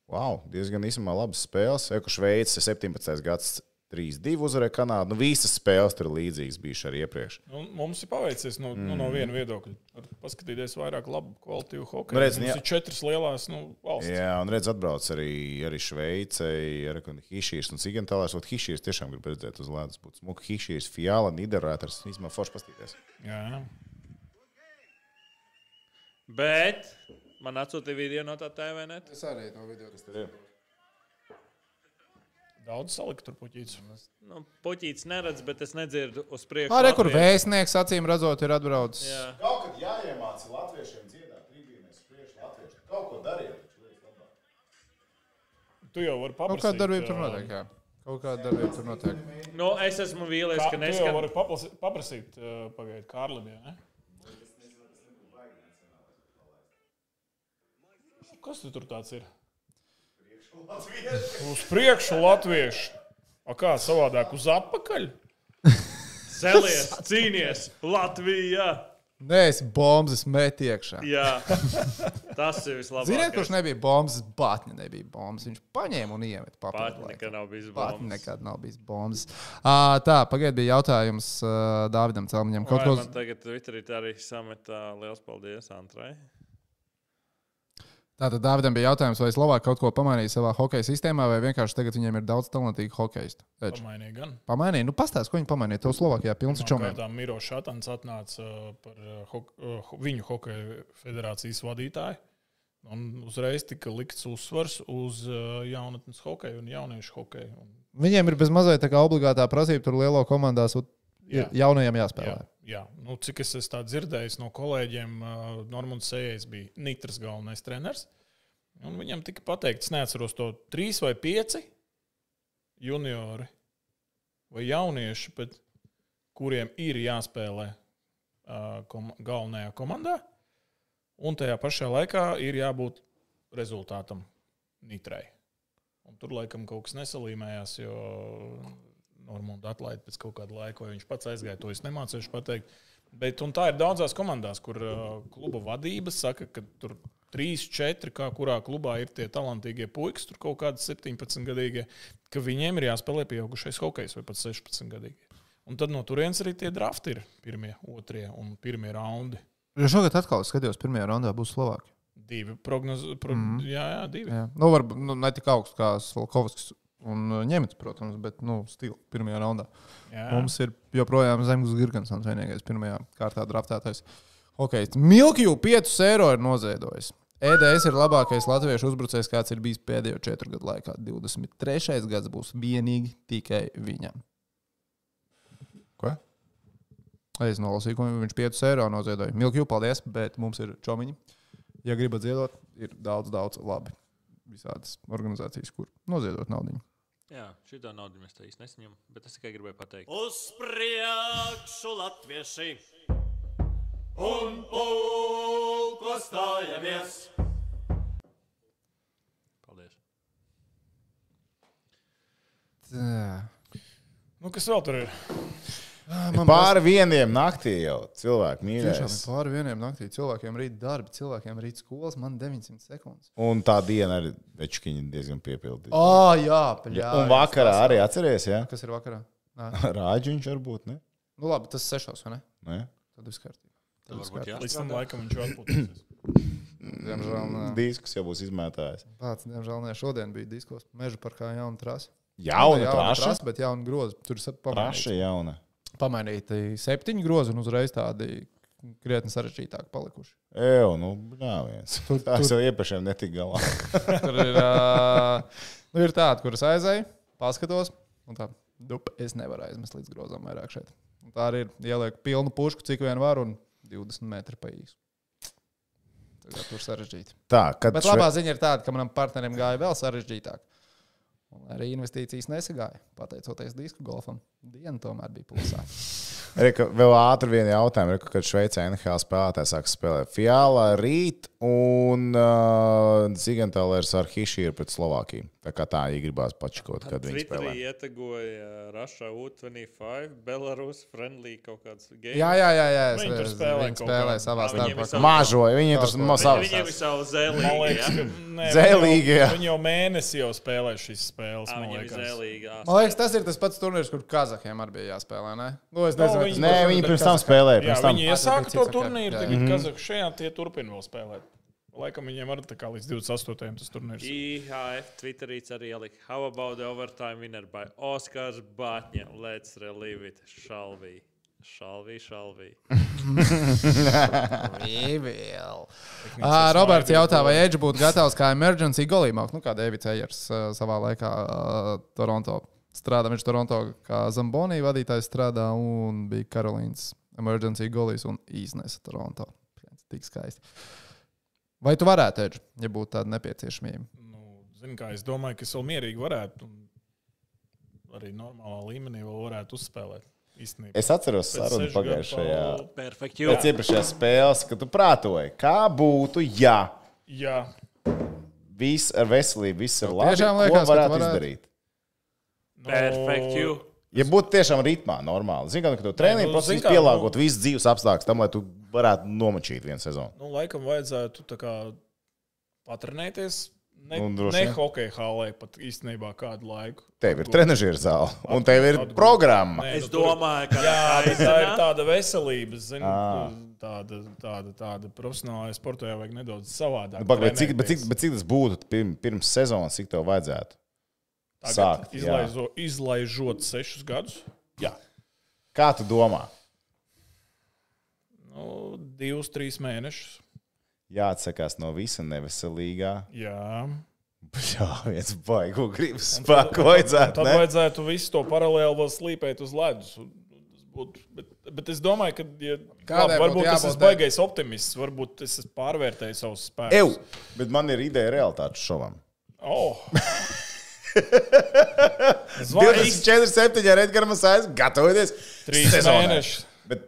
S1: Wow, diezgan īsumā labas spēles. Eko Šveice 17. gads 3-2 uzvarēja Kanādu. Nu, visas spēles tur ir līdzīgas bijušas arī iepriekš.
S5: Nu, mums ir paveicies no, mm. nu, no viena viedokļa. Var paskatīties vairāk labu kvalitīvu hokeju.
S1: Nu, redz,
S5: mums
S1: jā.
S5: ir četras lielās nu, valsts.
S1: Jā, un redz, atbrauc arī, arī Šveicei, ar Hišīšu un Sigentālēs. Hišīšu tiešām grib redzēt uz ledus. Būtu smuki Hišīšu, Fiala, Niderrēters. Īsumā forši pastīties.
S5: Jā.
S3: Bet man atsūtīja video no tā TV net.
S2: Es arī no video.
S5: Daudz salikt tur puķītas.
S3: Nu, puķītis neredz, bet es nedzirdu uz priekšu.
S2: Arī kur
S3: Latvijas.
S2: vēstnieks acīm redzot, ir atbraucis.
S3: Jā.
S1: Kaut kad jāiemācās latviešiem dziedāt, tribīnēs, priekšā latviešu. Kaut ko dariet.
S5: Tu jau vari
S2: Kaut
S5: paprasīt.
S2: kāda Nu, darbība tur
S5: ā,
S2: notiek. Jā. Kaut kāda darbība tur notiek.
S3: Nu, es esmu vīlies,
S5: Kā,
S3: ka
S5: tu jau vari
S3: neskatās.
S5: paprasīt, paprasīt ā, pagaidu Kārlim. Ja, Kas tu tur tāds ir? Uz priekšu latviešu. A kā savādāk uz apakaļ?
S3: Celies, cīnies, Latvija!
S2: Nē, es bombas metu iekšā.
S3: Jā, tas ir vislabākais.
S2: Ziniet, kurš nebija bombas, Batņa nebija bombas. Viņš paņēma un iemeta
S3: Pat
S2: papildus. laikam.
S3: nekad nav bijis
S2: Pat
S3: bombs.
S2: nekad nav bijis bombas. Uh, tā, pagaidiet, bija jautājums uh, Dāvidam Celmiņam. Kaut
S3: Vai
S2: ko
S3: man tagad Twitterī tā arī sametā liels paldies Antrai.
S2: Tātad Dāvidam bija jautājums, vai Slovākija kaut ko pamainīja savā hokeja sistēmā, vai vienkārši tagad viņiem ir daudz talantīgu hokeistu. Edž,
S5: Pamainīja gan.
S2: Pamainīja, nu pastāsti, ko viņi pamainīja. Tev Slovākijā pilns
S3: Nu,
S2: ar čomiem.
S5: Pirmkārt, Miro Šatans atnāca uh, par uh, hok- uh, ho- viņu hokeja federācijas vadītāju. Un uzreiz tika likts uzsvars uz uh, jaunatnes hokeju un jauniešu hokeju. Un,
S2: Viņiem ir bez mazliet tā kā obligātā prasība tur lielo komandās, un
S5: Jā.
S2: jaunajiem
S5: jā,
S2: jāspēlē.
S5: jā. Nu, cik es esmu tā dzirdējis no kolēģiem, uh, Normons Sējais bija Nitras galvenais treneris. Un viņam tika pateikts, neatceros to trīs vai pieci juniori vai jaunieši, bet kuriem ir jāspēlē uh, kom galvenajā komandā. Un tajā pašā laikā ir jābūt rezultātam nitrai. Un tur laikam kaut kas nesalīmējās, jo Normūna atlaida pēc kaut kāda laika, vai viņš pats aizgāja. To es nemācīšu pateikt. Bet un tā ir daudzās komandās, kur uh, kluba vadība saka, ka tur trīs, četri, kā kurā klubā ir tie talantīgie puikas, tur kaut kādi 17-gadīgie, ka viņiem ir jāspēlē pieaugušais hokejs vai pat 16-gadīgie. Un tad no turienes arī tie drafti ir pirmie, otrie un pirmie raundi.
S2: Jo šogad atkal es skatījos, pirmajā randā būs Slovākija.
S5: Divi prognozi, pro, mm -hmm. jā, jā, divi.
S2: Jā. Nu, varbūt nu, ne tik augsts kā Svalkovskis un uh, Ņemets, protams, bet nu, stila pirmajā randā.
S5: Jā.
S2: Mums ir joprojām Zemgus Gigantsons vienīgais pirmajā kārtā draftētais. Okay. Milkju 5 eiro ir noziedojis. EDS ir labākais latviešu uzbrucējs, kāds ir bijis pēdējo četru gadu laikā. 23. gads būs vienīgi tikai viņam.
S1: Ko?
S2: Es nolasīju, ko viņš 5 eiro noziedoja. Milkju, paldies, bet mums ir čomiņi. Ja gribat ziedot, ir daudz, daudz labi. Visādas organizācijas, kur noziedot naudu.
S3: Jā, šī tā nauda mēs tā īsti nesaņemam, bet es tikai gribēju pateikt.
S4: Uz priekšu latvieši un pulko stājamies!
S3: Paldies.
S5: Nu, kas vēl tur ir?
S1: Pāri vieniem naktī jau cilvēki
S2: Tiešām ir
S1: mīlēs.
S2: pāri vienam naktī. Cilvēkiem rīt darbi, cilvēkiem rīt skolas, man 900 sekundes.
S1: Un tā diena arī večkiņi diezgan piepildīta.
S2: Ah, jā, pļā.
S1: Ja, un vakarā arī atceries, jā?
S2: Kas ir vakarā? Nē.
S1: Rāģiņš varbūt, ne?
S2: Nu labi, tas sešos, vai ne?
S1: ne?
S2: Tad viss kārtībā.
S4: Tad varbūt jā.
S5: Līdz tam laikam viņš jau atpūtīsies.
S2: Diemžēl nē.
S1: Diskus jau būs izmētājis.
S2: Pats, diemžēl, ne. Šodien bija diskos meža parkā jauna trasa.
S1: Jauna
S2: jauna
S1: praša.
S2: trasa, bet jauna groza. Tur sa-
S1: Praša
S2: pamainīti-
S1: jauna.
S2: pamainīti septiņi grozi un uzreiz tādi krietni sarežģītāki palikuši.
S1: Eju, nu, nā, viens.
S2: Tur-
S1: Tā es
S2: tur-
S1: jau iepriekšējiem netika galā.
S2: Tur ir, ā, nu, ir tāda, kuras aizēju, paskatos, un tā, dup, es nevaru aizmest līdz grozam vairāk šeit. Un tā arī ir. Ielieku pilnu pušku, cik vien varu, un 20 metru pa īsu. Tā kā Tur sarežģīti.
S1: Tā, kad
S2: Bet labā ziņa ir tāda, ka manam partnerim gāja vēl sarežģītāk. Un arī investīcijas nesagāja, pateicoties disku golfam. Diena tomēr bija plusā.
S1: Reku, vēl ātri vienu jautājumu. Reku, kad Šveicē NHL spēlētāji sāk spēlēt Fiala rīt un uh, Zigantālērs ar Hišīru pret Slovākiju. Tā kā tā, ja gribās pačkot, kad viņi
S3: Twitterī
S1: spēlē.
S3: ietegoja Russia U25, Belarus friendly kaut kāds game.
S2: Jā, jā, jā, jā es
S5: Viņi tur
S2: redzu,
S5: spēlē
S2: viņi
S5: kaut
S2: spēlē
S5: kādu-
S2: savā
S3: Ā, viņiem ir
S2: starpā.
S3: savi-
S1: Mažoja, viņi
S2: Kaut
S1: tur
S2: ko.
S1: no
S3: Viņi-
S1: savas.
S3: Viņiem ir savu
S5: Man
S3: zēlīgu.
S5: liekas,
S3: jā.
S5: ka nē,
S1: Zēlīgi, jā.
S5: viņi jau- Viņi jau mēnesi jau spēlē šīs spēles.
S3: Ā,
S5: man
S3: Viņiem ir
S5: liekas.
S3: zēlīgi. ā,
S2: Man liekas, tas ir tas pats turnīrs, kur Kazahiem arī bija jāspēlē. Ne? Nu, es nezinu,
S5: Nu,
S2: vai
S5: viņi-
S2: tas-
S1: Nē, viņi pirms tam spēlēja.
S5: Jā,
S1: Pirms tam.
S5: viņi iesāka
S2: Attiecīgi,
S5: to turnīru,
S2: jā, jā.
S5: tagad Kazahstānā tie turpina vēl spēlēt. Laikam viņiem var tā kā līdz 28. tas turnīrs.
S3: IHF Twitterīts arī ielika, how about the overtime winner by Oskars Batņa? Let's relive it. Šalvī, šalvī, šalvī.
S2: Evil. Ā, Ah, Roberts jautā, vai Edge būtu gatavs kā emergency golīmāk, nu, kā Davids Ejers ā, savā laikā ā, Toronto strādā. Viņš Toronto kā Zambonija vadītājs strādā un bija Karolīnas emergency golīs un iznesa Toronto. Tik skaisti. Vai tu varētu, Edge, ja būtu tāda nepieciešamība?
S5: Nu, zini, kā, es domāju, ka es vēl mierīgi varētu, un arī normālā līmenī vēl varētu uzspēlēt. Īstenībā.
S1: Es atceros
S5: Pēc
S1: sarunu
S5: sešu gadu
S1: pagājušajā.
S5: pa-
S3: Perfekt,
S1: Pēc iepriekšējās spēles, kad tu prātoji, kā būtu, ja
S5: Jā,
S1: viss ar veselību, viss ar labi,
S2: tiešām
S1: ko
S2: liekas, ka tu
S1: varētu
S2: varētu?
S1: izdarīt.
S5: nu,
S3: Perfekt, jū.
S1: Ja būtu tiešām ritmā, normāli. Zinu, ka tu treniņš
S5: nu, zini
S1: procesā
S5: kā,
S1: pielāgot visu dzīves apstākļus tam, lai tu varētu nomačīt vienu sezonu.
S5: Nu, laikam vajadzētu tā kā patrenēties. Ne,
S1: Un Nu, droši
S5: ne
S1: vien.
S5: hokeja hallē pat īstenībā kādu laiku.
S1: Tev ir
S5: Atgūt.
S1: treniņš zāle, un tev ir
S5: Atgūt.
S1: programma.
S5: Nē,
S3: Es
S5: nu, tur-
S3: domāju, ka
S5: Jā,
S3: tā
S5: bet tā ir
S3: ir.
S5: tāda veselības, zinu,
S1: Ā.
S5: tāda, tāda, tāda profesionālā sportā vajag nedaudz savādāk.
S1: Nu, pak, Bet cik,
S5: trenēties.
S1: bet, cik, bet cik tas būtu pirm- pirms sezonas, cik tev vajadzētu?
S5: Tagad
S1: sākt, jā.
S5: izlaižo, izlaižot sešus gadus, jā,
S1: Kā tu domā?
S5: nu, divus, trīs mēnešus.
S1: Jāatsakās no visa neveselīgā.
S5: Jā,
S1: Jā, viens baigs, gribas
S5: Un tad-
S1: spēku vajadzētu.
S5: tad
S1: ne?
S5: vajadzētu visu to paralēli vēl slīpēt uz ledus. Un- un tas būtu- Bet, bet es domāju, ka ja,
S2: Kādai
S5: labi, varbūt
S2: būtu
S5: tas ir
S2: jābūt, ne?
S5: baisais optimists. Varbūt es esmu pārvērtējis savus spēkus.
S1: Ew, bet man ir ideja realitāte šovam.
S5: Oh. Zvanīt
S1: 24, 7, Edgars Masons, gatavoties.
S5: trīs
S1: sezonai.
S5: mēnešus.
S1: Bet,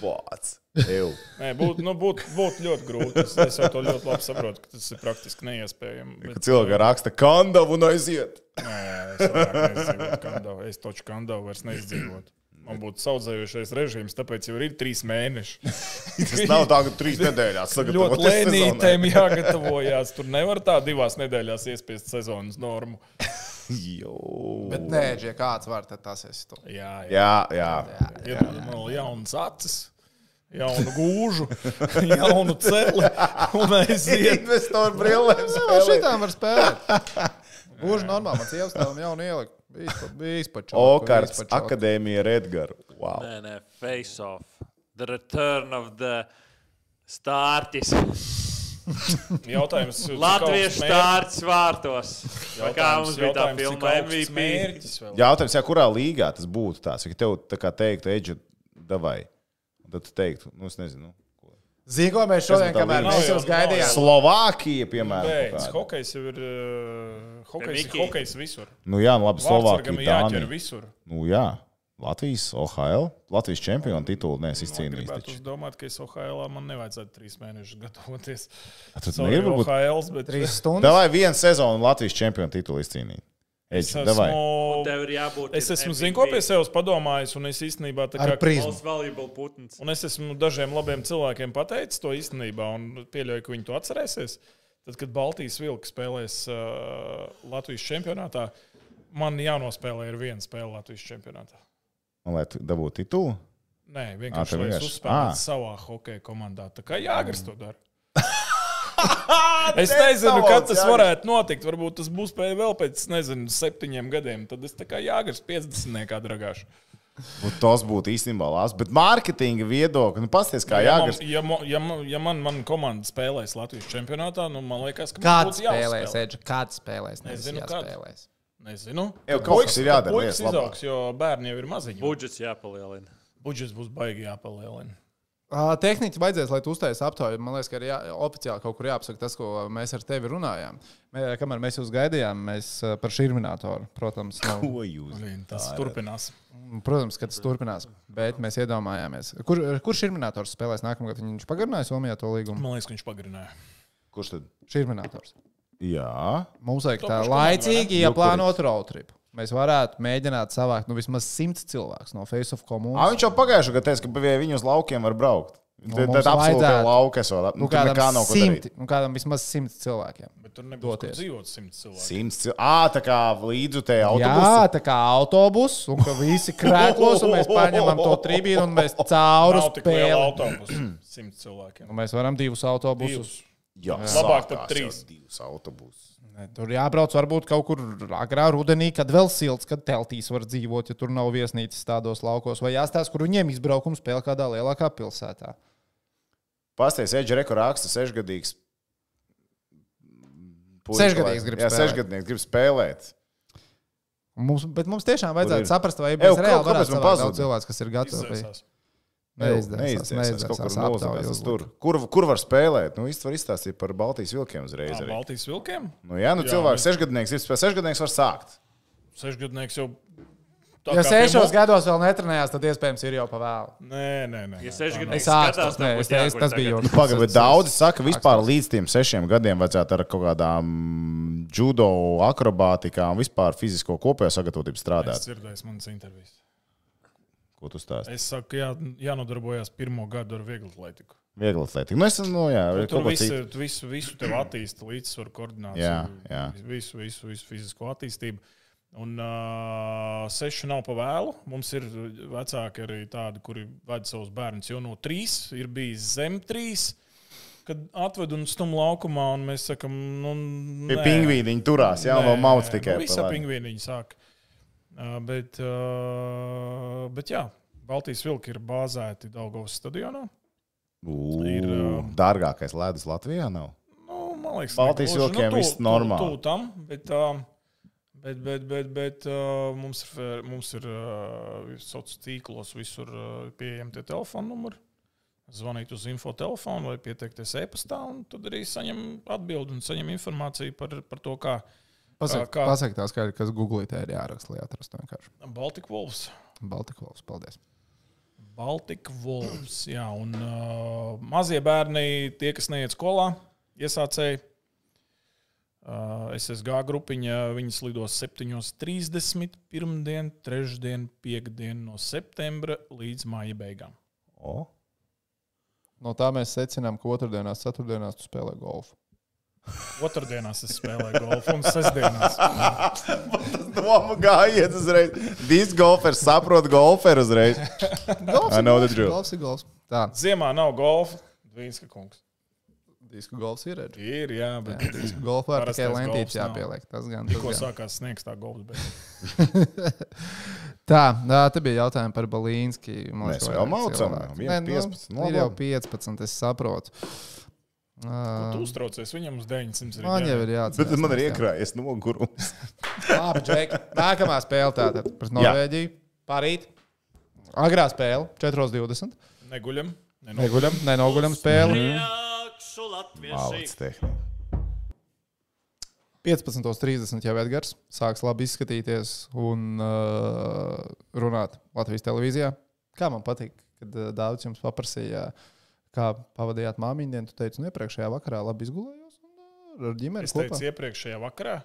S1: bots, ew.
S5: Nē, būtu nu, būt, būt ļoti grūti. Es, es jau to ļoti labi saprotu, ka tas ir praktiski neiespējami.
S1: Kad cilvēki raksta kandavu un aiziet.
S5: Nē, es vairāk neizdzīvotu Kandavā. Es taču Kandavā vairs neizdzīvotu. Man būtu saudzējušais režīms, tāpēc jau ir trīs mēneši.
S1: Tas nav tā, ka trīs nedēļās
S5: Ļoti
S1: sagatavoties sezonai.
S5: lēnītēm jāgatavojās. Tur nevar tā divās nedēļās iespiest sezonas normu.
S1: Jū.
S2: Bet nē, Edge, ja kāds var, tad tas esi tu.
S5: Jā, jā.
S1: Jā, jā.
S5: ir vēl jauns acis, jaunu gūžu, jaunu celi un aiziet.
S1: Investoru brillēm.
S2: Nē,
S1: spēlē.
S2: Nu, šitām var spēlēt. Gluži normāli, man sievas tam jau ielika. Bija pačā.
S1: Okards akadēmija ar Edgaru. Wow.
S3: Nē, nē, face off. The return of the stārķis.
S5: Jautājums. cik
S3: Latviešu
S5: augsts mērķis?
S3: stārķis vārtos. Vai Kā mums bija tā
S5: Jautājums, cik
S3: filma
S5: augsts
S3: MVP?
S5: mērķis vēl?
S1: Jautājums, jā, kurā līgā tas būtu tās? Ja tev tā kā teiktu, Edži, davai, Un tad tu teiktu, nu es nezinu. ko.
S2: Zinu, ko mēs
S1: Kas
S2: šodien,
S1: no tā
S2: kamēr
S1: līnijas?
S2: mēs
S5: Nav
S2: jums
S5: jau,
S2: gaidījām.
S1: Slovākija, piemēram.
S5: Beidz.
S1: kaut kāda.
S5: Hokejs jau ir. Uh, hokejs, ir
S3: Miki.
S5: hokejs visur.
S1: Nu jā, nu labi,
S5: Slovākijam
S1: Slovākija.
S5: ir jāķer
S1: Dānija.
S5: visur.
S1: Nu jā, Latvijas OHL, Latvijas čempionu titulu nē, es izcīnīju.
S5: Nu, Gribētu
S1: taču.
S5: domāt, ka es OHL man nevajadzētu trīs mēnešus gatavoties.
S1: Tad
S5: Sorry,
S1: Nu, ir varbūt
S5: OHL, bet
S2: Trīs stundas.
S1: Davai vienu sezonu Latvijas čempionu titulu izcīnīt.
S5: Es
S1: Eģi, davai.
S5: esmu,
S3: Tev ir jābūt.
S5: es
S3: ir
S5: esmu
S3: MVP.
S5: zinu, ko pie sevis padomājis, un es īstenībā tā
S7: Ar
S5: kā
S7: prīzi.
S3: Most valuable putns.
S5: Un es esmu dažiem labiem cilvēkiem pateicis to īstenībā, un pieļauju, ka viņi to atcerēsies. Tad, kad Baltijas vilka spēlēs uh, Latvijas čempionātā, man jānospēlē ir viena spēle Latvijas čempionātā.
S1: Un, lai tu dabūtu titulu,
S5: Nē,
S1: Ā,
S5: vienkārši
S1: tev
S5: lai es
S1: vienkārši- Ā.
S5: uzspēlētu savā hokeja komandā. Tā kā Jāgars to dara. Es nezinu, kad tas varētu notikt. Varbūt tas būs pēc, vēl pēc, nezinu, septiņiem gadiem. Tad es tā kā Jāgars 50. kā dragāšu.
S1: Būt- Nu, tas būtu īstenībā lāsts. Bet mārketinga viedokļa, nu, pasties, kā
S5: Ja,
S1: Jāgars.
S5: man, ja, mo- ja, man- ja man, man komanda spēlēs Latvijas čempionātā, nu, man liekas, ka man
S2: Kāds
S5: būtu jāspēlē.
S2: spēlēs, Edžers? Kāds spēlēs? Nezinu,
S5: Nezinu,
S2: kāds
S5: kad.
S2: spēlēs.
S5: Nezinu.
S1: Jau kaut kas ir jādara
S5: Puikas
S1: lietas labā.
S5: izaugs, jo bērni jau ir maziņi.
S3: Budžets jāpalielina.
S5: Budžets būs baigi jāpalielina.
S2: Uh, Tehniķis baidzies, lai tu uztaisītu aptauju. Man liekas, ka ir jā, oficiāli kaut kur jāapsaka tas, ko mēs ar tevi runājām. Mē, kamēr mēs jūs gaidījām, mēs uh, par šī minētāju, protams, nav,
S1: Ko jūs?
S5: Tas turpinās.
S2: protams, ka tas turpinās. Bet mēs iedomājāmies, kur, kurš ir minētājs spēlēs nākamgad. Viņš pagarināja Somijā to līgumu.
S5: Man liekas, ka viņš pagarināja.
S1: Kurš tad?
S2: Šī ir minētājs.
S1: Jā.
S2: Mums vajag
S5: Top
S2: tā
S5: uz komandu, vai
S2: laicīgi ieplānot road trip. Mēs varētu mēģināt savākt nu, vismaz simts cilvēkus no Face of
S1: Ā,
S2: Community.
S1: viņš jau pagājušajā gadā teica, ka pie viņu uz laukiem var braukt. Tad
S2: Nu, mums
S1: tad absolūti
S2: vajadzētu.
S1: lauka esot. Nu,
S2: Nu,
S1: kā nekā
S2: kādam
S1: nav ko darīt.
S2: simti, nu, kādam vismaz simts cilvēkiem.
S5: Bet tur nebūs kur
S2: Doties.
S5: dzīvot simts cilvēku.
S1: Simts cilvēku. Ā, tā kā līdzi te
S2: Jā,
S1: autobusā.
S2: tā kā autobuss, un ka visi krēklos, un mēs paņemam to tribīnu, un mēs cauri
S5: Nav tik liela
S2: spēlējam.
S5: autobusu. Simts cilvēkiem.
S2: Nu, mēs varam divus autobusus.
S5: Divus.
S1: Jā,
S5: Labāk tad
S1: sākās
S5: trīs.
S1: jau Divus autobusus.
S2: Ne, Tur jābrauc varbūt kaut kur agrā rudenī, kad vēl silts, kad teltīs var dzīvot, ja tur nav viesnīcas tādos laukos. Vai jāstāsta, kur viņiem izbraukums spēlē kādā lielākā pilsētā.
S1: Pastāstiet, Eģi, rekurāks, sešgadīgs. puika,
S2: Sešgadīgs
S1: lai-
S2: grib
S1: Jā,
S2: spēlēt.
S1: sešgadnieks grib spēlēt.
S2: Mums, bet mums tiešām
S1: ir?
S2: vajadzētu saprast, vai
S1: Ev,
S2: mēs
S1: kā-
S2: reāli
S1: kāpēc
S2: varētu
S1: man
S2: savākt
S1: pazuda?
S2: daudz cilvēku, kas ir gatavi.
S5: Izdzēsās.
S2: Neizdodas.
S1: kaut kur
S2: Neizdodas.
S1: nozagās tas tur. Kur, kur var spēlēt? Nu, īsti var izstāstīt par Baltijas vilkiem uzreiz.
S5: Ā,
S1: Arī.
S5: Baltijas vilkiem?
S1: Nu, jā, nu
S5: Jā,
S1: cilvēks,
S5: bet-
S1: sešgadnieks, ir spēlējis, sešgadnieks var sākt.
S5: Sešgadnieks jau. tā
S2: Ja
S5: kā pie
S2: sešos
S5: mums-
S2: gados vēl netrenējās, tad iespējams ir jau pavēlu.
S5: Nē, nē, nē.
S3: Ja
S5: nē, tā nav.
S3: sešgadnieks
S2: Es ārstu,
S3: skatās,
S2: nē, es
S3: tev būtu
S2: teicu,
S3: jāguļ
S2: tas
S3: tagad.
S2: bija jau.
S1: Pagaid, bet Nu, daudzi saka, ka vispār līdz tiem sešiem gadiem vajadzētu ar kaut kādām mm, judo, akrobātikām, vispār fizisko kopējo sagatavotību
S5: Es
S1: strādāt.
S5: dzirdēju, manas intervijas.
S1: Ko tu stāsti?
S5: Es saku, jā, jānodarbojas pirmo gadu ar vieglu atletiku.
S1: Viegli atlētīgi. Nu, es, nu, jā,
S5: Nu, Tur
S1: kaut ko
S5: viss
S1: citu.
S5: ir, tu visu, visu tev attīstīja, līdzsvaru koordināciju,
S1: Jā, jā.
S5: Visu, visu, visu fizisko attīstību. Un uh, seši nav pa vēlu. Mums ir vecāki arī tādi, kuri ved savus bērnus jau no trīs, ir bijis zem trīs. Kad atved un stumj laukumā, un mēs sakām, nu,
S1: Pie
S5: nē.
S1: pingvīna viņi turās, jā, un vēl mauc tikai.
S5: Nu,
S1: pa
S5: Visā
S1: labi.
S5: pingvīniņa sāk. Uh, bet, uh, bet jā, Baltijas vilki ir bāzēti Daugavas stadionā.
S1: Ū,
S5: Ir, ā,
S1: Dārgākais ledus Latvijā nav.
S5: Nu, man liekas,
S1: Baltijas
S5: negluži.
S1: vilkiem
S5: Nu, tu-
S1: viss
S5: tu-
S1: normāli.
S5: Tu, tam, bet, ā, bet, bet, bet, bet ā, mums ir, fē- mums ir ā, sociālos tīklos visur ā, pieejami tie telefona numuri. Zvanīt uz info telefonu vai pieteikties e-pastā, un tad arī saņem atbildi un saņem informāciju par, par to, kā
S2: Pasak,
S5: Kā- kā?
S2: pasak tā skaidri, kas Google te ir jāraksta, lai atrastu vienkārši
S5: Baltika Wolves.
S2: Baltiku valsts. Paldies.
S5: Baltika Wolves. Jā, un uh, mazie bērni, tie, kas neiet skolā, iesācēji. Uh, SSG grupiņa, viņas lidos 7.30, pirmdien, trešdien, piekdien no septembra līdz māja beigām.
S1: O,
S2: No tā mēs secinām, ka otrdienās, ceturtdienās tu spēlē golfu.
S5: Otradienās es spēlēju golfu, un sestdienās
S1: Doma gājiet uzreiz. Dīs golfers saprot golferu uzreiz.
S2: Golfs
S1: I
S2: ir
S1: know the
S2: golfs,
S1: drill.
S2: Golfs ir golfs. Tā,
S5: ziemā nav golfa. Dvīnska kungs.
S2: disku golfs ir. Edž.
S5: Ir, jā,
S2: Jā,
S5: bet
S2: disku Golfā ir tikai
S5: Parastais golfs
S2: lentītes
S5: nav.
S2: jāpieliek. Tas gan
S5: tikko
S2: tas gan.
S5: sākās sniegs tā golfa. Bet...
S2: Tā, tā, te bija jautājumi par Balīnski. Man
S1: Mēs
S2: vairāk
S1: vēl maucam,
S2: cilvēku.
S1: viens
S2: Nē, nu,
S1: 15, nu,
S2: Ir jau
S1: labi.
S2: 15, es saprotu.
S5: Ko
S2: Uh,
S5: Tu uztraucies viņam uz 900 ir
S2: man jau
S5: jāiet.
S2: ir jāatcerās.
S1: Bet man ir iekrājies nogurums.
S2: Labi, Džek. Nākamā spēle tātad pret Norvēģiju. Parīt. Agrā spēle, 4.20.
S5: Neguļam. Nenoguļam.
S2: Neguļam, nenoguļam spēli.
S4: Priekšu
S1: Mālīts
S4: latvieši,
S1: tehnika.
S2: 15.30 jau Edgars sāks labi izskatīties un uh, runāt Latvijas televīzijā. Kā man patīk, kad uh, Dārvids jums paprasīja, kā pavadījāt māmiņu dienu. Jūs teicāt, nu iepriekšējā vakarā labi izgulējos un uh, ar ģimeni
S5: Es
S2: kopā.
S5: teicu, iepriekšējā vakarā.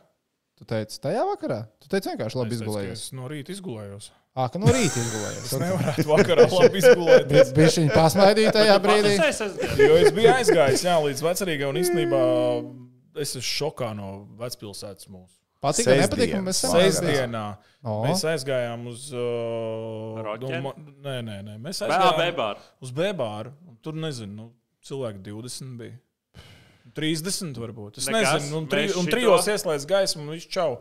S2: Tu teici, tajā vakarā? Tu teici, vienkārši labi
S5: Es teicu, ka
S2: izgulējies.
S5: Es no rīta izgulējos.
S2: Ā, ka no rīta izgulējies.
S5: Es nevarētu vakarā labi izgulēties.
S2: Bija viņa pasmaidīja tajā brīdī.
S3: Es esmu
S5: Jo es biju aizgājis jā, līdz vecrīgai, un īstenībā es esmu šokā no vecpilsētas mūsu.
S2: Patīk,
S1: Sestdien.
S2: nepatīk, un mēs
S5: Sēdesdienā
S2: O.
S5: mēs aizgājām uz. Uh,
S3: Roķe?
S5: ma- nē, nē, nē, mēs
S3: Bēlā
S5: aizgājām
S3: bebā.
S5: uz Bēbāru. un Tur nezinu, nu, cilvēki 20 bija. 30 varbūt. Es
S3: Nekas,
S5: nezinu, un, tri,
S3: mēs
S5: un
S3: šito-
S5: trijos ieslēdz gaismu, un viss čau.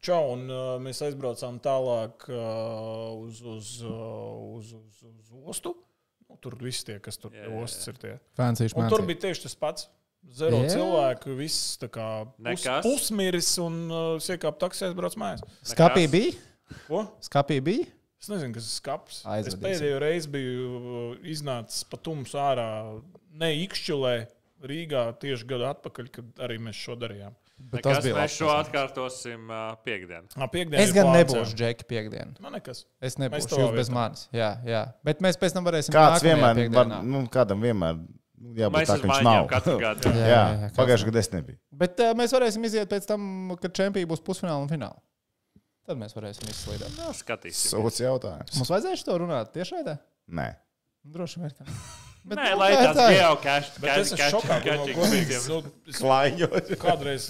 S5: čau un, uh, mēs aizbraucām tālāk uh, uz, uz, uh, uz, uz, uz ostu. Nu, tur viss tie, kas tur
S3: Jā,
S5: jā,
S3: jā,
S5: ostas ir tie.
S2: Fancīši
S5: Un tur
S2: mācīja.
S5: bija tieši tas pats. Zero
S2: Jā.
S5: yeah. cilvēku, viss tā kā pus,
S3: Nekas.
S5: pusmiris un uh, iekāpa taksē, brauc mājās.
S2: Skapī bija?
S5: Ko?
S2: Skapī bija?
S5: Es nezinu, kas ir skats. Es
S2: Aizvedīsim.
S5: pēdējo reizi biju uh, iznācis pa tumsu ārā, ne Ikšķulē, Rīgā tieši gadu atpakaļ, kad arī mēs šo darījām.
S2: Bet tas bija
S3: Mēs
S2: labi.
S3: šo atkārtosim ā, piekdien.
S5: Nā, piekdien
S2: Es
S5: ir
S2: gan
S5: plāns,
S2: nebūšu
S5: jā.
S2: Džeki piekdien.
S5: Man nekas.
S2: Es
S5: Mēs
S2: nebūšu
S5: tavā
S2: jūs bez
S5: vietā.
S2: manis. Jā, jā. Bet mēs pēc tam varēsim.
S1: Kāds
S2: nākamajā
S1: vienmēr, var,
S2: piekdienā.
S1: nu, kādam vienmēr nu, jābūt
S3: Mēs
S1: tā, ka
S3: esam
S1: viņš
S3: maiņām
S1: nav.
S3: katru gadu.
S2: Jā,
S1: Jā,
S2: jā, kāds
S1: pagājušajā gadā es nebiju.
S2: Bet uh, mēs varēsim iziet pēc tam, kad čempions būs pusfinālā un finālā. Tad mēs varēsim izslīdēt.
S3: Nu, Skatīsim.
S1: Sūds jautājums.
S2: Mums vajadzēja šo runāt tiešai tā?
S1: Nē.
S2: Droši vien tā. Bet,
S3: Nē,
S2: nu,
S3: lai
S2: tā ir
S3: tāds
S2: tā.
S3: geokašķis.
S5: Bet es esmu šokā, ka no godīgas.
S3: Kāds
S5: nu, es
S1: Klājot.
S5: Kādreiz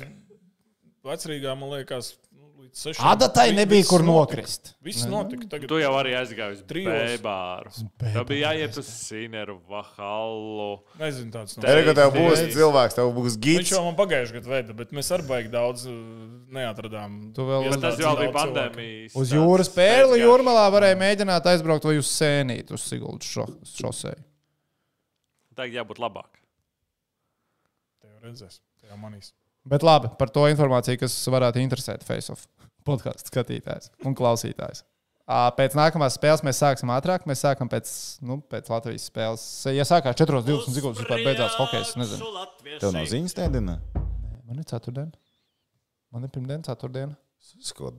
S5: vecrīgā man liekas, nu, līdz sešiem.
S2: Adatai
S5: vi-
S2: nebija
S5: viss
S2: kur
S5: notika.
S2: nokrist.
S5: Viss notika. Tagad
S3: Tu jau arī aizgāji uz
S5: Trijos.
S3: Bēbāru. Tā bija jāiet uz Sineru, Vahalu.
S5: nezinu tāds. No.
S1: Erika, tev būs
S3: Reiz.
S1: cilvēks, tev būs
S5: Viņš
S1: gids.
S5: jau man pagājušajā gadā veda, bet mēs arī baigi daudz uh, neatradām.
S2: Tu vēl-
S3: Bet
S5: iestādes
S3: tas jau
S5: un
S3: bija
S5: daudz cilvēku.
S3: pandēmijas.
S2: Uz
S3: tāds
S2: jūras pērli
S3: pēcgājums.
S2: jūrmalā varēja mēģināt aizbraukt vai uz sēnīti uz Siguldas šo, šoseju.
S3: Tagad jābūt labāk.
S5: Te jau redzēs, te jau manīs.
S2: Bet labi, par to informāciju, kas varētu interesēt Faceoff podkāstu skatītājs un klausītājs. Ā, Pēc nākamās spēles mēs sāksim ātrāk. Mēs sākam pēc, nu, pēc Latvijas spēles. Ja sākās 4.20 sekundes, vispār beidzās hockey. Es nezinu,
S1: Tev nav ziņas tēdienā?
S2: man ir ceturtdiena. Man ir Nu, pirmdiena, ceturtdiena.
S1: Skot.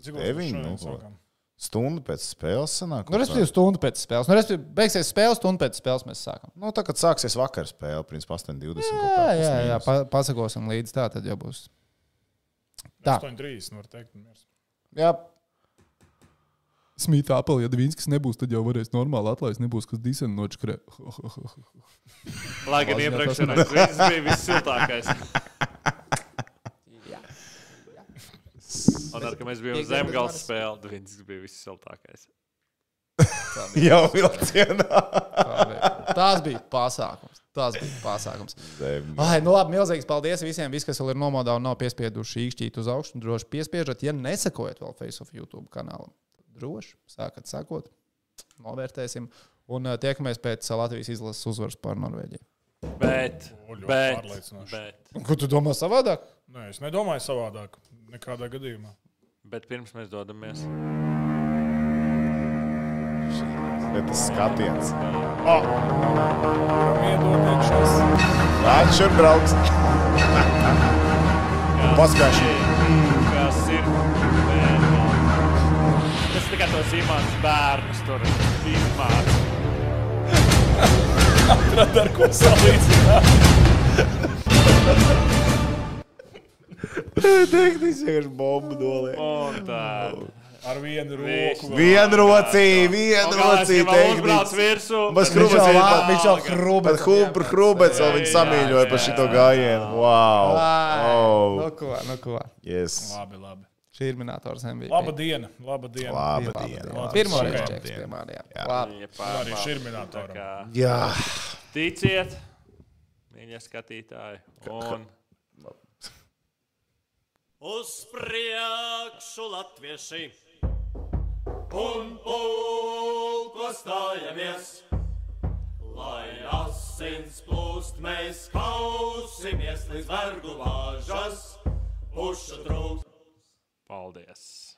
S5: Cik
S1: Deviņi, nu, ko? Stundu pēc spēles sanāk.
S2: Nu, respektīvi, stundu pēc spēles. Nu, respektīvi, beigsies spēle, stundu pēc spēles mēs sākam.
S1: Nu, tā kā sāksies vakar spēle, principā 8.20. kaut
S2: Jā,
S1: kā,
S2: jā, jā
S1: pusmīnus.
S2: pa, pasakosim līdzi. Tā tad jau būs. Tā.
S5: 8,30 nu, var teikt. un miers.
S1: jā.
S2: Smita apelsīna, ja Dvīnskis nebūs, tad jau varēs normāli atlaist. Nebūs, kas dīsen nočkrē.
S3: Lai gan iepriekšējais brīdis bija vissiltākais. Un ar, ka mēs bijām zemgāles spēlē, Dvīns bija vissiltākais.
S1: Jau vilcienā.
S2: Tās bija pasākums. Tās bija pasākums. Ai, nu labi, milzīgs paldies visiem, vis, kas vēl ir nomodā un nav piespieduši īkšķīt uz augšu. Droši piespiežat, ja nesakojat vēl Face of YouTube kanālam. tad Droši sākat sakot, novērtēsim un ā, tiekamies pēc ā, Latvijas izlases uzvaras pār Norvēģiju.
S3: Bet,
S5: O, ļoti
S3: bet,
S5: pārliecinoši.
S3: bet,
S2: Ko tu domā savādāk?
S5: Nē, es nedomāju savādāk. Nekādā gadījumā.
S3: bet pirms mēs dodamies.
S1: Bet tas skatiens.
S5: Iedodiet,
S1: Nāc šur brauks. Paskaidro.
S3: Kas ir bērns? Tas tikai tos imants bērnus tur izmāca.
S5: ar ko salīdzināt.
S1: Tehniski vienkārši bombu dolē.
S3: Un tā.
S5: Ar vienu roku. vēl.
S1: Vienrocī, vienrocī
S3: Uzbrauc
S1: tehniski.
S3: virsū.
S1: Bez
S3: bet
S1: krūmas
S3: viņš
S1: ir
S3: jau
S1: pat- viņš jau
S3: alga.
S1: krūbets. Hubr krūbets vēl viņu
S3: Jā,
S1: samīļoja par
S3: jā.
S1: šito gājienu. Wow.
S2: Nu,
S1: Oh.
S2: ko, nu, ko.
S1: Yes.
S5: Labi, labi.
S2: Šī ir minētors MVP.
S5: Laba diena. Laba diena.
S1: Laba
S2: Laba diena.
S1: diena.
S2: Pirmo
S5: Labi.
S2: reizi
S5: Šajā
S2: čeks pie maniem.
S1: Jā.
S2: Labi.
S3: Jā,
S5: Jā, arī
S3: pārbaud. Tā
S5: šurminātoram.
S3: kā
S1: Jā.
S3: Ticiet, mīļie skatītāji. Un
S4: Uz priekšu latvieši, un pulko stājamies, lai asins plūst, mēs kausimies līdz vergu vāžas, pušu trūkst.
S3: paldies!